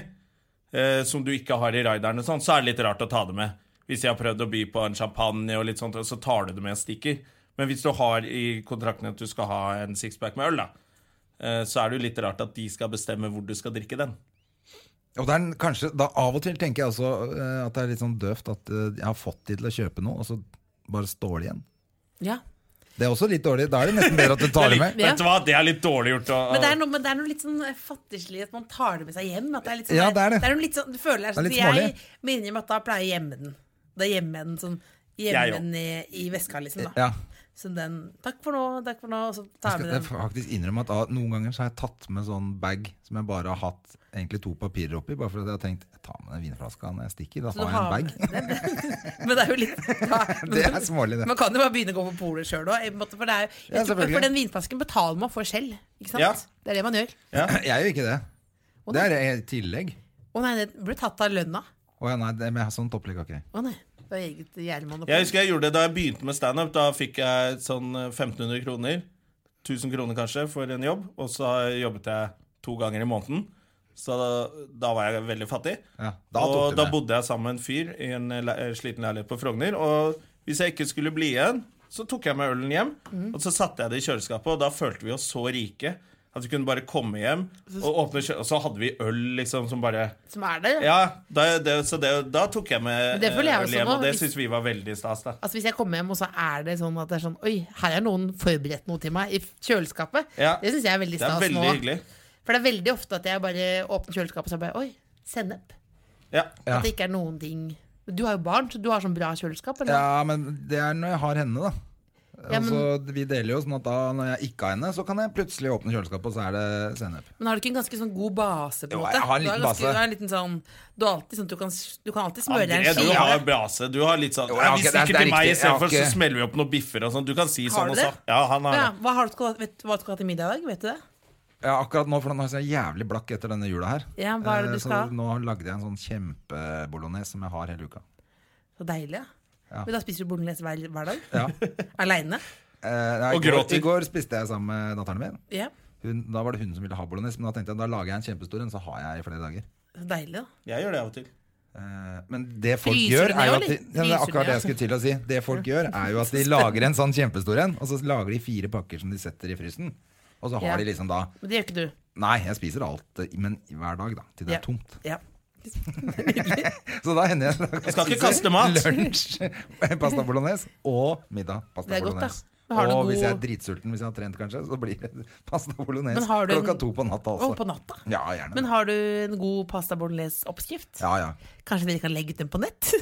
[SPEAKER 2] eh, som du ikke har i rideren, og sånn, så er det litt rart å ta det med. Hvis de har prøvd å by på en champagne, og litt sånt, og så tar du det med og stikker. Men hvis du har i kontrakten at du skal ha en sixpack med øl, da, eh, så er det jo litt rart at de skal bestemme hvor du skal drikke den.
[SPEAKER 1] Og det er en- kanskje, da Av og til tenker jeg også eh, at det er litt sånn døvt at eh, jeg har fått de til å kjøpe noe, og så bare står det igjen.
[SPEAKER 4] Ja.
[SPEAKER 1] Det er også litt dårlig. Da er det nesten bedre at du tar det med.
[SPEAKER 4] Ja.
[SPEAKER 2] Vet du hva, Det er litt dårlig gjort. å-
[SPEAKER 4] Men det, er noe, men det er noe litt sånn fattigslig at man tar det med seg hjem. At det er litt sånn,
[SPEAKER 1] Ja, det er det.
[SPEAKER 4] noe litt sånn, du føler
[SPEAKER 1] Det
[SPEAKER 4] det er
[SPEAKER 1] er
[SPEAKER 4] sånn,
[SPEAKER 1] litt smålig.
[SPEAKER 4] jeg må innrømme at da pleier jeg å gjemme den. Da gjemmer jeg den sånn
[SPEAKER 2] Jeg
[SPEAKER 4] Gjemme den i, i veska, liksom. da
[SPEAKER 1] Ja,
[SPEAKER 4] Så den 'Takk for nå, takk for nå', og så
[SPEAKER 1] jeg
[SPEAKER 4] tar jeg
[SPEAKER 1] skal
[SPEAKER 4] med
[SPEAKER 1] jeg
[SPEAKER 4] den.
[SPEAKER 1] faktisk innrømme at ah, Noen ganger så har jeg tatt med sånn bag som jeg bare har hatt egentlig to papirer oppi, bare fordi jeg har tenkt jeg tar med den vinflaska når jeg stikker. Da
[SPEAKER 4] Så du
[SPEAKER 1] har jeg en bag.
[SPEAKER 4] har- Men det er jo litt da, men,
[SPEAKER 1] Det er smålig, det.
[SPEAKER 4] Man kan jo bare begynne å gå på polet sjøl òg. For, det er jo-
[SPEAKER 1] Ja,
[SPEAKER 4] jeg tror-
[SPEAKER 1] selvfølgelig.
[SPEAKER 4] for den vinflasken betaler man for selv. Ikke sant?
[SPEAKER 2] Ja.
[SPEAKER 4] Det er det man gjør.
[SPEAKER 1] Jeg gjør ikke det. Det er et tillegg.
[SPEAKER 4] Å nei, det ble tatt av lønna.
[SPEAKER 1] Å ja, nei, det, men jeg har sånn topplegg, ok.
[SPEAKER 4] Å nei, det er eget jernmonopol.
[SPEAKER 2] Jeg husker jeg gjorde det da jeg begynte med standup. Da fikk jeg sånn eh, 1500 kroner. 1000 kroner kanskje for en jobb. Og så jobbet jeg to ganger i måneden. Så da, da var jeg veldig fattig.
[SPEAKER 1] Ja, da tok
[SPEAKER 2] og
[SPEAKER 1] du
[SPEAKER 2] da
[SPEAKER 1] det.
[SPEAKER 2] bodde jeg sammen med en fyr i en le eh, sliten leilighet på Frogner. Og hvis jeg ikke skulle bli igjen, så tok jeg med ølen hjem.
[SPEAKER 4] Mhm.
[SPEAKER 2] Og så satte jeg det i kjøleskapet, og da følte vi oss så rike. At vi kunne bare komme hjem, og, åpne kjø og så hadde vi øl liksom som bare
[SPEAKER 4] Som er der.
[SPEAKER 2] Ja, da, det, så det, da tok jeg med
[SPEAKER 4] Men det føler jeg
[SPEAKER 2] eh,
[SPEAKER 4] også
[SPEAKER 2] øl hjem,
[SPEAKER 4] nå,
[SPEAKER 2] og det
[SPEAKER 4] hvis-
[SPEAKER 2] syns vi var veldig stas. da
[SPEAKER 4] Altså Hvis jeg kommer hjem, og så er det sånn at det er sånn Oi, her er noen forberedt noe til meg i kjøleskapet.
[SPEAKER 2] Ja.
[SPEAKER 4] Det syns jeg er veldig
[SPEAKER 2] Det er
[SPEAKER 4] stas
[SPEAKER 2] veldig
[SPEAKER 4] nå.
[SPEAKER 2] hyggelig.
[SPEAKER 4] For det er veldig ofte at jeg bare åpner kjøleskapet og så er det bare Oi, sennep.
[SPEAKER 2] Ja.
[SPEAKER 1] Ja.
[SPEAKER 4] At det ikke er noen ting Du har jo barn, så du har sånn bra kjøleskap, eller?
[SPEAKER 1] Ja, men det er når jeg har henne, da.
[SPEAKER 4] Ja, men-
[SPEAKER 1] Altså, vi deler jo sånn at da når jeg ikke har henne, så kan jeg plutselig åpne kjøleskapet, og så er det sennep.
[SPEAKER 4] Men har du ikke en ganske sånn god base, på en
[SPEAKER 1] Jo,
[SPEAKER 4] måte?
[SPEAKER 1] jeg har en
[SPEAKER 4] Du
[SPEAKER 1] liten
[SPEAKER 4] ganske-
[SPEAKER 1] base.
[SPEAKER 4] Du har en liten sånn Du har alltid sånn at du kan, du kan alltid smøre deg
[SPEAKER 2] André,
[SPEAKER 4] en
[SPEAKER 2] du
[SPEAKER 4] skive.
[SPEAKER 2] har brase. Du har litt sånn
[SPEAKER 1] Jo, jeg
[SPEAKER 2] ja,
[SPEAKER 1] har
[SPEAKER 2] Vi
[SPEAKER 1] ikke- det er-
[SPEAKER 2] stikker
[SPEAKER 1] det er
[SPEAKER 2] til meg
[SPEAKER 1] riktig. Jeg har
[SPEAKER 2] istedenfor, så
[SPEAKER 1] ikke-
[SPEAKER 2] smeller vi opp noen biffer og sånn. Du kan si
[SPEAKER 4] Har
[SPEAKER 2] sånn
[SPEAKER 4] du
[SPEAKER 2] og
[SPEAKER 4] det?
[SPEAKER 2] sånn. Ja, han har
[SPEAKER 4] Ja,
[SPEAKER 2] det.
[SPEAKER 4] hva har du skal, vet, du hva du skal ha til middag i dag? Vet du det?
[SPEAKER 1] Ja, akkurat nå, for nå er jeg så jævlig blakk etter denne jula her.
[SPEAKER 4] Ja, hva er det
[SPEAKER 1] Eh,
[SPEAKER 4] du skal ha?
[SPEAKER 1] Så nå lagde jeg en sånn kjempebolognese som jeg har hele uka.
[SPEAKER 4] Så deilig, ja.
[SPEAKER 1] Ja.
[SPEAKER 4] Men da spiser du bolognese hver, hver dag?
[SPEAKER 1] Ja.
[SPEAKER 4] Aleine?
[SPEAKER 1] Eh, nei,
[SPEAKER 2] Og
[SPEAKER 1] i går-
[SPEAKER 2] gråter.
[SPEAKER 1] I går spiste jeg sammen med datteren min.
[SPEAKER 4] Ja.
[SPEAKER 1] Hun, da var det hun som ville ha bolognese, men da tenkte jeg da lager jeg en kjempestor en, så har jeg i flere dager.
[SPEAKER 4] Så deilig, da.
[SPEAKER 2] Jeg gjør det av og til.
[SPEAKER 1] Eh, Men det folk
[SPEAKER 4] Fryser
[SPEAKER 1] gjør,
[SPEAKER 4] den
[SPEAKER 1] er jo
[SPEAKER 4] ned,
[SPEAKER 1] at de,
[SPEAKER 4] eller?
[SPEAKER 1] ja, det er
[SPEAKER 4] Fryser den
[SPEAKER 1] akkurat det jeg
[SPEAKER 4] ned?
[SPEAKER 1] skulle til å si. Det folk gjør, er jo at de lager en sånn kjempestor en, og så lager de fire pakker som de setter i frysen. Og så har
[SPEAKER 4] Ja.
[SPEAKER 1] de liksom da
[SPEAKER 4] Men det gjør ikke du.
[SPEAKER 1] Nei, jeg spiser alt, eh, men hver dag, da. Til det er
[SPEAKER 4] Ja.
[SPEAKER 1] tomt.
[SPEAKER 4] Ja.
[SPEAKER 1] Så da hender jeg at jeg
[SPEAKER 2] Skal ikke
[SPEAKER 1] spiser
[SPEAKER 2] kaste mat.
[SPEAKER 1] Lunsj, pasta bolognese og middag. Pasta
[SPEAKER 4] Det er godt,
[SPEAKER 1] bolognese.
[SPEAKER 4] da. Har du
[SPEAKER 1] og
[SPEAKER 4] god-
[SPEAKER 1] hvis jeg er dritsulten, hvis jeg har trent kanskje, så blir det pasta bolognese
[SPEAKER 4] Men har du en-
[SPEAKER 1] klokka to på natta
[SPEAKER 4] Og
[SPEAKER 1] også.
[SPEAKER 4] på natta.
[SPEAKER 1] Ja, gjerne.
[SPEAKER 4] Men har du en god pasta bolognese-oppskrift?
[SPEAKER 1] ja, ja.
[SPEAKER 4] Kanskje dere kan legge ut den på nett?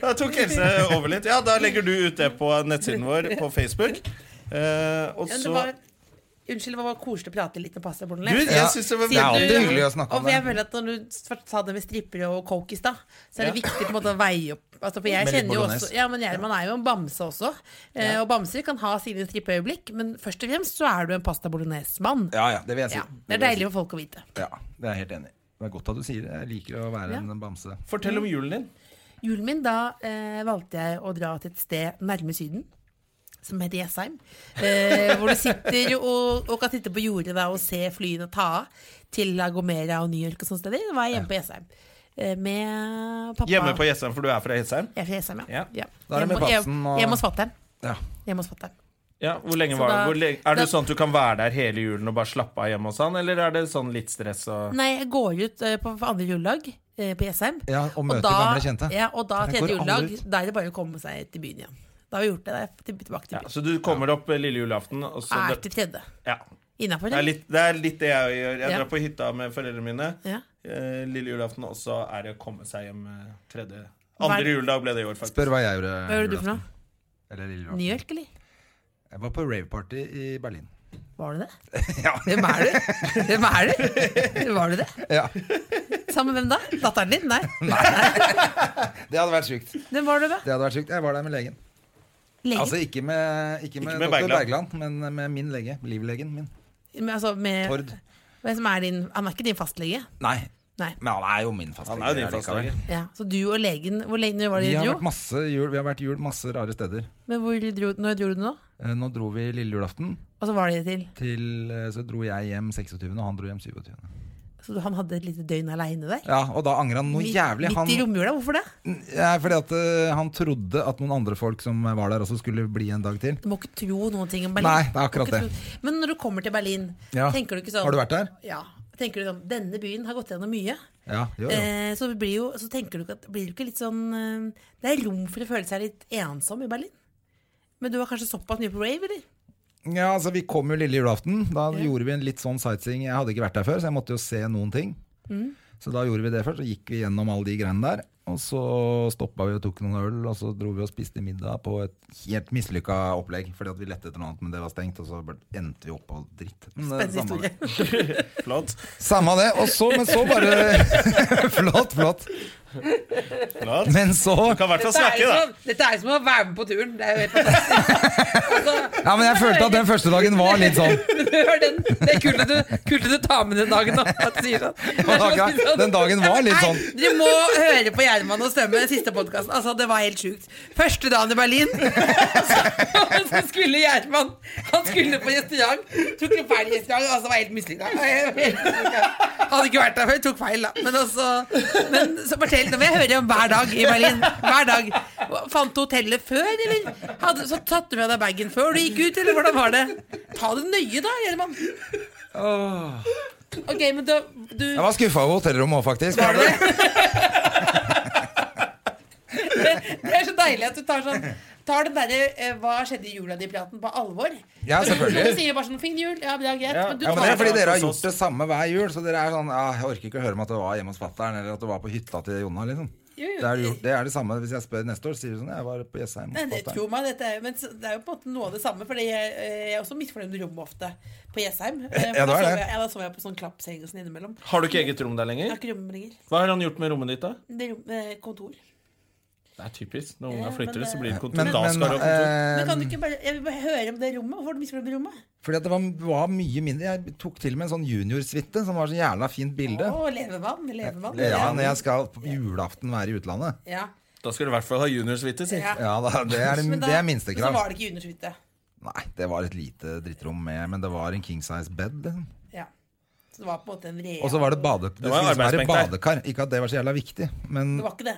[SPEAKER 2] Da tok Else over litt. Ja, da legger du ut det på nettsiden vår på Facebook. Eh, og
[SPEAKER 4] Ja, det
[SPEAKER 2] så
[SPEAKER 4] var, unnskyld, det var koselig å prate litt om pasta
[SPEAKER 2] Du,
[SPEAKER 4] bolognese.
[SPEAKER 2] jeg
[SPEAKER 1] Ja.
[SPEAKER 2] syns det var
[SPEAKER 1] Det er
[SPEAKER 2] veldig
[SPEAKER 1] alltid hyggelig å snakke
[SPEAKER 4] Og
[SPEAKER 1] om
[SPEAKER 4] for jeg
[SPEAKER 1] det.
[SPEAKER 4] føler at Når du først sa det med stripper og coke i stad, så er det
[SPEAKER 2] Ja.
[SPEAKER 4] viktig på en måte å veie opp. Altså, for jeg
[SPEAKER 1] Med litt
[SPEAKER 4] kjenner jo
[SPEAKER 1] bolognese.
[SPEAKER 4] også Ja, men jeg, Man er jo en bamse også. Eh, og bamser kan ha sine strippeøyeblikk, men først og fremst så er du en pasta bolognese-mann.
[SPEAKER 1] Ja, ja, det vil jeg si.
[SPEAKER 4] Ja, det er
[SPEAKER 1] vil jeg si.
[SPEAKER 4] deilig for folk å vite.
[SPEAKER 1] Ja, det er jeg helt enig i. Det er godt at du sier det. Jeg liker å være
[SPEAKER 4] Ja.
[SPEAKER 1] en bamse.
[SPEAKER 2] Fortell om julen din.
[SPEAKER 4] Julen min, da eh, valgte jeg å dra til et sted nærme Syden. Som heter Jessheim. Eh, hvor du sitter og, og kan sitte på jordet da, og se flyene ta av til La Gomera og New York og sånne steder. Da var jeg hjemme på Jessheim. Eh, med pappa.
[SPEAKER 2] Hjemme på Jessheim, for du er fra Jessheim.
[SPEAKER 4] Jeg er fra Jessheim, ja.
[SPEAKER 2] Ja.
[SPEAKER 4] ja.
[SPEAKER 1] Da er det med
[SPEAKER 4] Hjemme-
[SPEAKER 1] Batsen og-
[SPEAKER 4] Hjemme hos fatter'n.
[SPEAKER 1] Ja.
[SPEAKER 4] Hjemme hos fatter'n.
[SPEAKER 2] Ja, hvor lenge
[SPEAKER 4] Så
[SPEAKER 2] var
[SPEAKER 4] da-
[SPEAKER 2] hvor lenge, Er det
[SPEAKER 4] da-
[SPEAKER 2] sånn at du kan være der hele julen og bare slappe av hjemme hos han, eller er det sånn litt stress og
[SPEAKER 4] Nei, jeg går ut eh, på andre juledag eh, på Jessheim.
[SPEAKER 1] Ja, og møter gamle kjente.
[SPEAKER 4] Ja, og da
[SPEAKER 1] Der
[SPEAKER 4] tredje
[SPEAKER 1] går alle
[SPEAKER 4] juledag,
[SPEAKER 1] ut.
[SPEAKER 4] da er det bare å komme seg til byen igjen. Da har vi gjort det. Da er jeg til- tilbake
[SPEAKER 2] ja,
[SPEAKER 4] til byen.
[SPEAKER 2] Så du kommer opp eh, lille julaften, og så
[SPEAKER 4] er
[SPEAKER 2] det,
[SPEAKER 4] til tredje.
[SPEAKER 2] ja.
[SPEAKER 4] Innafor
[SPEAKER 2] det, er
[SPEAKER 4] det.
[SPEAKER 2] litt, det er litt det jeg gjør. Jeg
[SPEAKER 4] Ja.
[SPEAKER 2] drar på hytta med foreldrene mine
[SPEAKER 4] Ja.
[SPEAKER 2] eh, lille julaften, og så er det å komme seg hjem eh, tredje
[SPEAKER 4] Hva er-
[SPEAKER 2] Andre juledag ble det i år, faktisk.
[SPEAKER 1] Spør hva jeg gjorde.
[SPEAKER 4] Hva gjorde du for noe?
[SPEAKER 1] Eller lille
[SPEAKER 4] New
[SPEAKER 1] julaften.
[SPEAKER 4] York, eller?
[SPEAKER 1] Jeg var på raveparty i Berlin.
[SPEAKER 4] Var du det? Hvem er du? Hvem er du? Var du det?
[SPEAKER 1] Ja,
[SPEAKER 4] Sammen med hvem da? Datteren din? Nei.
[SPEAKER 1] Det hadde vært sjukt. Det
[SPEAKER 4] Hvem var du med?
[SPEAKER 1] hadde vært sjukt. Jeg var der med legen.
[SPEAKER 4] Legen?
[SPEAKER 1] Altså ikke med, ikke med,
[SPEAKER 2] Ikke med
[SPEAKER 1] doktor
[SPEAKER 2] Bergland.
[SPEAKER 1] Bergland, men med min lege. Livlegen min.
[SPEAKER 4] Men altså med,
[SPEAKER 1] Tord.
[SPEAKER 4] Hvem som er din, han er ikke din fastlege?
[SPEAKER 1] Nei,
[SPEAKER 4] Nei.
[SPEAKER 1] men han er jo min fastlege.
[SPEAKER 2] Han er jo din
[SPEAKER 1] allikevel.
[SPEAKER 2] fastlege.
[SPEAKER 4] Ja. Så du og legen, hvor lenge var
[SPEAKER 1] Vi
[SPEAKER 4] det
[SPEAKER 1] har
[SPEAKER 4] dere
[SPEAKER 1] vært
[SPEAKER 4] dro?
[SPEAKER 1] masse jul, vi har vært jul masse rare steder.
[SPEAKER 4] Men hvor dro, når dro du nå?
[SPEAKER 1] Eh, Nå dro vi lille julaften,
[SPEAKER 4] Og så var det til?
[SPEAKER 1] til, eh, så dro jeg hjem 26., og han dro hjem 27.
[SPEAKER 4] Så du- han hadde et lite døgn aleine der?
[SPEAKER 1] Ja, og da angrer han noe
[SPEAKER 4] Midt-
[SPEAKER 1] jævlig.
[SPEAKER 4] Midt
[SPEAKER 1] Han,
[SPEAKER 4] i romjula? Hvorfor det?
[SPEAKER 1] ja, fordi at eh, han trodde at noen andre folk som var der, også skulle bli en dag til.
[SPEAKER 4] Du må ikke tro noen ting om Berlin.
[SPEAKER 1] Nei, det er akkurat
[SPEAKER 4] Du må ikke tro- Men når du kommer til Berlin,
[SPEAKER 1] Ja.
[SPEAKER 4] tenker du ikke sånn
[SPEAKER 1] Har du vært der?
[SPEAKER 4] Ja. Tenker du sånn Denne byen har gått gjennom mye.
[SPEAKER 1] Ja, jo, jo.
[SPEAKER 4] Eh, så, blir jo, så tenker du ikke at Blir du ikke litt sånn eh, Det er rom for å føle seg litt ensom i Berlin. Men du var kanskje såpass mye på rave, eller?
[SPEAKER 1] Ja, altså Vi kom jo lille julaften. Da gjorde vi en litt sånn sightseeing. Jeg hadde ikke vært der før, så jeg måtte jo se noen ting.
[SPEAKER 4] Mm.
[SPEAKER 1] Så da gjorde vi det først, så gikk vi gjennom alle de greiene der. Og så stoppa vi og tok noen øl, og så dro vi og spiste middag på et helt mislykka opplegg. Fordi at vi lette etter noe annet, men det var stengt, og så bare endte vi opp på dritt. Men, eh,
[SPEAKER 4] Spennende
[SPEAKER 1] samme det.
[SPEAKER 4] historie.
[SPEAKER 2] Flott.
[SPEAKER 1] Samme det. Og så, men så bare Flott, flott.
[SPEAKER 2] Flott.
[SPEAKER 1] Men så
[SPEAKER 2] Du kan i hvert fall snakke, da.
[SPEAKER 4] dette er jo som å være med på turen. Det er jo helt fantastisk. Altså,
[SPEAKER 1] Ja, men jeg følte at den første dagen var litt sånn.
[SPEAKER 4] hør den. Det er kult at du, kult at du tar med den dagen. nå, At du sier sånn. Det er som å si sånn,
[SPEAKER 1] Den dagen var litt sånn.
[SPEAKER 4] Nei, dere må høre på Gjerman og Stømme, den siste podkasten. Altså, det var helt sjukt. Første dagen i Berlin, så, så skulle Gjerman Han skulle på restaurant. Tok en feil restaurant, altså det var helt mislykka. Hadde ikke vært der før, tok feil, da. Men altså Men så fortell, nå vil jeg høre om hver dag i Berlin. Hver dag. Fant du hotellet før, eller? Hadde, så tatt du fra deg bagen før du gikk ut, eller hvordan var det? Ta det nøye, da, Gjerman. Ok, men da du,
[SPEAKER 1] Jeg var skuffa over hotellrommet òg, faktisk.
[SPEAKER 4] Det er så deilig at du tar sånn Tar den derre eh, 'hva skjedde i jula di'-praten på alvor.
[SPEAKER 1] Ja,
[SPEAKER 4] Noen
[SPEAKER 1] selvfølgelig.
[SPEAKER 4] sier bare sånn 'fin jul', ja, det er greit. Men du
[SPEAKER 1] Ja, men det
[SPEAKER 4] tar
[SPEAKER 1] er fordi
[SPEAKER 4] det.
[SPEAKER 1] dere har gjort det samme hver jul. Så dere er sånn ja, Jeg orker ikke å høre om at det var hjemme hos fatter'n, eller at det var på hytta til Jonna, liksom. Det er, det gjort, det er det samme hvis jeg spør neste år. Sier du sånn Jeg var på Jessheim
[SPEAKER 4] Nei,
[SPEAKER 1] hos
[SPEAKER 4] det,
[SPEAKER 1] fatter'n.
[SPEAKER 4] eh, tro meg, dette er, jo- men s- det er jo på en måte noe av det samme, Fordi jeg, eh, jeg er også misfornøyd med rommet ofte på Jessheim. Eh, for
[SPEAKER 1] Ja, det
[SPEAKER 4] da
[SPEAKER 1] er
[SPEAKER 4] sover
[SPEAKER 1] det.
[SPEAKER 4] jeg- Ja, da sover jeg på sånn klappseng og sånn innimellom. Jeg
[SPEAKER 2] Har du ikke eget rom der
[SPEAKER 4] har
[SPEAKER 2] lenger?
[SPEAKER 4] ikke rommet lenger.
[SPEAKER 2] Hva har han gjort med rommet ditt, da?
[SPEAKER 4] Det er rom, eh, kontor.
[SPEAKER 2] Det er typisk. Når unga
[SPEAKER 4] Ja,
[SPEAKER 2] flytter
[SPEAKER 4] men,
[SPEAKER 2] ut, så blir det kontor.
[SPEAKER 1] Men,
[SPEAKER 2] da
[SPEAKER 1] men
[SPEAKER 2] skal du ha kontor.
[SPEAKER 4] Men kan du
[SPEAKER 1] eh,
[SPEAKER 4] ikke bare Jeg vil bare høre om det rommet. Hvorfor er du misfornøyd med rommet?
[SPEAKER 1] fordi at det var, var mye mindre. Jeg tok til og med en sånn juniorsuite som var så jævla fint bilde.
[SPEAKER 4] Å, levemann. Levemann.
[SPEAKER 1] Ja, når jeg skal på julaften være i utlandet.
[SPEAKER 4] ja.
[SPEAKER 2] Da skal du i hvert fall ha juniorsuite, si.
[SPEAKER 4] Ja.
[SPEAKER 1] Ja, da, det er,
[SPEAKER 4] Men da-
[SPEAKER 1] det er
[SPEAKER 4] Men så
[SPEAKER 1] minstekrav.
[SPEAKER 4] var det ikke juniorsuite.
[SPEAKER 1] Nei, det var et lite drittrom med, men det var en king size bed. Liksom.
[SPEAKER 4] Ja. Så det var på en måte en real
[SPEAKER 1] Og så var det bade... Det
[SPEAKER 2] var
[SPEAKER 1] skulle liksom være
[SPEAKER 2] arbeidsbenk der.
[SPEAKER 1] badekar. Ikke at det var så jævla viktig, men
[SPEAKER 4] Det var ikke det.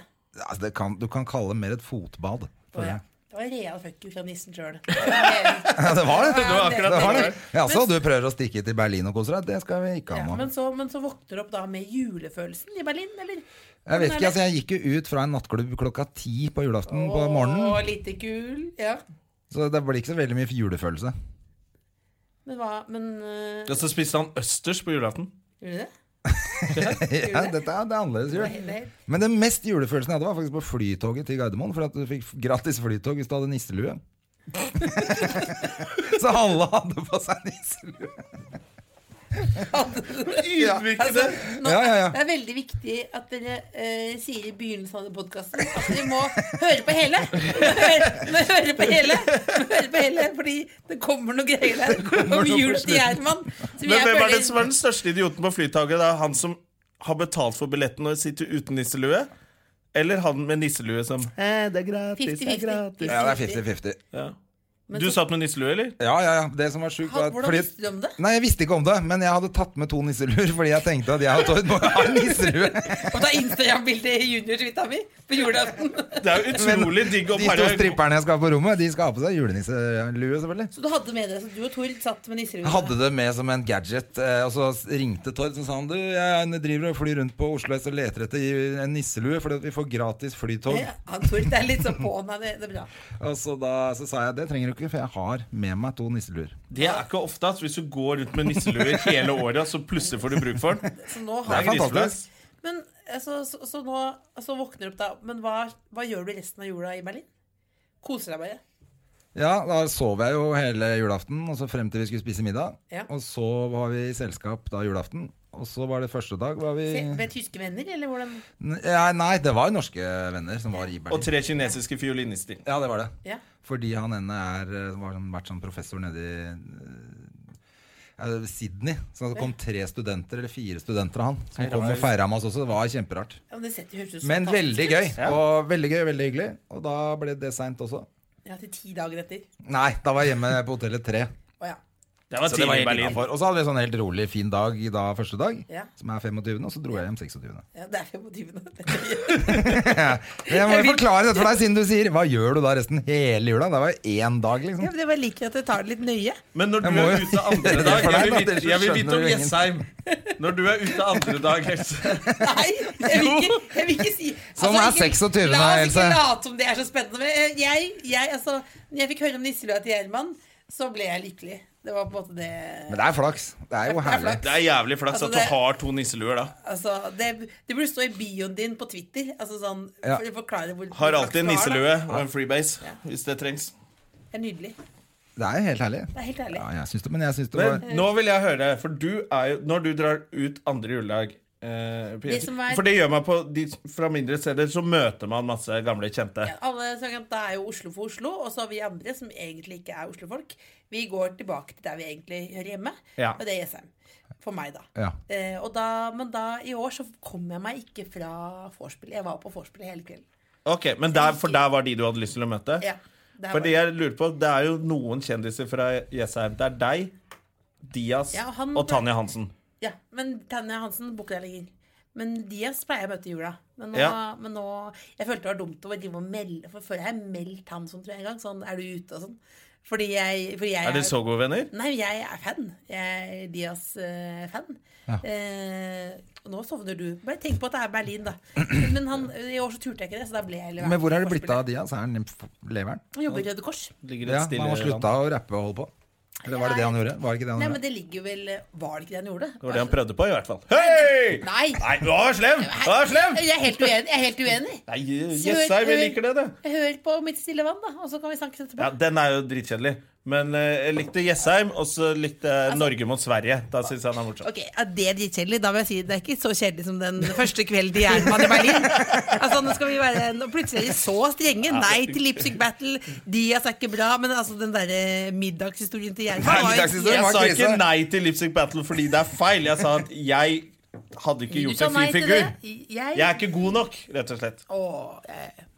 [SPEAKER 1] altså, det kan, du kan kalle det mer et fotbad.
[SPEAKER 4] Å,
[SPEAKER 1] føler
[SPEAKER 4] ja.
[SPEAKER 1] jeg.
[SPEAKER 4] Det var en real fuck you fra nissen sjøl.
[SPEAKER 1] Ja, det var det.
[SPEAKER 4] Det var akkurat
[SPEAKER 1] var
[SPEAKER 4] det.
[SPEAKER 1] det. Ja, så du prøver å stikke til Berlin og kose deg? Det skal vi ikke ha nå.
[SPEAKER 4] Men, så- men så våkner du opp da med julefølelsen i Berlin, eller?
[SPEAKER 1] Jeg
[SPEAKER 4] sånn
[SPEAKER 1] vet ikke, altså jeg gikk jo ut fra en nattklubb klokka ti på julaften Mm, på morgenen,
[SPEAKER 4] Å, lite kul. Ja.
[SPEAKER 1] så det blir ikke så veldig mye julefølelse.
[SPEAKER 4] Men hva Men øh,
[SPEAKER 2] Og så spiste han østers på julaften.
[SPEAKER 4] Gjorde du det?
[SPEAKER 1] Ja, dette er, det er annerledes
[SPEAKER 4] Det var
[SPEAKER 1] jul.
[SPEAKER 4] helt- det er helt-
[SPEAKER 1] Men den mest julefølelsen jeg hadde, var faktisk på flytoget til Gardermoen. For at du fikk gratis flytog hvis du hadde nisselue. så alle hadde på seg nisselue.
[SPEAKER 2] Utviklede!
[SPEAKER 4] Altså, Nå,
[SPEAKER 1] Ja, ja, ja.
[SPEAKER 4] Det er veldig viktig at dere øh, sier i begynnelsen av podkasten at dere må høre på hele. Høre, må høre på hele. Må høre på hele Fordi det kommer noen greier der om
[SPEAKER 1] noe på
[SPEAKER 4] jul til Gjerman. som
[SPEAKER 2] Men
[SPEAKER 4] jeg
[SPEAKER 2] hvem er
[SPEAKER 4] føler-
[SPEAKER 2] det som er den største idioten på flytaket? Da? Han som har betalt for billetten og sitter uten nisselue? Eller han med nisselue som
[SPEAKER 4] Fifty-fifty.
[SPEAKER 1] Ja, det er 50-50.
[SPEAKER 2] ja. Du satt med nisselue, eller?
[SPEAKER 1] Ja, ja, ja. Det som var sjukt, var
[SPEAKER 4] Ha-
[SPEAKER 1] at
[SPEAKER 4] Hvordan
[SPEAKER 1] fordi-
[SPEAKER 4] visste du om det?
[SPEAKER 1] Nei, jeg visste ikke om det, men jeg hadde tatt med to nisseluer fordi jeg tenkte at jeg hadde tatt med en nisselue.
[SPEAKER 4] Og ta Instagram-bilde i junior-suita mi på julaften.
[SPEAKER 2] Det er jo utrolig digg å
[SPEAKER 1] De to
[SPEAKER 2] bare
[SPEAKER 1] stripperne jeg skal ha på rommet, de skal ha på seg julenisselue, selvfølgelig.
[SPEAKER 4] Så du hadde med deg, så du og Tord satt med nisseruen?
[SPEAKER 1] Jeg hadde det med som en gadget, eh, og så ringte Tord og sa han, du, jeg driver og flyr rundt på Oslo S og leter etter en nisselue fordi at vi får gratis flytog.
[SPEAKER 4] Han Tord er litt sånn på meg, det, det er bra.
[SPEAKER 1] Og så da så sa jeg det trenger du ikke, for jeg har med meg to nisseluer.
[SPEAKER 2] Det er ikke ofte. ass. Hvis du går rundt med nisseluer hele året, så plutselig får du bruk for den.
[SPEAKER 4] Så nå
[SPEAKER 1] Det
[SPEAKER 4] har
[SPEAKER 1] er fantastisk.
[SPEAKER 4] Men altså, så, så nå så våkner du opp da Men hva, hva gjør du resten av jula i Berlin? Koser deg bare?
[SPEAKER 1] Ja, da sov jeg jo hele julaften, og så frem til vi skulle spise middag.
[SPEAKER 4] Ja.
[SPEAKER 1] Og så var vi i selskap da julaften. Og så var det første dag var vi
[SPEAKER 4] Se, Med tyske venner, eller hvordan?
[SPEAKER 1] N- ja, Nei, det var jo norske venner som var i
[SPEAKER 2] Og
[SPEAKER 1] Berlin.
[SPEAKER 2] tre kinesiske fiolinister.
[SPEAKER 1] Ja, det var det.
[SPEAKER 4] Ja.
[SPEAKER 1] Fordi han ene er, eh, var, sånn- vært sånn professor nede i eh, Sydney. Så det kom tre studenter, eller fire studenter av han, som kom og feira med oss også. Det var kjemperart.
[SPEAKER 4] Ja, men det setter høres ut som
[SPEAKER 1] Men
[SPEAKER 4] fantastisk
[SPEAKER 1] veldig
[SPEAKER 4] ut.
[SPEAKER 1] gøy. Og veldig gøy, veldig hyggelig. Og da ble det seint også.
[SPEAKER 4] Ja, til ti dager etter.
[SPEAKER 1] Nei, da var jeg hjemme på hotellet tre.
[SPEAKER 4] Å ja.
[SPEAKER 2] Det var
[SPEAKER 1] Så det var
[SPEAKER 2] tidlig i
[SPEAKER 1] helt
[SPEAKER 2] Berlin.
[SPEAKER 1] innenfor. Og så hadde vi en sånn helt rolig, fin dag i dag, første dag,
[SPEAKER 4] Ja.
[SPEAKER 1] som er 25., og så dro jeg hjem 26.
[SPEAKER 4] ja det er 25.
[SPEAKER 1] Men Jeg må jo forklare dette for deg, siden du sier 'hva gjør du da resten hele jula'? Det var jo én dag,
[SPEAKER 4] Ja,
[SPEAKER 1] liksom.
[SPEAKER 4] men det var like at jeg tar det litt nøye.
[SPEAKER 2] Men når du
[SPEAKER 1] Jeg må
[SPEAKER 2] er
[SPEAKER 1] jo
[SPEAKER 2] ute andre
[SPEAKER 1] gjøre det
[SPEAKER 2] dag
[SPEAKER 1] for
[SPEAKER 2] Jeg
[SPEAKER 1] deg,
[SPEAKER 2] vil
[SPEAKER 1] da,
[SPEAKER 2] vite,
[SPEAKER 1] ellers så
[SPEAKER 2] jeg vil vite
[SPEAKER 1] skjønner
[SPEAKER 2] om
[SPEAKER 1] du
[SPEAKER 2] Jessheim. Når du er ute andre dag, Else.
[SPEAKER 4] Nei, jeg vil ikke, jeg vil ikke si
[SPEAKER 1] Som er
[SPEAKER 4] ikke-
[SPEAKER 1] 26,
[SPEAKER 4] La oss
[SPEAKER 1] Else.
[SPEAKER 4] ikke late som det er så spennende. Men eh, jeg, jeg, altså, når jeg fikk høre om nisselua til Gjerman, så ble jeg lykkelig. Det var på en måte det
[SPEAKER 1] Men det er flaks. Det er jo herlig.
[SPEAKER 2] Det er jævlig flaks
[SPEAKER 4] Altså,
[SPEAKER 2] at du
[SPEAKER 4] det-
[SPEAKER 2] har to nisseluer da.
[SPEAKER 4] Altså, det, det burde stå i bioen din på Twitter. Altså sånn,
[SPEAKER 1] Ja.
[SPEAKER 4] for å forklare hvor
[SPEAKER 2] Har alltid en
[SPEAKER 4] du har, da.
[SPEAKER 2] nisselue og en freebase hvis det trengs.
[SPEAKER 4] Det er nydelig.
[SPEAKER 1] Det er jo helt herlig.
[SPEAKER 4] Det er helt herlig.
[SPEAKER 1] Ja, jeg syns det, men jeg syns det var
[SPEAKER 2] Men nå vil jeg høre, for du er jo Når du drar ut andre juledag eh, på-
[SPEAKER 4] Det som er-
[SPEAKER 2] For det gjør meg på de, Fra mindre steder så møter man masse gamle kjente.
[SPEAKER 4] Ja, alle sånn, Da er jo Oslo for Oslo, og så har vi andre som egentlig ikke er Oslo-folk. Vi går tilbake til der vi egentlig hører hjemme,
[SPEAKER 2] Ja.
[SPEAKER 4] og det er Jessheim. For meg, da.
[SPEAKER 1] Ja.
[SPEAKER 4] Eh, og da. Men da, i år så kom jeg meg ikke fra vorspielet. Jeg var på vorspielet hele kvelden.
[SPEAKER 2] Ok, Men der, for der var de du hadde lyst til å møte?
[SPEAKER 4] Ja, der var
[SPEAKER 2] Fordi
[SPEAKER 4] jeg.
[SPEAKER 2] jeg lurer på, Det er jo noen kjendiser fra Jessheim. Det er deg, Dias
[SPEAKER 4] Ja, han-
[SPEAKER 2] og Tanja Hansen.
[SPEAKER 4] ja, men Tanja Hansen booker deg lenger. Men Diaz pleier jeg å møte i jula. Men nå,
[SPEAKER 2] Ja.
[SPEAKER 4] men nå Jeg følte det var dumt å drive og melde, for før har jeg meldt han sånn, tror jeg, en gang. Sånn, er du ute og sånn? Fordi jeg, fordi jeg
[SPEAKER 2] Er dere så gode venner?
[SPEAKER 4] Nei, jeg er fan. Jeg er eh, Diaz-fan. Eh, nå sovner du. Bare tenk på at det er Berlin, da. Men han, i år så turte jeg ikke det, så da ble jeg
[SPEAKER 1] Men hvor er det blitt av Diaz? Er han i leveren?
[SPEAKER 4] Han jobber i Røde Kors.
[SPEAKER 2] Ligger
[SPEAKER 1] Ja,
[SPEAKER 2] et stille
[SPEAKER 1] han slutta å rappe og holde på. Eller var det det han gjorde? Var det ikke det han
[SPEAKER 4] Nei, men
[SPEAKER 1] gjorde?
[SPEAKER 4] det ligger jo vel Var det ikke det han gjorde? Altså,
[SPEAKER 2] Det var det han prøvde på, i hvert fall. Hei!
[SPEAKER 4] Nei.
[SPEAKER 2] Nei, du var slem! Du var slem!
[SPEAKER 4] Jeg er helt uenig. Jeg er helt uenig.
[SPEAKER 2] Nei, Jessheim,
[SPEAKER 4] eh,
[SPEAKER 2] jeg liker det, det.
[SPEAKER 4] Hør på Mitt stille vann, da, og så kan vi snakkes
[SPEAKER 2] Ja,
[SPEAKER 4] etterpå.
[SPEAKER 2] Den er jo dritkjedelig. Men eh, jeg likte Jessheim, og så likte jeg
[SPEAKER 4] Altså-
[SPEAKER 2] Norge mot Sverige. Da syns jeg han er morsom.
[SPEAKER 4] Ok, er Det dritkjedelig. Da vil jeg si det er ikke så kjedelig som den første kvelden i Jernbanen i Berlin. Altså, nå skal vi være nå Plutselig er de så strenge. Nei til Lipstick Battle. Diaz er ikke bra. Men altså, den derre middagshistorien til Jernbanen var jo
[SPEAKER 1] middagshistorien
[SPEAKER 2] Jeg
[SPEAKER 1] var
[SPEAKER 2] sa
[SPEAKER 1] krise.
[SPEAKER 2] ikke nei til Lipstick Battle fordi det er feil. Jeg sa at jeg hadde ikke gjort en fin figur.
[SPEAKER 4] Jeg,
[SPEAKER 2] Jeg er ikke god nok, rett og slett.
[SPEAKER 4] Åh, jeg...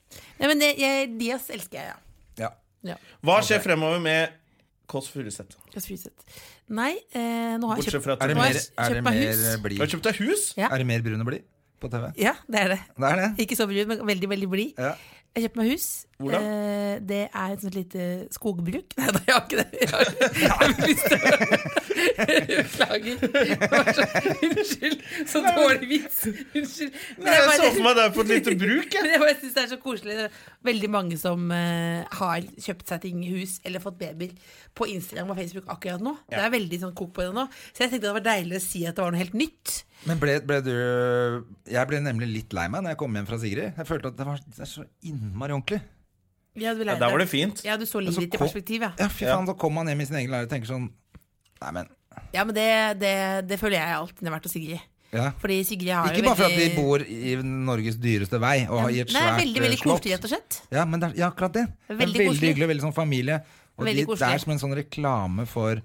[SPEAKER 4] Nei, men jeg, jeg, Diaz elsker jeg, ja.
[SPEAKER 1] Ja.
[SPEAKER 4] ja.
[SPEAKER 2] Hva skjer fremover med Kåss Furuseth?
[SPEAKER 4] Just freeze it. Nei, eh, nå har jeg
[SPEAKER 2] Bortsett
[SPEAKER 4] kjøpt
[SPEAKER 2] fra at
[SPEAKER 1] Er det
[SPEAKER 2] du
[SPEAKER 4] Nå har
[SPEAKER 1] mer,
[SPEAKER 4] jeg
[SPEAKER 1] er det
[SPEAKER 4] kjøpt meg
[SPEAKER 1] mer
[SPEAKER 4] hus.
[SPEAKER 1] blid?
[SPEAKER 2] har kjøpt deg hus?
[SPEAKER 4] Ja.
[SPEAKER 1] Er det mer brun og blid på TV?
[SPEAKER 4] Ja, det er det.
[SPEAKER 1] Det er det.
[SPEAKER 4] Ikke så brun, men veldig, veldig blid.
[SPEAKER 1] Ja.
[SPEAKER 4] Jeg kjøpte meg hus.
[SPEAKER 2] Hvor da?
[SPEAKER 4] Eh, det er et sånt lite skogbruk. Nei da, jeg har ikke det. Jeg har, jeg har ikke lyst til å Beklager. Det var så- Unnskyld. Så dårlig vits. Unnskyld. Men
[SPEAKER 2] Jeg
[SPEAKER 4] bare-
[SPEAKER 2] så for meg deg på et lite bruk. Jeg.
[SPEAKER 4] Men jeg bare synes det er så koselig. Det er Veldig mange som eh, har kjøpt seg ting i hus eller fått babyer på Instagram og Facebook akkurat nå. Det er veldig sånn kok på det nå. Så jeg tenkte det var deilig å si at det var noe helt nytt.
[SPEAKER 1] Men ble, ble du Jeg ble nemlig litt lei meg når jeg kom hjem fra Sigrid. Jeg følte at det var det er så innmari ordentlig.
[SPEAKER 4] Ja, du
[SPEAKER 2] Ja,
[SPEAKER 4] lærte
[SPEAKER 2] der var
[SPEAKER 4] deg.
[SPEAKER 2] det fint.
[SPEAKER 4] Ja, du så livet
[SPEAKER 1] så
[SPEAKER 4] ditt i
[SPEAKER 1] kom-
[SPEAKER 4] perspektiv, ja.
[SPEAKER 1] Ja, fy faen, så kom man hjem i sin egen leilighet og tenker sånn Nei, men
[SPEAKER 4] Ja, men det, det, det føler jeg alltid når jeg har vært hos Sigrid.
[SPEAKER 1] ja.
[SPEAKER 4] Fordi Sigrid har
[SPEAKER 1] Ikke
[SPEAKER 4] jo
[SPEAKER 1] bare for at
[SPEAKER 4] veldig-
[SPEAKER 1] vi bor i Norges dyreste vei og i et
[SPEAKER 4] Nei,
[SPEAKER 1] svært
[SPEAKER 4] veldig,
[SPEAKER 1] eh,
[SPEAKER 4] veldig
[SPEAKER 1] slott.
[SPEAKER 4] koselig, rett og slett.
[SPEAKER 1] Ja, men det er, ja, akkurat det.
[SPEAKER 4] Veldig
[SPEAKER 1] Veldig, veldig
[SPEAKER 4] koselig.
[SPEAKER 1] hyggelig, veldig sånn familie. Og
[SPEAKER 4] Veldig
[SPEAKER 1] de, det
[SPEAKER 4] koselig.
[SPEAKER 1] er som en sånn reklame for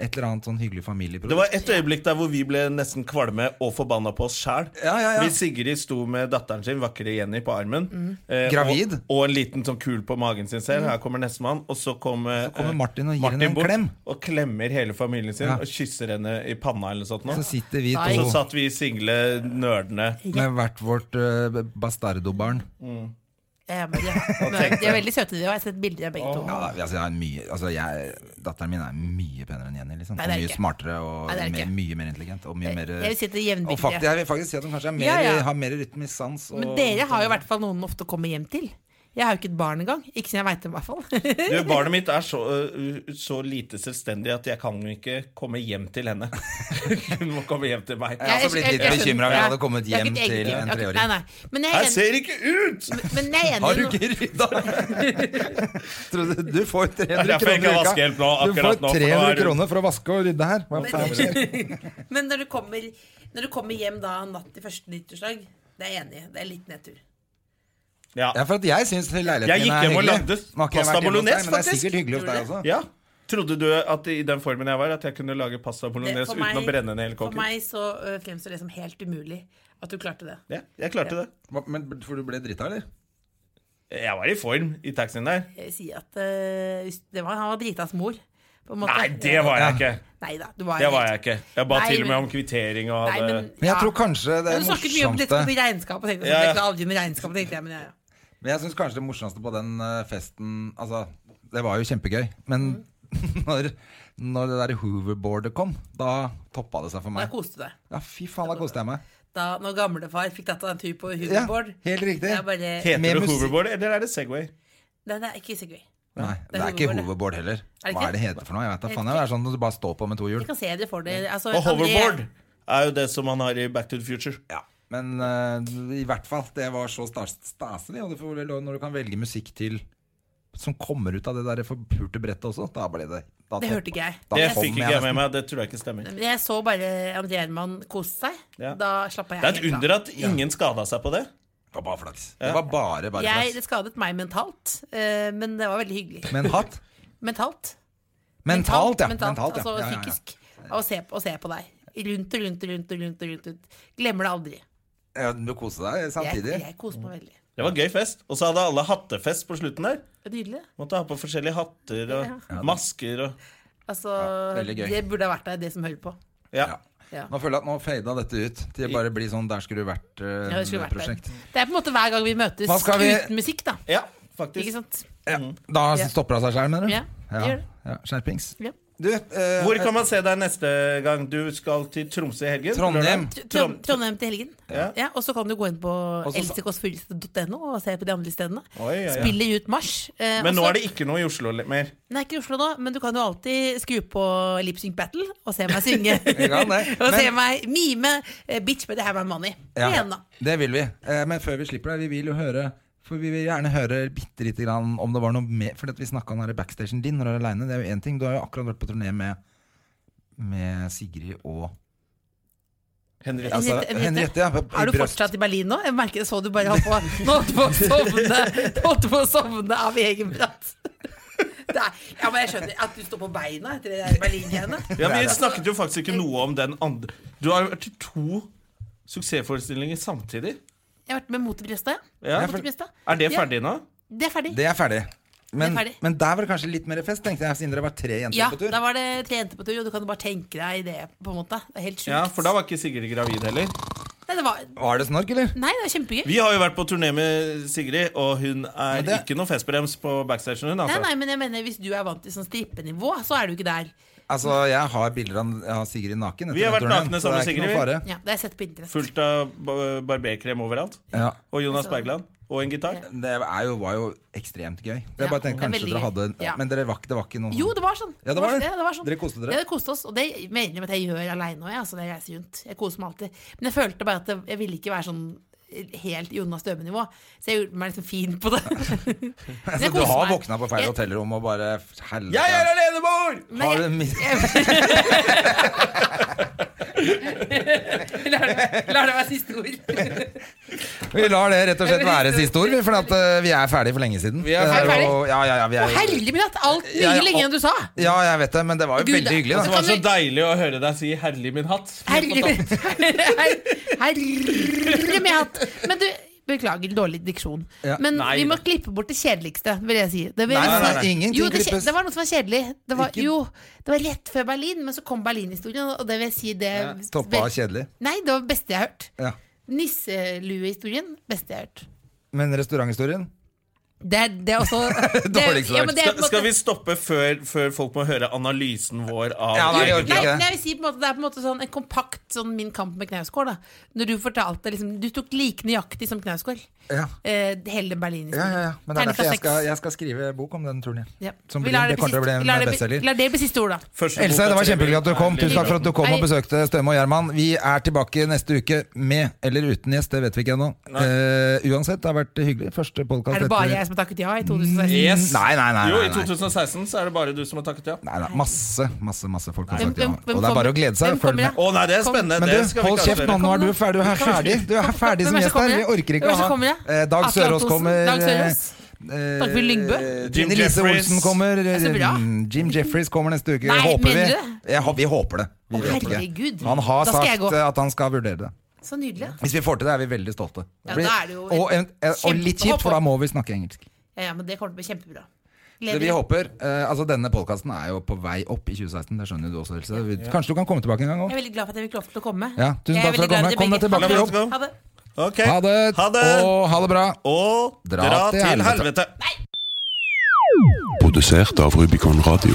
[SPEAKER 1] Et eller annet sånn hyggelig familieprodukt.
[SPEAKER 2] Det var et øyeblikk der hvor vi ble nesten kvalme og forbanna på oss sjæl.
[SPEAKER 1] Ja, ja, ja.
[SPEAKER 2] Hvis Sigrid sto med datteren sin, vakre Jenny, på armen. eh,
[SPEAKER 1] Gravid.
[SPEAKER 2] Og, og en liten sånn kul på magen sin selv. Her kommer nestemann. Og så, kom, eh,
[SPEAKER 1] Så kommer Martin og gir
[SPEAKER 2] Martin
[SPEAKER 1] henne en
[SPEAKER 2] bort
[SPEAKER 1] klem.
[SPEAKER 2] Og klemmer hele familien sin
[SPEAKER 1] Ja.
[SPEAKER 2] og kysser henne i panna eller noe sånt. nå.
[SPEAKER 1] Så sitter vi
[SPEAKER 2] Og så
[SPEAKER 1] to
[SPEAKER 2] satt vi single nerdene.
[SPEAKER 1] med hvert vårt eh, bastardobarn.
[SPEAKER 4] Ja, Eh, men de, er- de er veldig søte, de òg. Jeg har sett bilder av begge to.
[SPEAKER 1] Ja, da, altså, jeg er mye, altså, jeg, datteren min er mye penere enn Jenny. Liksom.
[SPEAKER 4] Nei, det er
[SPEAKER 1] mye
[SPEAKER 4] ikke.
[SPEAKER 1] smartere og
[SPEAKER 4] Nei, det er
[SPEAKER 1] mer,
[SPEAKER 4] ikke.
[SPEAKER 1] mye mer intelligent. Og, mye mer,
[SPEAKER 4] Jeg vil si at det er jevnbyrdige.
[SPEAKER 1] og faktisk, jeg vil faktisk si at hun kanskje er mer,
[SPEAKER 4] Ja, ja.
[SPEAKER 1] har mer rytmisk sans. Og,
[SPEAKER 4] Men dere har jo i hvert fall noen ofte å komme hjem til. Jeg har jo ikke et barn engang. Ikke som jeg veit om, i hvert fall.
[SPEAKER 2] Du, Barnet mitt er så, eh, så lite selvstendig at jeg kan jo ikke komme hjem til henne. Hun må komme hjem til meg.
[SPEAKER 1] Jeg hadde blitt litt
[SPEAKER 4] jeg skjønner.
[SPEAKER 1] bekymret om jeg
[SPEAKER 4] Ja.
[SPEAKER 1] hadde kommet
[SPEAKER 4] Jeg har
[SPEAKER 1] hjem
[SPEAKER 4] ikke et eget
[SPEAKER 1] til en
[SPEAKER 4] liv. Ok,
[SPEAKER 1] treåring.
[SPEAKER 4] Nei, nei. Men jeg er
[SPEAKER 2] Altså, Her
[SPEAKER 4] enig-
[SPEAKER 2] ser ikke ut!
[SPEAKER 4] men jeg er enig
[SPEAKER 1] Har du
[SPEAKER 4] i noe-
[SPEAKER 1] ikke rydda? Tror du- du får 300
[SPEAKER 2] Derfor jeg ikke
[SPEAKER 1] kroner i
[SPEAKER 2] vasker helt nå,
[SPEAKER 1] uka. Du
[SPEAKER 2] akkurat
[SPEAKER 1] får
[SPEAKER 2] nå, for nå er
[SPEAKER 1] 300
[SPEAKER 2] det-
[SPEAKER 1] kroner for å vaske og rydde her. Hva faen skjer?
[SPEAKER 4] Men når du kommer, når du kommer hjem da natt til første nyttårsdag, det er jeg enig i. Det er litt nedtur.
[SPEAKER 2] Ja.
[SPEAKER 1] Ja, for at jeg syns leiligheten
[SPEAKER 2] Jeg gikk
[SPEAKER 1] min er
[SPEAKER 2] hjem og
[SPEAKER 1] hyggelig.
[SPEAKER 2] lagde
[SPEAKER 1] Nå har ikke jeg vært hjemme hos
[SPEAKER 2] pasta
[SPEAKER 1] deg,
[SPEAKER 2] bolognese,
[SPEAKER 1] Men det er
[SPEAKER 2] faktisk.
[SPEAKER 1] sikkert hyggelig hos deg også.
[SPEAKER 2] Ja. Trodde du at i den formen jeg var, at jeg kunne lage pasta
[SPEAKER 4] Det-
[SPEAKER 2] bolognese
[SPEAKER 4] Eh, for
[SPEAKER 2] uten å
[SPEAKER 4] meg-
[SPEAKER 2] brenne ned hele
[SPEAKER 4] For
[SPEAKER 2] kåken?
[SPEAKER 4] meg så ø, fremstår det som helt umulig at du klarte det.
[SPEAKER 2] Ja, jeg klarte det.
[SPEAKER 1] Hva- Men for du ble drita, eller?
[SPEAKER 2] Jeg var i form i taxien der.
[SPEAKER 4] Jeg sier Eh, at ø, hvis- det var, Han var Britas mor, på en måte.
[SPEAKER 2] Nei, det var jeg ikke!
[SPEAKER 4] Nei da, du var
[SPEAKER 2] Det var jeg
[SPEAKER 4] helt-
[SPEAKER 2] ikke. Jeg ba
[SPEAKER 4] Nei,
[SPEAKER 2] til og med
[SPEAKER 4] men-
[SPEAKER 2] om kvittering og
[SPEAKER 4] Nei,
[SPEAKER 2] hadde
[SPEAKER 4] men,
[SPEAKER 1] Men jeg
[SPEAKER 4] ja.
[SPEAKER 1] tror kanskje det
[SPEAKER 4] Ja, Du snakket mye om dette
[SPEAKER 1] morsomste
[SPEAKER 4] med regnskap. og tenkte sånn,
[SPEAKER 2] Ja, ja.
[SPEAKER 4] det er aldri med regnskap, tenkte jeg, men ja, ja.
[SPEAKER 1] Men jeg synes kanskje det morsomste på den eh, festen Altså, det var jo kjempegøy, men
[SPEAKER 4] Mm.
[SPEAKER 1] når, når det der hoverboardet kom, da toppa det seg for
[SPEAKER 4] Da
[SPEAKER 1] meg.
[SPEAKER 4] koste du deg.
[SPEAKER 1] Ja, fy faen, da koste jeg meg.
[SPEAKER 4] Da når gamlefar fikk tatt av en tur på
[SPEAKER 1] Ja,
[SPEAKER 4] hoverboard
[SPEAKER 1] helt riktig.
[SPEAKER 4] Jeg bare,
[SPEAKER 1] med
[SPEAKER 2] Heter det
[SPEAKER 1] musikk-
[SPEAKER 2] hoverboard, eller er det Segway?
[SPEAKER 4] Nei, det er ikke Segway.
[SPEAKER 1] Nei,
[SPEAKER 4] det
[SPEAKER 1] det
[SPEAKER 4] er
[SPEAKER 1] er ikke
[SPEAKER 4] hoverboard, det.
[SPEAKER 1] hoverboard heller.
[SPEAKER 4] det
[SPEAKER 1] Hva
[SPEAKER 4] ikke?
[SPEAKER 1] er det heter for noe? Jeg vet da faen. Det er sånn at du bare står på med to hjul.
[SPEAKER 4] Jeg kan se dere for dere. Altså,
[SPEAKER 2] Og
[SPEAKER 4] André-
[SPEAKER 2] hoverboard er jo det som man har i Back to the Future.
[SPEAKER 1] Ja. Men eh, i hvert fall, det var så stas staselig. Og det får vel lov når du kan velge musikk til som kommer ut av det der forpurte brettet også. Da ble det da
[SPEAKER 4] Det
[SPEAKER 1] toppa-
[SPEAKER 4] hørte ikke jeg.
[SPEAKER 1] da
[SPEAKER 2] Det
[SPEAKER 1] kom
[SPEAKER 2] fikk ikke jeg
[SPEAKER 1] nesten.
[SPEAKER 2] med meg. Det tror jeg ikke stemmer.
[SPEAKER 4] Men Jeg så bare André Herman kose seg.
[SPEAKER 2] Ja.
[SPEAKER 4] Da slappa jeg
[SPEAKER 2] Det er et
[SPEAKER 4] helt av.
[SPEAKER 2] under at ingen skada seg på det.
[SPEAKER 1] Det var bare flaks. Det var bare, bare flaks.
[SPEAKER 4] Jeg, det skadet meg mentalt, eh, men det var veldig hyggelig.
[SPEAKER 1] Med en hatt.
[SPEAKER 4] Mentalt.
[SPEAKER 1] Mentalt, ja.
[SPEAKER 4] mentalt,
[SPEAKER 1] Mentalt, ja.
[SPEAKER 4] Altså
[SPEAKER 1] ja, ja, ja.
[SPEAKER 4] psykisk. Å se, på- å se på deg. Rundt og rundt og rundt. og rundt, og rundt, og rundt. Glemmer det aldri.
[SPEAKER 1] Ja, du må kose deg
[SPEAKER 4] Jeg,
[SPEAKER 1] samtidig.
[SPEAKER 4] jeg koser meg veldig.
[SPEAKER 2] Det var gøy fest. Og så hadde alle hattefest på slutten der.
[SPEAKER 4] Nydelig.
[SPEAKER 2] Måtte ha på forskjellige hatter og masker og
[SPEAKER 4] Altså,
[SPEAKER 1] veldig gøy.
[SPEAKER 4] det burde ha vært der, det som hører på.
[SPEAKER 2] Ja.
[SPEAKER 1] Ja.
[SPEAKER 4] Ja.
[SPEAKER 1] Nå føler jeg at nå fada dette ut til å bare bli sånn 'der skulle du eh,
[SPEAKER 4] Ja, det, skulle vært der.
[SPEAKER 1] vært'-prosjekt.
[SPEAKER 4] det er på en måte hver gang vi møtes
[SPEAKER 1] Hva skal vi-
[SPEAKER 4] uten musikk, da.
[SPEAKER 2] ja faktisk.
[SPEAKER 4] Ikke sant?
[SPEAKER 1] ja. Da
[SPEAKER 4] Mm. Ja.
[SPEAKER 1] stopper det seg sjøl, mener du?
[SPEAKER 4] Ja, det gjør det.
[SPEAKER 1] ja. Skjerpings.
[SPEAKER 4] Ja.
[SPEAKER 1] Du, eh,
[SPEAKER 2] Hvor kan man se deg neste gang? Du skal til Tromsø i helgen?
[SPEAKER 1] Trondheim.
[SPEAKER 2] Lørdag?
[SPEAKER 4] Trond- Trondheim til helgen.
[SPEAKER 2] Ja.
[SPEAKER 4] Ja. og så kan du gå inn på
[SPEAKER 1] Og så-
[SPEAKER 4] elsekåsfyreste.no og se på de andre stedene.
[SPEAKER 2] Oi, ja, ja.
[SPEAKER 4] Spiller ut mars. Eh,
[SPEAKER 2] Men nå
[SPEAKER 4] også-
[SPEAKER 2] er det ikke noe i Oslo le- mer.
[SPEAKER 4] Nei, ikke i Oslo nå, men du kan jo alltid skru på Lip Sync Battle og se meg synge.
[SPEAKER 1] kan det,
[SPEAKER 4] og se
[SPEAKER 1] men-
[SPEAKER 4] meg mime eh, Bitch better have my money.
[SPEAKER 1] ja,
[SPEAKER 4] Igjen, da.
[SPEAKER 1] det vil vi. Eh, men før vi slipper deg, vi vil jo høre for Vi vil gjerne høre bitte lite grann om det var noe mer For vi snakka om den her backstagen din når du er aleine. Det er jo én ting. Du har jo akkurat vært på turné med, med Sigrid og
[SPEAKER 2] Henriette.
[SPEAKER 1] altså,
[SPEAKER 4] Henriette- Henriette,
[SPEAKER 1] Henriette. Ja, i
[SPEAKER 4] Er du
[SPEAKER 1] Brøst.
[SPEAKER 4] fortsatt i Berlin nå? Jeg merker, så du bare holdt på, nå holdt du på å sovne Holdt du på å sovne av egen prat. Det er- Ja, men jeg skjønner at du står på beina etter det der Berlin-greiene.
[SPEAKER 2] Ja, vi snakket jo faktisk ikke noe om den andre. Du har vært i to suksessforestillinger samtidig.
[SPEAKER 4] Jeg har vært med Mot i brystet.
[SPEAKER 2] Ja.
[SPEAKER 4] Mot i brystet.
[SPEAKER 2] Er det
[SPEAKER 4] Ja.
[SPEAKER 2] ferdig nå?
[SPEAKER 4] Det er ferdig.
[SPEAKER 1] Det er ferdig. Men,
[SPEAKER 4] Det er ferdig.
[SPEAKER 1] men der var det kanskje litt mer fest, tenkte jeg, siden dere var tre jenter
[SPEAKER 4] Ja,
[SPEAKER 1] på tur.
[SPEAKER 4] da var det tre jenter på tur, og du kan jo bare tenke deg det. på en måte Det er helt sjukt.
[SPEAKER 2] Ja, For da var ikke Sigrid gravid heller.
[SPEAKER 4] Nei, det var,
[SPEAKER 1] Var det snork, eller?
[SPEAKER 4] nei, det var kjempegøy.
[SPEAKER 2] Vi har jo vært på turné med Sigrid, og hun er
[SPEAKER 1] Men det-
[SPEAKER 2] ikke noe festbrems på backstagen. Hun,
[SPEAKER 4] Nei,
[SPEAKER 2] altså.
[SPEAKER 4] nei, men jeg mener Hvis du er vant til sånn strippenivå, så er du ikke der.
[SPEAKER 1] Altså, jeg har bilder av jeg har Sigrid naken. etter
[SPEAKER 2] Vi har
[SPEAKER 1] den
[SPEAKER 2] vært
[SPEAKER 1] turen,
[SPEAKER 2] nakne
[SPEAKER 1] så det
[SPEAKER 2] sammen
[SPEAKER 1] er ikke
[SPEAKER 2] med
[SPEAKER 1] noe fare.
[SPEAKER 4] Ja, Det har jeg sett på internett.
[SPEAKER 2] Fullt av ba- barberkrem overalt.
[SPEAKER 1] Ja.
[SPEAKER 2] Og Jonas
[SPEAKER 4] Altså-
[SPEAKER 2] Bergland. Og en gitar.
[SPEAKER 1] Det er jo, var jo ekstremt gøy. Jeg
[SPEAKER 4] Ja,
[SPEAKER 1] bare tenkte
[SPEAKER 4] det er
[SPEAKER 1] kanskje
[SPEAKER 4] veldig
[SPEAKER 1] dere hadde
[SPEAKER 4] gøy. Ja.
[SPEAKER 1] Men dere var, ikke- det var ikke noe
[SPEAKER 4] Jo, det var sånn.
[SPEAKER 1] Ja, det var det.
[SPEAKER 4] sånn.
[SPEAKER 1] Dere koste dere.
[SPEAKER 4] Ja, det koste oss. Og det mener jeg at jeg gjør aleine òg, altså, når jeg reiser rundt. Jeg koser meg alltid. Men jeg følte bare at jeg, jeg ville ikke være sånn helt Jonas Døme-nivå. Så jeg gjorde meg liksom fin på det. Men
[SPEAKER 1] altså,
[SPEAKER 4] jeg
[SPEAKER 1] Du
[SPEAKER 4] koser
[SPEAKER 1] har
[SPEAKER 4] meg.
[SPEAKER 1] våkna på feil
[SPEAKER 4] Jeg-
[SPEAKER 1] hotellrom og bare Helvete.
[SPEAKER 2] Jeg er alenemor!
[SPEAKER 4] Men
[SPEAKER 1] har
[SPEAKER 4] jeg-
[SPEAKER 1] du en mis-
[SPEAKER 4] Lar det, lar det være siste ord.
[SPEAKER 1] Vi lar det rett og slett være siste ord, vi, for at, eh, vi er ferdige for lenge siden.
[SPEAKER 2] Vi er
[SPEAKER 1] Det
[SPEAKER 2] ferdig.
[SPEAKER 1] jo- ja, ja, ja, vi er,
[SPEAKER 4] Herlig min hatt! Alt mye
[SPEAKER 1] Ja, ja,
[SPEAKER 4] lenger enn du sa!
[SPEAKER 1] ja, jeg vet det, men det var jo
[SPEAKER 4] Gud, altså,
[SPEAKER 1] veldig hyggelig.
[SPEAKER 2] Det
[SPEAKER 1] da
[SPEAKER 2] var så deilig å høre deg si 'herlig min hatt'.
[SPEAKER 4] Herlig, herlig min hatt! Men du, beklager dårlig diksjon.
[SPEAKER 1] Ja.
[SPEAKER 4] Men
[SPEAKER 2] Nei,
[SPEAKER 4] vi må
[SPEAKER 2] da.
[SPEAKER 4] klippe bort det kjedeligste, vil jeg si. Det vil
[SPEAKER 1] Nei,
[SPEAKER 4] jeg
[SPEAKER 1] nei,
[SPEAKER 4] si.
[SPEAKER 1] nei, nei. ingenting
[SPEAKER 4] Jo, det, kje-
[SPEAKER 1] klippes.
[SPEAKER 4] det var noe som var kjedelig. Det var,
[SPEAKER 1] Ikke-
[SPEAKER 4] jo, det var rett før Berlin, men så kom Berlin-historien, og det vil jeg si det
[SPEAKER 1] Toppa kjedelig.
[SPEAKER 4] Nei, det var det beste jeg har hørt.
[SPEAKER 1] Ja.
[SPEAKER 4] Nisselue-historien, beste jeg har hørt.
[SPEAKER 1] Men restauranthistorien?
[SPEAKER 4] Det er, det er også det,
[SPEAKER 1] Dårligste
[SPEAKER 4] ja, men det er på
[SPEAKER 2] Skal,
[SPEAKER 4] en måte-
[SPEAKER 2] skal vi stoppe før, før folk må høre analysen vår av
[SPEAKER 1] Ja, nei, jeg orker
[SPEAKER 4] Nei,
[SPEAKER 1] ikke
[SPEAKER 4] men
[SPEAKER 1] det.
[SPEAKER 4] jeg vil si på en måte, Det er på en måte sånn en kompakt sånn Min kamp med Knausgård. da Når du fortalte liksom, Du tok like nøyaktig som Knausgård.
[SPEAKER 1] Ja.
[SPEAKER 4] Eh, hele Berlin.
[SPEAKER 1] Ja, ja, ja. Men det er
[SPEAKER 4] Terningkast
[SPEAKER 1] derfor jeg
[SPEAKER 4] seks.
[SPEAKER 1] skal, jeg skal skrive bok om den turen. Ja.
[SPEAKER 4] Ja.
[SPEAKER 1] Som
[SPEAKER 4] Vi
[SPEAKER 1] blir,
[SPEAKER 4] lar
[SPEAKER 1] det
[SPEAKER 4] bli
[SPEAKER 1] kommer til å bli
[SPEAKER 4] siste-
[SPEAKER 1] en
[SPEAKER 4] lar det bli-
[SPEAKER 1] bestselger.
[SPEAKER 4] Lar det bli siste ord, da.
[SPEAKER 2] Første
[SPEAKER 1] Else, det
[SPEAKER 2] boka
[SPEAKER 1] var
[SPEAKER 2] til
[SPEAKER 1] kjempehyggelig at du kom.
[SPEAKER 2] Herlig
[SPEAKER 1] Tusen takk for at du kom
[SPEAKER 4] Hei.
[SPEAKER 1] og besøkte Støme og Gjerman. Vi er tilbake neste uke med eller uten gjest, det vet vi ikke ennå. Eh, uansett, det har vært hyggelig. Første podkast
[SPEAKER 4] Er det bare jeg som har takket ja i 2016?
[SPEAKER 2] Yes.
[SPEAKER 1] Nei, nei, nei,
[SPEAKER 2] Jo,
[SPEAKER 1] nei,
[SPEAKER 2] i
[SPEAKER 1] nei.
[SPEAKER 2] 2016 så er det bare du som har takket ja.
[SPEAKER 1] Nei, nei, masse, masse masse folk har
[SPEAKER 4] Hvem-
[SPEAKER 1] sagt ja.
[SPEAKER 4] hvem- hvem
[SPEAKER 1] Og det er bare å
[SPEAKER 4] kommer?
[SPEAKER 1] glede seg.
[SPEAKER 4] Hvem
[SPEAKER 1] Følg med.
[SPEAKER 4] kommer?
[SPEAKER 2] Å nei, det er
[SPEAKER 4] Kom.
[SPEAKER 2] spennende.
[SPEAKER 1] Men
[SPEAKER 2] det
[SPEAKER 1] du,
[SPEAKER 2] skal vi
[SPEAKER 1] hold
[SPEAKER 2] ikke
[SPEAKER 1] kjeft nå,
[SPEAKER 2] avsløre.
[SPEAKER 1] nå er du ferdig, du er ferdig, du er ferdig som
[SPEAKER 4] Hvem er det
[SPEAKER 1] gjest
[SPEAKER 4] som
[SPEAKER 1] her.
[SPEAKER 4] kommer?
[SPEAKER 1] Vi orker ikke å
[SPEAKER 4] Hvem er det som
[SPEAKER 1] ha
[SPEAKER 4] kommer?
[SPEAKER 1] Eh, Dag
[SPEAKER 4] Atle
[SPEAKER 1] Sørås
[SPEAKER 4] Antonsen.
[SPEAKER 1] kommer.
[SPEAKER 4] Dag
[SPEAKER 1] eh,
[SPEAKER 4] Sørås.
[SPEAKER 1] eh,
[SPEAKER 4] Dagfinn Lyngbø.
[SPEAKER 2] Jim
[SPEAKER 1] Trine Lise
[SPEAKER 2] Jefferies.
[SPEAKER 1] Olsen kommer.
[SPEAKER 4] er så bra.
[SPEAKER 1] eh, Jim Jeffries kommer neste uke,
[SPEAKER 4] Nei,
[SPEAKER 1] håper vi.
[SPEAKER 4] mener du
[SPEAKER 1] Jeg, hå- vi håper det. Vi vet ikke.
[SPEAKER 4] Herregud.
[SPEAKER 1] Han har
[SPEAKER 4] Da skal jeg
[SPEAKER 1] sagt
[SPEAKER 4] gå.
[SPEAKER 1] eh, at han skal vurdere det.
[SPEAKER 4] Så nydelig.
[SPEAKER 1] Hvis vi får til det, er vi veldig stolte.
[SPEAKER 4] Ja,
[SPEAKER 1] Blir-
[SPEAKER 4] da er det jo et
[SPEAKER 1] og, event- eh, og litt kjipt, for da må vi snakke engelsk.
[SPEAKER 4] Ja, ja, men det kommer til å bli kjempebra.
[SPEAKER 1] Det
[SPEAKER 4] Gleder
[SPEAKER 1] vi
[SPEAKER 4] meg.
[SPEAKER 1] håper, eh, altså Denne podkasten er jo på vei opp i 2016, det skjønner jo du også, Else. Vi- Kanskje du kan komme tilbake en gang
[SPEAKER 4] Jeg
[SPEAKER 1] òg?
[SPEAKER 4] er veldig glad for at jeg fikk lov til å komme.
[SPEAKER 1] Ja, tusen
[SPEAKER 4] Jeg er
[SPEAKER 1] takk for
[SPEAKER 4] veldig
[SPEAKER 1] at du kom.
[SPEAKER 4] glad i
[SPEAKER 1] Kom
[SPEAKER 4] begge.
[SPEAKER 1] deg tilbake på
[SPEAKER 2] Ha
[SPEAKER 1] jobb.
[SPEAKER 2] det.
[SPEAKER 4] Ha det.
[SPEAKER 2] Ok.
[SPEAKER 1] Ha det,
[SPEAKER 2] Ha det.
[SPEAKER 1] og ha det bra.
[SPEAKER 2] Og dra, til helvete.
[SPEAKER 5] Produsert av Rubicon Radio.